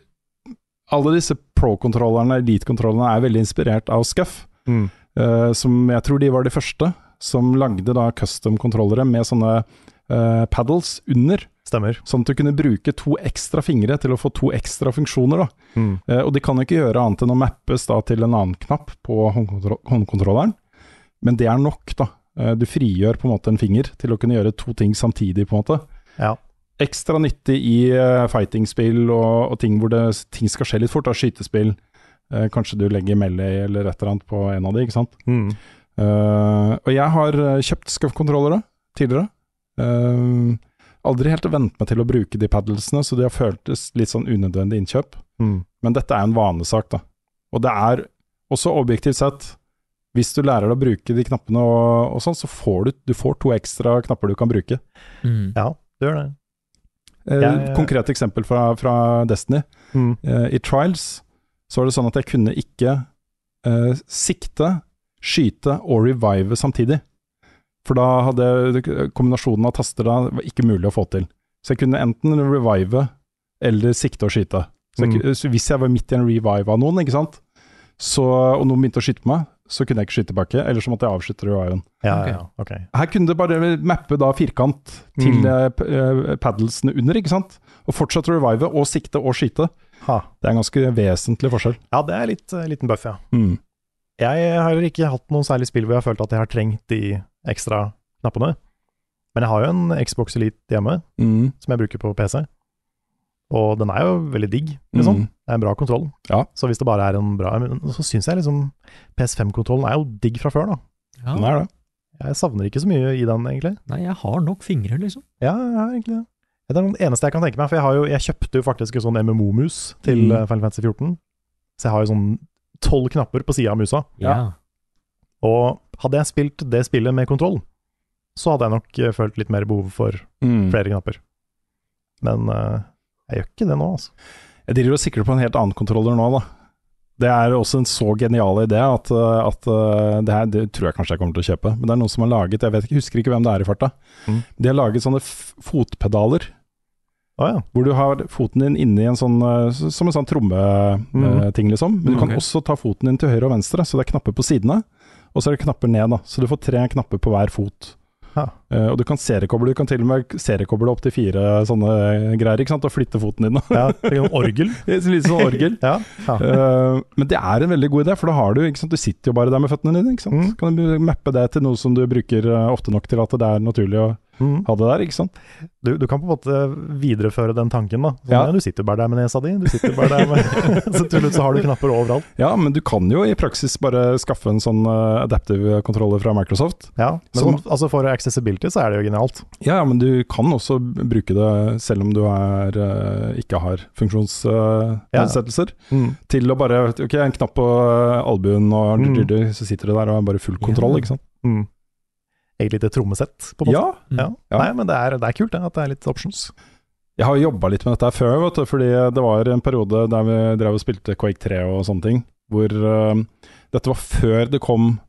Alle disse Pro-kontrollerne, Elite-kontrollerne, er veldig inspirert av Scuff,
Mm.
eh, som jeg tror de var de første som lagde da custom-kontrollere med sånne eh, paddles under.
Stemmer.
Sånn at du kunne bruke to ekstra fingre til å få to ekstra funksjoner. Da.
Mm.
Eh, og de kan jo ikke gjøre annet enn å mappes da, til en annen knapp på håndkontro håndkontrolleren, men det er nok. da. Eh, du frigjør på en måte en finger til å kunne gjøre to ting samtidig. på en måte.
Ja.
Ekstra nyttig i eh, fighting-spill og, og ting hvor det, ting skal skje litt fort. Da, skytespill. Eh, kanskje du legger melee eller et eller annet på en av de, ikke sant.
Mm.
Eh, og jeg har eh, kjøpt Scuff-kontrollere tidligere. Eh, aldri helt vent meg til å bruke de paddlesene, så de har føltes litt sånn unødvendig innkjøp.
Mm.
Men dette er en vanesak, da. Og det er også objektivt sett Hvis du lærer deg å bruke de knappene og, og sånn, så får du, du får to ekstra knapper du kan bruke.
Mm.
Ja, det gjør det.
Eh,
Jeg-
Konkret eksempel fra, fra Destiny.
Mm.
Eh, I Trials så var det sånn at jeg kunne ikke eh, sikte, skyte og revive samtidig. For da hadde kombinasjonen av taster da var ikke mulig å få til. Så jeg kunne enten revive eller sikte og skyte. Så, jeg, ku- så hvis jeg var midt i en revive av noen, ikke sant? Så, og noen begynte å skyte på meg, så kunne jeg ikke skyte tilbake, eller så måtte jeg avslutte reviven.
Ja,
Ok.
ja, ok.
Her kunne du bare mappe da firkant til
Mm.
eh, p- eh, paddlesene under, ikke sant? Og fortsatt revive og sikte og skyte.
Ha.
Det er en ganske vesentlig forskjell.
Ja, det er litt, eh, liten buff, ja.
Mm.
Jeg har heller ikke hatt noen særlig spill hvor jeg har følt at jeg har trengt de ekstra knappene. Men jeg har jo en Xbox Elite hjemme,
Mm.
som jeg bruker på PC. Og den er jo veldig digg, liksom.
Mm.
Det er en bra kontroll.
Ja.
Så hvis det bare er en bra men Så syns jeg liksom PS5-kontrollen er jo digg fra før, da.
Ja.
Den Sånn er det.
Jeg savner ikke så mye i den, egentlig.
Nei, jeg har nok fingre, liksom.
Ja, jeg har egentlig det. Det er den eneste jeg kan tenke meg, for jeg, har jo, jeg kjøpte jo faktisk en sånn MMO-mus til
Mm.
eh, Final Fantasy 14. Så jeg har jo sånn tolv knapper på sida av musa.
Ja.
Og hadde jeg spilt det spillet med kontroll, så hadde jeg nok eh, følt litt mer behov for
Mm.
flere knapper. Men eh, jeg gjør ikke det nå, altså.
Jeg driver og sikrer på en helt annen kontroller nå, da. Det er også en så genial idé at, uh, at uh, det her det tror jeg kanskje jeg kommer til å kjøpe. Men det er noen som har laget, jeg vet ikke, husker ikke hvem det er i farta.
Mm.
De har laget sånne f fotpedaler,
Å ja.
hvor du har foten din inni en sånn uh, s- Som en sånn trommeting,
Mhm.
liksom. Men du kan
Ok.
også ta foten din til høyre og venstre, så det er knapper på sidene. Og så er det knapper ned, da. Så du får tre knapper på hver fot.
Ha.
Uh, og du kan seriekoble, du kan til og med seriekoble opp til fire sånne greier, ikke sant. Og flytte foten din, da.
ja. Det er en orgel.
Et lite sånn orgel.
Ja. ja.
Eh, men det er en veldig god idé, for da har du ikke sant? Du sitter jo bare der med føttene dine. Ikke sant?
Mm.
Kan du mappe det til noe som du bruker eh, ofte nok til at det er naturlig å
Mm.
ha det der, ikke sant?
Du, du kan på en måte videreføre den tanken, da. Sånn,
Ja.
ja. Du sitter bare der med nesa di, du sitter bare der med Så til slutt så har du knapper overalt.
Ja, men du kan jo i praksis bare skaffe en sånn eh, adaptive kontroller fra Microsoft.
Ja, men
Som-
sånn, altså for accessibility så er det jo genialt.
Ja, ja, men du kan også b- bruke det selv om du er, eh, ikke har
Ja.
funksjonsnedsettelser. Til å bare Ok, en knapp på eh, albuen, og
Mm.
dyrdyr, så sitter du der og har bare full kontroll,
Ja.
ikke sant.
Mm. Et lite trommesett, på en måte.
Ja,
Mm.
Ja.
Nei, men det er, det er kult det, at det er litt options.
Jeg har jobba litt med dette her før, vet du, fordi det var en periode der vi drev og spilte Quake 3 og sånne ting, hvor eh, dette var før det kom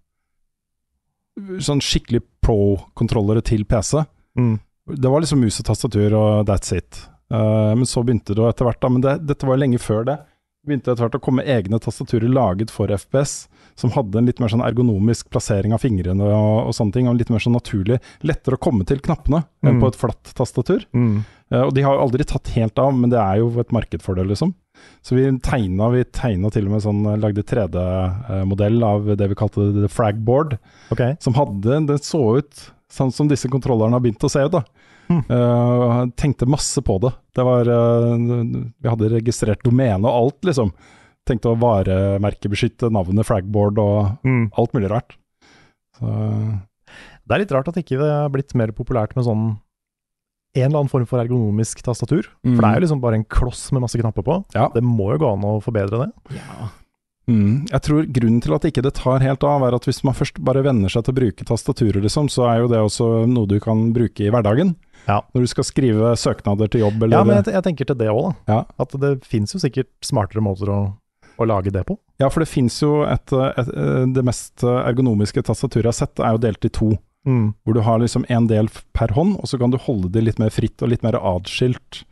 sånn skikkelig pro-kontrollere til PC.
Mm.
Det var liksom mus og tastatur og that's it. Eh, men så begynte det å etter hvert, da, men det, dette var jo lenge før det, begynte etter hvert å komme egne tastaturer laget for FPS, som hadde en litt mer sånn ergonomisk plassering av fingrene og, og sånne ting, og litt mer sånn naturlig, lettere å komme til knappene enn
Mm.
på et flatt tastatur.
Mm.
Eh, og de har jo aldri tatt helt av, men det er jo et marked for det, liksom. Så vi tegna, vi tegna til og med sånn, lagde 3D-modell av det vi kalte the fragboard,
Ok.
som hadde Det så ut sånn som disse kontrollerne har begynt å se ut, da.
Hmm.
Eh, og han tenkte masse på det. Det var eh, Vi hadde registrert domene og alt, liksom. Tenkte å varemerkebeskytte navnet fragboard og
Mm.
alt mulig rart. Så
Det er litt rart at ikke det er blitt mer populært med sånn en eller annen form for ergonomisk tastatur. For det er jo liksom bare en kloss med masse knapper på.
Mm. Ja.
Det må jo gå an å forbedre det.
Ja.
Mm. Jeg tror grunnen til at ikke det tar helt av, er at hvis man først bare venner seg til å bruke tastaturer, liksom, så er jo det også noe du kan bruke i hverdagen.
Ja.
Når du skal skrive søknader til jobb, eller
Ja, men jeg, jeg tenker til det òg, da.
Ja.
At det fins jo sikkert smartere måter å, å lage det på.
Ja, for det fins jo et, eh, et, et Det mest eh, ergonomiske tastaturet jeg har sett, er jo delt i to. Hvor du har liksom en del f- per hånd, og så kan du holde det litt mer fritt og litt mer adskilt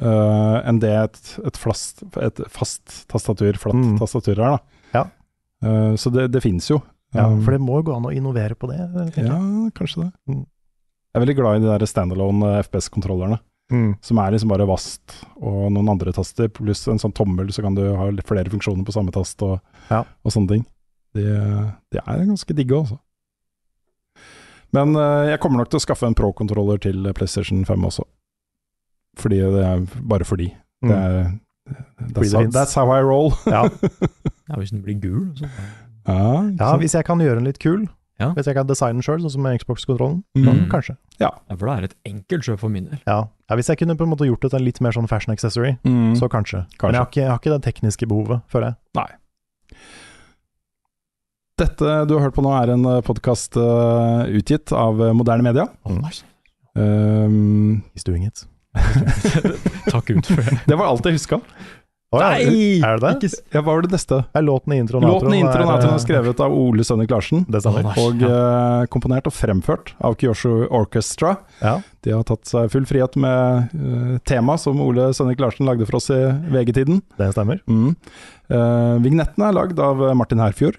øh, enn det et, et, flast, et fast tastatur, flatt
Mm.
tastatur er, da.
Ja.
Eh, så det, det fins jo.
Ja,
Um,
for det må jo gå an å innovere på det. tenker
ja,
jeg.
kanskje det.
Mm.
Jeg er veldig glad i de der standalone eh, FPS-kontrollerne,
Mm.
som er liksom bare vast og noen andre taster, pluss en sånn tommel, så kan du ha litt flere funksjoner på samme tast og,
Ja.
og sånne ting. De, de er ganske digge, altså. Men eh, jeg kommer nok til å skaffe en pro-kontroller til PlayStation 5 også. Fordi det er bare fordi.
Mm.
Det er,
Fordi det
that's, how,
finnes.
that's how I roll.
Ja.
ja, hvis den blir gul og sånn.
Ja, ikke
ja,
sant?
hvis jeg kan gjøre den litt kul,
Ja.
hvis jeg kan designe den sjøl, sånn som med Xbox-kontrollen,
Mm.
da kanskje.
Ja, for det er et enkelt kjøp for min del.
Ja. ja, Hvis jeg kunne på en måte gjort det til en litt mer sånn fashion accessory,
Mm.
så kanskje.
Kanskje.
Men jeg har ikke, jeg har ikke det tekniske behovet, føler jeg.
Dette du har hørt på nå er en podkast utgitt av eh, moderne media.
Mm.
Ehm,
He's doing it.
Takk Gud for det.
det var alt jeg huska.
Å, ja,
Nei!
Er det det?
Ikke s-
Ja, hva var det neste?
Det er låten i introen. og
Låten i
outroen
introen er at
er,
hun er skrevet av Ole Sønnik Larsen.
Det stemmer.
Å,
Og eh, komponert og fremført av Kyosho Orchestra.
Ja.
De har tatt seg full frihet med eh, tema som Ole Sønnik Larsen lagde for oss i VG-tiden.
Det stemmer.
Mm. Eh, vignettene er lagd av eh, Martin Herfjord.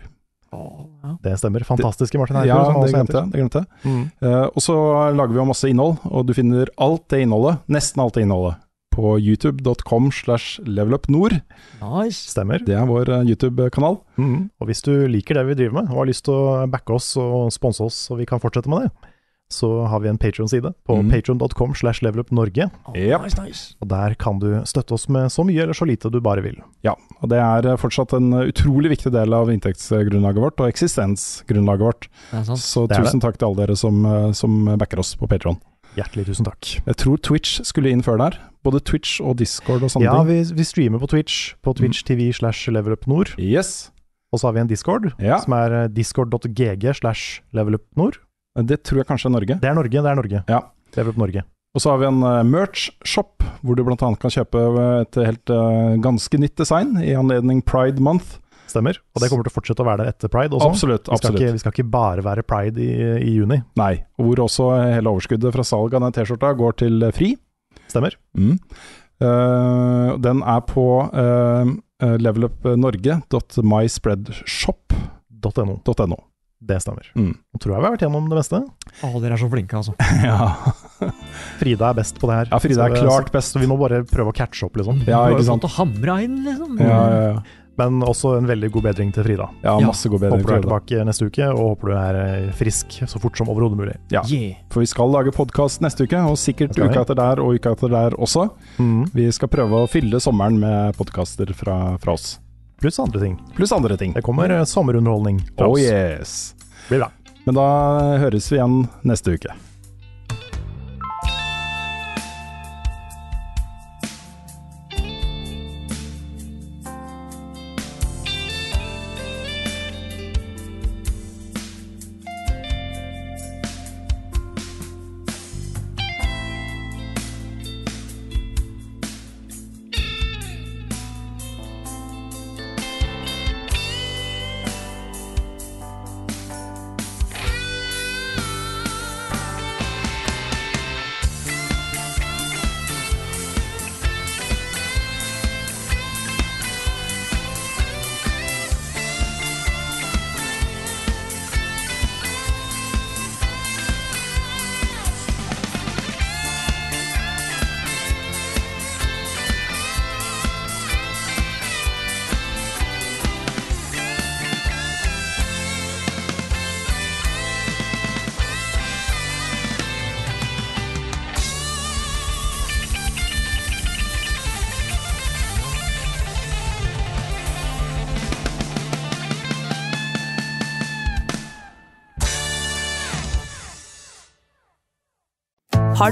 Å, ja.
Det stemmer. Fantastiske Martin
Ja,
Herfjord, som han
det
også
glemte
heter.
jeg. Det glemte jeg.
Mm.
Eh, og så lager vi jo masse innhold, og du finner alt det innholdet, nesten alt det innholdet, på youtube.com slash levelupnord.
Nice.
Stemmer.
Det er vår eh, YouTube-kanal.
Mm. Og hvis du liker det vi driver med, og har lyst til å backe oss og sponse oss, så vi kan fortsette med det, så har vi en Patreon-side på
Mm.
patreon.com slash levelupnorge.
Å,
Japp.
nice, nice.
Og der kan du støtte oss med så mye eller så lite du bare vil.
Ja, og det er eh, fortsatt en eh, utrolig viktig del av inntektsgrunnlaget vårt, og eksistensgrunnlaget vårt.
Det er sant.
Så
Det er det.
tusen takk til alle dere som, eh, som backer oss på Patron.
Hjertelig tusen takk.
Jeg tror Twitch skulle inn før der. Både Twitch og Discord og sånne
Ja,
ting.
vi, vi streamer på Twitch, på
Mm.
Twitch TV slash levelupnord.
Yes.
Og så har vi en Discord,
Ja.
som er eh, discord.gg slash levelupnord.
Det tror jeg kanskje er Norge.
Det er Norge, det er Norge.
Ja.
Levelup Norge.
Og så har vi en eh, merch-shop, hvor du bl.a. kan kjøpe eh, et helt eh, ganske nytt design i anledning Pride Month.
Stemmer. Og det kommer til å fortsette å være der etter pride også.
Absolutt.
Vi skal,
absolutt.
ikke, vi skal ikke bare være pride i, i juni.
Nei. og Hvor også hele overskuddet fra salget av den T-skjorta går til eh, Fri.
Stemmer?
Eh, den er på eh, eh, levelupnorge.myspreadshop.no.
.no. Det stemmer.
Mm.
Nå tror jeg vi har vært gjennom det meste.
Å, dere er så flinke, altså.
Ja.
Frida er best på det her.
ja, Frida
Så
er
det-
klart best.
Så vi må bare prøve å catche opp, liksom.
Ja,
Du har
ikke
jo
sant.
fått å hamre inn, liksom.
Ja, ja, ja.
Men også en veldig god bedring til Frida.
ja
Ja.
masse god bedring.
Håper du er
til Frida.
tilbake neste uke, og håper du er eh, frisk så fort som overhodet mulig.
Ja.
Yeah.
For vi skal lage podkast neste uke, og sikkert
Det skal vi.
uka etter der og uka etter der også.
Mm.
Vi skal prøve å fylle sommeren med podkaster fra, fra oss.
Pluss andre ting.
Pluss andre ting.
Det kommer eh, sommerunderholdning fra
Oh
oss.
yes.
Blir bra.
Men da høres vi igjen neste uke.
Thank
Har